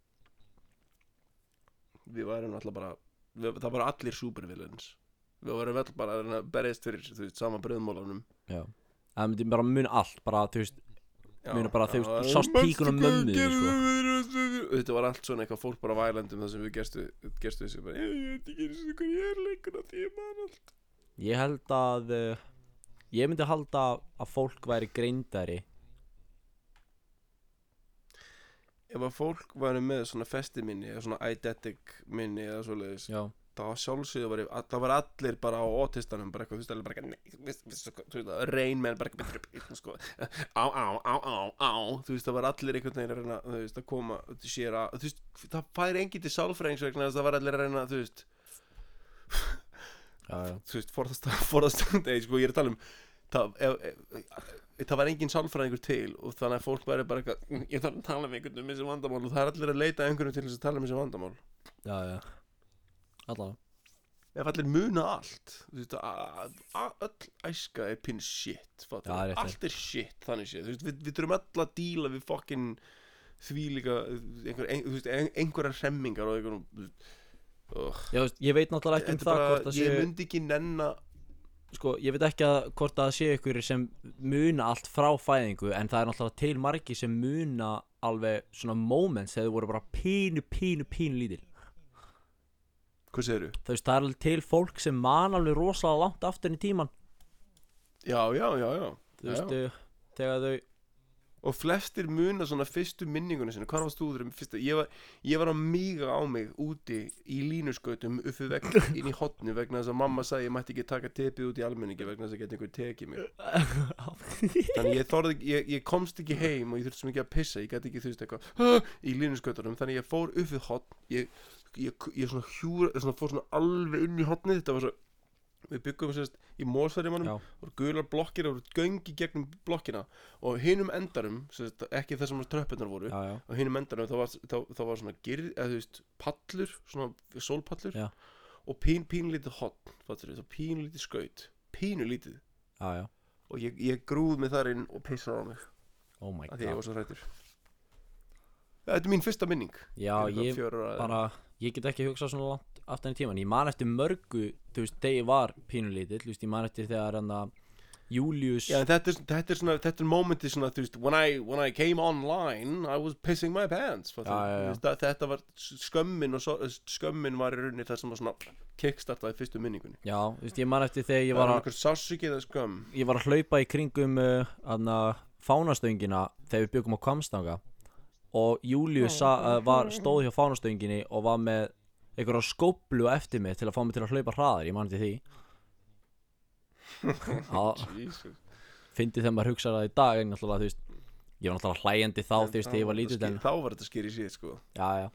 [SPEAKER 2] við værum alltaf bara við, það bara allir supervillins við værum alltaf bara að reyna að berjast fyrir þú veist, sama bröðmólanum
[SPEAKER 3] Já Það myndi bara muna allt bara þú veist Muna bara, þú veist,
[SPEAKER 2] já,
[SPEAKER 3] sást
[SPEAKER 2] manstu
[SPEAKER 3] píkuna
[SPEAKER 2] hvað
[SPEAKER 3] mömmu þinni,
[SPEAKER 2] gerðu
[SPEAKER 3] sko.
[SPEAKER 2] við- Þetta var allt svona eitthvað fólk bara vælendum það sem við gerstu, gerstu þessu bara, ég veit ekki eins og hvað ég er lengur að því ég man allt
[SPEAKER 3] Ég held að uh, Ég myndi halda að fólk væri greindari
[SPEAKER 2] Ef að fólk væri með svona festi minni eða svona eidetic minni eða svoleiðis
[SPEAKER 3] Já
[SPEAKER 2] það var sjálfsögðu, var, það var allir bara á autistanum bara eitthvað, þú veist, allir bara eitthvað, nei, viss- viss- sko, þú veist, að reyn menn bara eitthvað, sko, á, á, á, á, á, þú veist, það var allir einhvern veginn að reyna, þú veist, að koma, þú sér að, þú veist, það fær engin til sálfræðings vegna þess að það var allir að reyna, þú veist,
[SPEAKER 3] Já, já.
[SPEAKER 2] þú veist, forðast, forðast, nei, sko, ég er að tala um, það, ef, ef, það var engin sálfræðingur til og þannig að fólk væri bara eitthvað, ég þarf að tala um einhvern um þessi vandamál og það er allir að leita að einhverjum til þess að tala um þessi vandamál.
[SPEAKER 3] Já, já Allavega
[SPEAKER 2] ef allir muna allt þú veist, a- a- öll æska er pinn shit fattar
[SPEAKER 3] Já,
[SPEAKER 2] þú?
[SPEAKER 3] rétt er.
[SPEAKER 2] allt er shit þannig shit veist, við, við þurfum öll að díla við fokkin þvílíka einhver, ein, þú veist, ein, einhverjar hremmingar og einhverjum þú veist, ugh.
[SPEAKER 3] Já, þú veist, ég veit náttúrulega ekki um
[SPEAKER 2] þetta
[SPEAKER 3] það
[SPEAKER 2] bara,
[SPEAKER 3] hvort það sé
[SPEAKER 2] ég myndi ekki nenna
[SPEAKER 3] sko, ég veit ekki að hvort það sé ykkur sem muna allt frá fæðingu en það er náttúrulega til margi sem muna alveg svona moments þegar þau voru bara pínu, pínu, pínu lítil
[SPEAKER 2] hvað segirðu?
[SPEAKER 3] þú veist, það er alveg til fólk sem man alveg rosalega langt aftur í tíman
[SPEAKER 2] já, já, já, já, já,
[SPEAKER 3] þú veist, uh, þegar þau
[SPEAKER 2] og flestir muna svona fyrstu minningunum sinni hvar varst þú þegar fyrsta ég var, ég var að míga á mig úti í línuskautum uppi vegg inn í hotnu vegna þess að mamma sagði ég mætti ekki taka tepið út í almenningi vegna þess að geta einhver tekið mig þannig ég, þorði, ekki- ég, ég komst ekki heim og ég þurfti svo mikið að pissa ég gæti ekki þú veist eitthvað "Hah!" í línuskautunum þannig ég fór upp við hotn ég, ég, ég svona hjúra svona fór svona alveg inn í hotnið þetta var svo við byggum sérst í
[SPEAKER 3] Já.
[SPEAKER 2] mósverðimannum og gular blokkir og göngi gegnum blokkina og hinum endarum sérst, ekki þessum að tröppunar voru
[SPEAKER 3] já, já,
[SPEAKER 2] og hinum endarum þá var, þá, þá var svona gyrð, eða þú veist, pallur svona sólpallur
[SPEAKER 3] Já.
[SPEAKER 2] og pín, pínlítið hotn, fattur þú, pínlítið skaut pínulítið
[SPEAKER 3] já, já
[SPEAKER 2] og ég, ég grúð mig þar inn og pissaði á mig
[SPEAKER 3] oh my
[SPEAKER 2] af því að ég
[SPEAKER 3] god
[SPEAKER 2] var svo hrættur Þetta er mín fyrsta minning
[SPEAKER 3] já, ég
[SPEAKER 2] bara
[SPEAKER 3] bara, ég get ekki hugsað svona langt aftur í tíman, ég man eftir mörgu þú veist, þegar ég var pínulítill þú veist, ég man eftir þegar hann að Július,
[SPEAKER 2] Já, en þetta er, þetta er svona, þetta er momentið svona, þú veist, when I, when I came online, I was pissing my pants, fattu,
[SPEAKER 3] Já, já, já.
[SPEAKER 2] þú veist, að þetta var skömmin og svo, skömmin var í rauninni það sem var svona kickstartaði fyrstu minningunni.
[SPEAKER 3] já, þú veist, ég man eftir þegar
[SPEAKER 2] Ég
[SPEAKER 3] ég
[SPEAKER 2] var
[SPEAKER 3] var að
[SPEAKER 2] einhver sásukið að skömm.
[SPEAKER 3] ég var að hlaupa í kringum uh, aðna, fánastöngina þegar við byggum á Kvamstanga og Július sa, uh, var, stóð hjá fánastönginni og var með einhverja skóplu á eftir mig til að fá mig til að hlaupa hraðar, ég man til því Já,
[SPEAKER 2] Jesus.
[SPEAKER 3] fyndi þegar maður hugsa það í dag en náttúrulega, þú veist ég var náttúrulega hlæjandi þá, þú veist, þegar ég var lítill en
[SPEAKER 2] Þá var þetta skýri síð, sko.
[SPEAKER 3] já, já,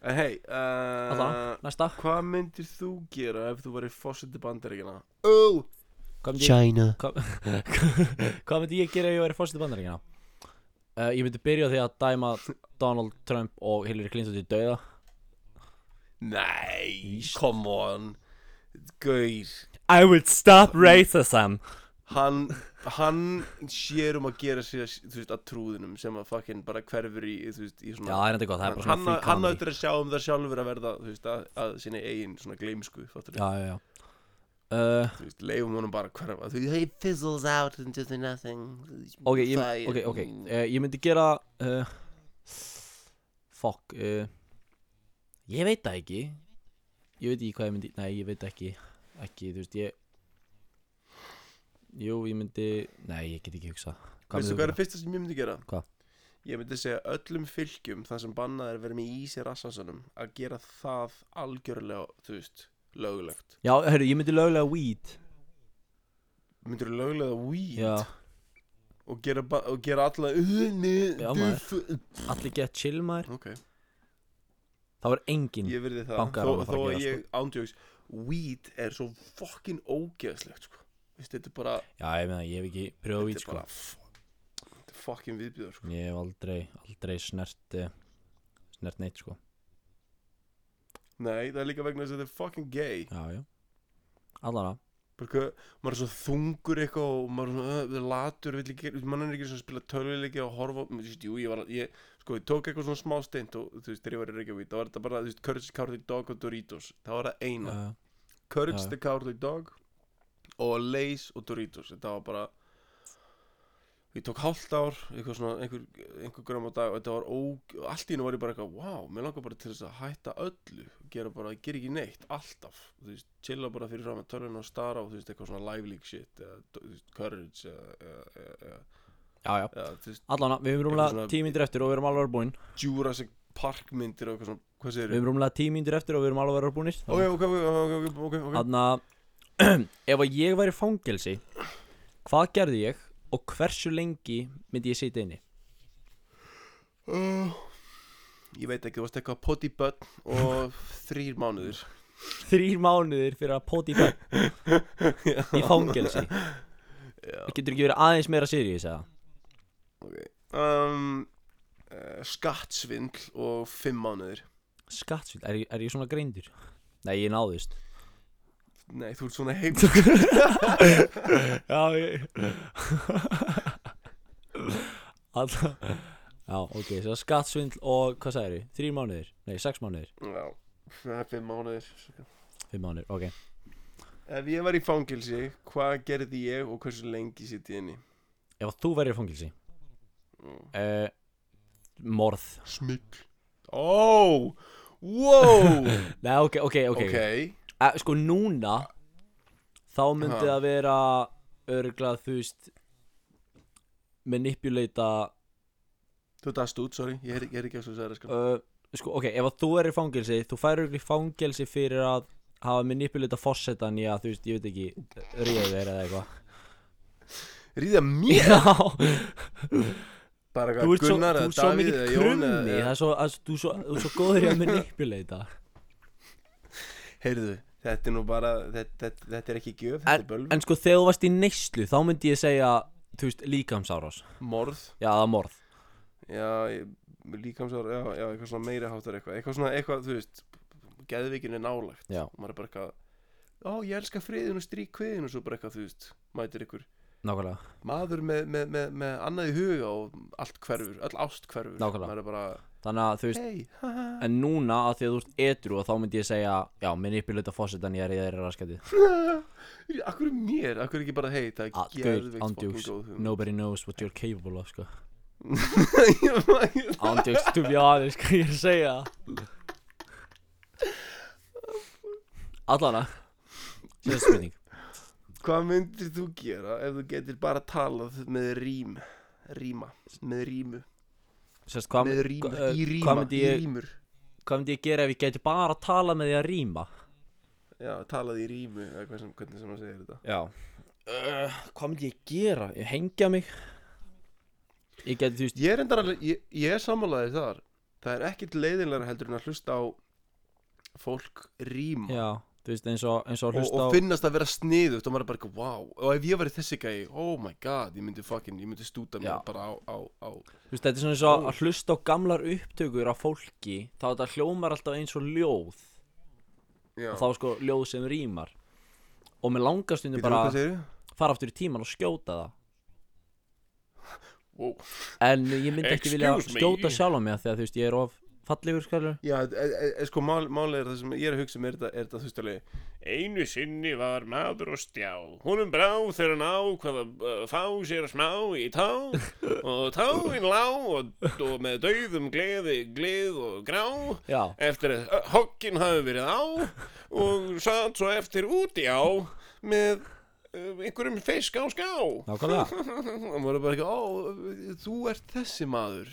[SPEAKER 2] En hei,
[SPEAKER 3] allan,
[SPEAKER 2] uh,
[SPEAKER 3] næsta
[SPEAKER 2] hvað myndir þú gera ef þú væri fósiti bandaríkina? Oh,
[SPEAKER 3] Hvað myndi ég-
[SPEAKER 2] China.
[SPEAKER 3] hvað- hvað myndi ég gera ef ég væri fórsetið bandaríkina? Uh, ég myndi byrja á því að dæma Donald Trump og Hillary Clinton til dauða
[SPEAKER 2] Nei, come on. Gauð.
[SPEAKER 3] I will stop racism
[SPEAKER 2] hann, hann sér um að gera sér þú veist, að trúðinum sem að fucking bara hverfur í, þú veist, í
[SPEAKER 3] Já,
[SPEAKER 2] svona
[SPEAKER 3] það er enda gott, það er bara svona
[SPEAKER 2] hann,
[SPEAKER 3] free
[SPEAKER 2] hann
[SPEAKER 3] comedy
[SPEAKER 2] auðvitað að sjá um það sjálfur að verða þú veist, að, að sinni eigin svona gleimsku fattur,
[SPEAKER 3] Já, já, já uh,
[SPEAKER 2] þú veist, leifum honum bara að hverfa þú veist, he fizzles out into the nothing Mm.
[SPEAKER 3] Ok, ég,
[SPEAKER 2] Það-
[SPEAKER 3] ok, ok uh, Ég myndi gera uh, Fuck uh, Ég veit það ekki Ég veit ekki hvað ég myndi Nei, ég veit ekki Ekki, þú veist, ég Jú, ég myndi Nei, ég get ekki hugsað Hvað
[SPEAKER 2] veistu hvað er
[SPEAKER 3] myndi þú
[SPEAKER 2] það fyrsta sem ég myndi gera?
[SPEAKER 3] Hvað?
[SPEAKER 2] ég myndi segja öllum fylgjum þar sem bannað er að vera með í sér assasunum að gera það algjörlega þú veist, lögulegt
[SPEAKER 3] Já, hörru, ég myndi lögulega weed
[SPEAKER 2] myndir lögulega weed
[SPEAKER 3] Já,
[SPEAKER 2] og gera, ba- og gera alla
[SPEAKER 3] Já, allir gett chill maður
[SPEAKER 2] ok
[SPEAKER 3] Það var engin
[SPEAKER 2] ég verði það
[SPEAKER 3] Bankar
[SPEAKER 2] þó,
[SPEAKER 3] hann að
[SPEAKER 2] þó
[SPEAKER 3] fara
[SPEAKER 2] að
[SPEAKER 3] að gera, sko.
[SPEAKER 2] ég ándjóks weed er svo fokkin ógeðslegt sko. Veist, þetta er bara
[SPEAKER 3] Já, ég meina, ég hef ekki pröfað weed,
[SPEAKER 2] þetta er
[SPEAKER 3] sko
[SPEAKER 2] bara f- þetta er fokkin viðbjöður sko.
[SPEAKER 3] Ég hef aldrei, aldrei snert eh, Snert neitt, sko
[SPEAKER 2] nei það er líka vegna þess að þetta er fokkin gay
[SPEAKER 3] Já, já Allana
[SPEAKER 2] bara hvað maður er svo þungur eitthvað og maður er svona uh, latur vill ekki gera- maður er ekki svona að spila töluleiki og horfa þú veist, jú, ég var að- ég, sko, ég tók eitthvað svona smá steint og þú veist, þegar ég var í Reykjavík þá var þetta bara, þú veist, Courage the Cowardly Dog og Doritos það var það eina
[SPEAKER 3] uh,
[SPEAKER 2] Courage
[SPEAKER 3] Já.
[SPEAKER 2] the Cowardly Dog og Lays og Doritos þetta var bara ég tók hálft ár eitthvað svona einhver, einhver gram á dag og þetta var óg og allt í hennu var ég bara eitthvað wow, mér langar bara til þess að hætta öllu gera bara, gera ekki neitt, alltaf þú veist, chilla bara fyrir fram að tölun og stara og þú veist, eitthvað svona live league shit eða, þú veist, Courage eða, eða, eða, eða,
[SPEAKER 3] Já, já
[SPEAKER 2] eða, þú veist,
[SPEAKER 3] Allana, við erum rúmlega
[SPEAKER 2] Eitthvað svona-
[SPEAKER 3] tíu mínútur eftir og við erum alveg búin
[SPEAKER 2] Jurassic Park myndir og eitthvað svona, hvað segir
[SPEAKER 3] Við erum rúmlega tíu mínútur eftir og við erum alveg búinir
[SPEAKER 2] ok, ok, ok, ok, ok, ok, ok.
[SPEAKER 3] Þannig að Ef að ég væri í fangelsi Hvað gerði ég og hversu lengi myndi ég sitja inni?
[SPEAKER 2] Uh, ég veit ekki, þú varst eitthvað poti börn og þrýr mánuður
[SPEAKER 3] Þrýr mánuðir fyrir að poti í dag Í fangelsi
[SPEAKER 2] Já.
[SPEAKER 3] Getur ekki verið aðeins meira sirið, segja
[SPEAKER 2] um, uh, skattsvindl og fimm mánuður
[SPEAKER 3] Skattsvill, er, ég- er ég svona greindur? Nei, ég náðist
[SPEAKER 2] Nei, þú ert svona heim
[SPEAKER 3] Já, ég Alla Já, ok, svo skattsvindl og hvað sagðir þið? Þrjir mánuðir? Nei, sex mánuðir
[SPEAKER 2] Já, það er fimm mánuðir
[SPEAKER 3] Fimm mánuðir, ok
[SPEAKER 2] Ef ég var í fangilsi, hvað gerði ég og hversu lengi sitt ég inni?
[SPEAKER 3] Ef þú verður í fangilsi uh, Morð
[SPEAKER 2] Smygl Ó, wow
[SPEAKER 3] Nei, ok, ok, ok,
[SPEAKER 2] Ok,
[SPEAKER 3] okay. Eh, Sko núna Þá myndi
[SPEAKER 2] Ha.
[SPEAKER 3] það vera Örglað, þú veist Manipulata
[SPEAKER 2] þú dast út, sorry, ég er, ég er ekki að svo særa sko
[SPEAKER 3] uh, Sko, ok, ef að þú er í fangelsi Þú færir örglað í fangelsi fyrir að Hafa manipulata fórsetan í að, þú veist, ég veit ekki Ríða þeir eða eitthvað
[SPEAKER 2] Ríða mér
[SPEAKER 3] Já,
[SPEAKER 2] Bara
[SPEAKER 3] þú
[SPEAKER 2] hvað
[SPEAKER 3] ert svo, þú
[SPEAKER 2] Gunnar eða
[SPEAKER 3] ert svo
[SPEAKER 2] Davíð
[SPEAKER 3] mikið
[SPEAKER 2] eða Jón
[SPEAKER 3] krummi
[SPEAKER 2] eða-
[SPEAKER 3] Það
[SPEAKER 2] eða-
[SPEAKER 3] er svo, að, þú, er svo, þú er svo góður í að manipulata
[SPEAKER 2] Heyrðu, þetta er nú bara, þetta, þetta, þetta er ekki gjöf, þetta
[SPEAKER 3] en,
[SPEAKER 2] er bölv
[SPEAKER 3] en sko þegar þú varst í neyslu þá myndi ég segja þú veist líkamsárás
[SPEAKER 2] Morð,
[SPEAKER 3] já það er morð
[SPEAKER 2] já, ég- líkamsár, já, já, eitthvað svona meiri háttar eitthvað Eitthvað svona, eitthvað, þú veist, geðvikin er nálægt
[SPEAKER 3] Já.
[SPEAKER 2] Og maður er bara eitthvað, ó, ég elska friðin og strík kviðin og svo bara eitthvað, þú veist, mætir ykkur
[SPEAKER 3] nákvæmlega
[SPEAKER 2] maður með, með, með, með annað í huga og allt hverfur, öll ást hverfur
[SPEAKER 3] Nákvæmlega.
[SPEAKER 2] maður er bara,
[SPEAKER 3] þannig að þú veist
[SPEAKER 2] hei, haha
[SPEAKER 3] en núna að því að þú ert edru þá myndi ég segja já manipulata fósitan ég er í þeirra raskæti
[SPEAKER 2] akkur er mér, akkur er ekki bara hei það er
[SPEAKER 3] gauð
[SPEAKER 2] gerðveikt fucking
[SPEAKER 3] ándjúks
[SPEAKER 2] góð hugmynd."
[SPEAKER 3] Ah, nobody knows what you're capable of sko
[SPEAKER 2] Ég man- ég-
[SPEAKER 3] ándjúks to be honest hvað ég er að segja allana síðan spurning
[SPEAKER 2] hvað myndir þú gera ef þú getur bara talað með rím ríma, með rímu
[SPEAKER 3] Sérst, hvað,
[SPEAKER 2] með ríma,
[SPEAKER 3] hva-
[SPEAKER 2] í
[SPEAKER 3] eh,
[SPEAKER 2] ríma,
[SPEAKER 3] hvað, myndi
[SPEAKER 2] í
[SPEAKER 3] ég,
[SPEAKER 2] rímur
[SPEAKER 3] hvað myndi ég gera ef ég gæti bara að tala með því að rýma
[SPEAKER 2] já, talað í rímu, eða hvað sem, hvernig sem hann segir þetta
[SPEAKER 3] Já uh, Hvað myndi ég gera? Ég hengja mig Ég geti þú veist
[SPEAKER 2] ég er endar alveg, ég, ég er sammálaðið þar það er ekkit leiðinlega heldur en að hlusta á fólk ríma
[SPEAKER 3] Já, þú veist eins og, eins og
[SPEAKER 2] og,
[SPEAKER 3] hlusta
[SPEAKER 2] og
[SPEAKER 3] á
[SPEAKER 2] finnast að vera sniðugt og maður er bara eitthvað, wow, og ef ég væri þessi gæi oh my god, ég myndi fucking, ég myndi stúta mér
[SPEAKER 3] Já.
[SPEAKER 2] bara á, á, á
[SPEAKER 3] Þú veist þetta er svona eins og að hlusta á gamlar upptökur af fólki Þá þetta hljómar alltaf eins og ljóð
[SPEAKER 2] já,
[SPEAKER 3] Og þá sko ljóð sem rýmar Og með langastundu
[SPEAKER 2] Býtum,
[SPEAKER 3] bara
[SPEAKER 2] hvað segirðu?
[SPEAKER 3] fara aftur í tíman og skjóta það
[SPEAKER 2] Wow.
[SPEAKER 3] En ég myndi ekki vilja
[SPEAKER 1] Excuse me.
[SPEAKER 3] skjóta sjálf á mig af Því að þú veist ég er of fallegur skallur
[SPEAKER 2] já, e, e, e, sko mál, málið er það sem ég er að hugsa mér er þetta, er þetta þú veist alveg,
[SPEAKER 1] Einu sinni var maður og stjá. Honum brá þegar hann ákvað að uh, fá sér smá í tá og táin lá og, og með dauðum gleði, glið og grá.
[SPEAKER 3] Já,
[SPEAKER 1] eftir að ö, hogginn hafi verið á og satt svo eftir úti á með uh,
[SPEAKER 2] eh,
[SPEAKER 1] einhverjum fisk á ská
[SPEAKER 3] nákvæmlega,
[SPEAKER 2] og maður er bara eitthvað, ó, þú ert þessi maður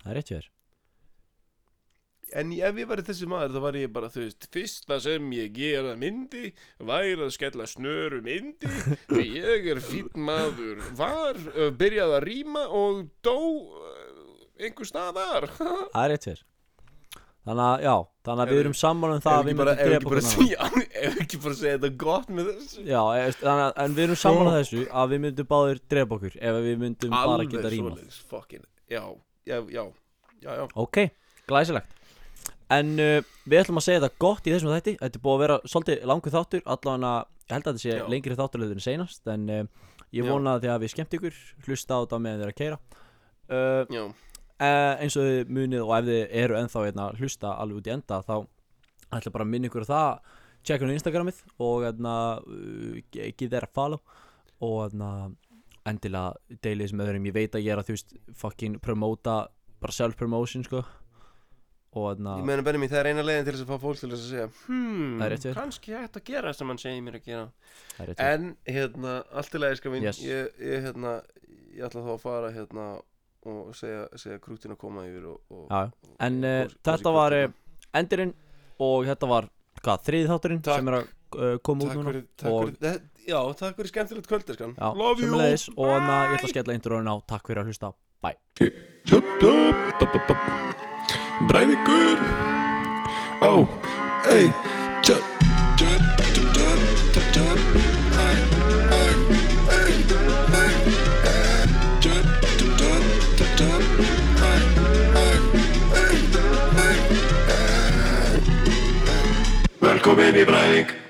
[SPEAKER 3] það er rétt hjá þér
[SPEAKER 2] en ég- ef ég væri þessi maður þá væri ég bara, þú veist
[SPEAKER 1] Fyrsta sem ég gera myndi væri að skella
[SPEAKER 2] um
[SPEAKER 1] snöru myndi því ég er fýtt maður var,
[SPEAKER 2] eh,
[SPEAKER 1] uh, byrjað að rýma og dó uh, einhver staðar
[SPEAKER 3] Það er rétt fyrir Þannig að, já, þannig að við erum saman um það
[SPEAKER 2] ef
[SPEAKER 3] að
[SPEAKER 2] ekki
[SPEAKER 3] við
[SPEAKER 2] bara, ef
[SPEAKER 3] myndum drepa
[SPEAKER 2] ekki bara
[SPEAKER 3] hvern annan.
[SPEAKER 2] segja ef ekki bara segja þetta gott með þessu
[SPEAKER 3] Já, e- veist, þannig að, en við erum saman
[SPEAKER 2] Sko-
[SPEAKER 3] að þessu að við myndum báðir drepa okkur ef við myndum bara
[SPEAKER 2] alveg
[SPEAKER 3] geta rýmað
[SPEAKER 2] svoleiðis, fucking, já, já, já já, já,
[SPEAKER 3] Ok, glæsilegt En uh, við ætlum að segja þetta gott í þessum þætti Þetta er búið að vera svolítið langur þáttur allan að, ég held að þetta sé
[SPEAKER 2] Já.
[SPEAKER 3] lengri þátturleður en seinast En uh, ég
[SPEAKER 2] Já.
[SPEAKER 3] vona að því að við skemmt ykkur hlusta á þetta meðan þeir að keira uh,
[SPEAKER 2] já
[SPEAKER 3] uh, eins og þið munið og ef þið eru ennþá hérna að hlusta alveg út í enda þá ætla bara að minna ykkur á það checka hún Instagramið og hérna uh, give þeirra follow og hérna endilega deilið sem öðrum, ég veit að ég er að þú veist fucking promóta, bara self-promotion sko og
[SPEAKER 2] Ég
[SPEAKER 3] hérna
[SPEAKER 2] meina Benjamin, það er eina leiðin til þess að fá fólk til þess að segja Hmm,
[SPEAKER 3] Það er rétt hjá þér.
[SPEAKER 2] kannski ég ætti að gera það sem hann segir mér að gera
[SPEAKER 3] það er rétt hjá-
[SPEAKER 2] En, hérna, allt í lagi, sko mín
[SPEAKER 3] Yes.
[SPEAKER 2] ég, ég, hérna, ég ætla þá að fara, hérna og segja, segja krútin að koma yfir og, og
[SPEAKER 3] Já, já. en
[SPEAKER 2] og-
[SPEAKER 3] uh,
[SPEAKER 2] og-
[SPEAKER 3] þetta
[SPEAKER 2] og-
[SPEAKER 3] var uh, endurinn og þetta var hvað, þriði þátturinn
[SPEAKER 2] Takk.
[SPEAKER 3] sem er að uh, koma út
[SPEAKER 2] Takk
[SPEAKER 3] núna
[SPEAKER 2] fyrir, takk
[SPEAKER 3] og-
[SPEAKER 2] fyrir, þetta- já, takk fyrir skemmtilegt kvöldi, skan
[SPEAKER 3] Já, sömuleiðis og en að ég ætla að skella introðun á takk fyrir að hlusta, bye
[SPEAKER 5] Breivikur Ó, ei Tjöp, tjöp, tjöp, tjöp, tjöp, tjöp Æ, æ, æ, æ, æ Tjöp, tjöp, tjöp, tjöp, tjöp Æ, æ, æ, æ, æ Velkomin í Breivik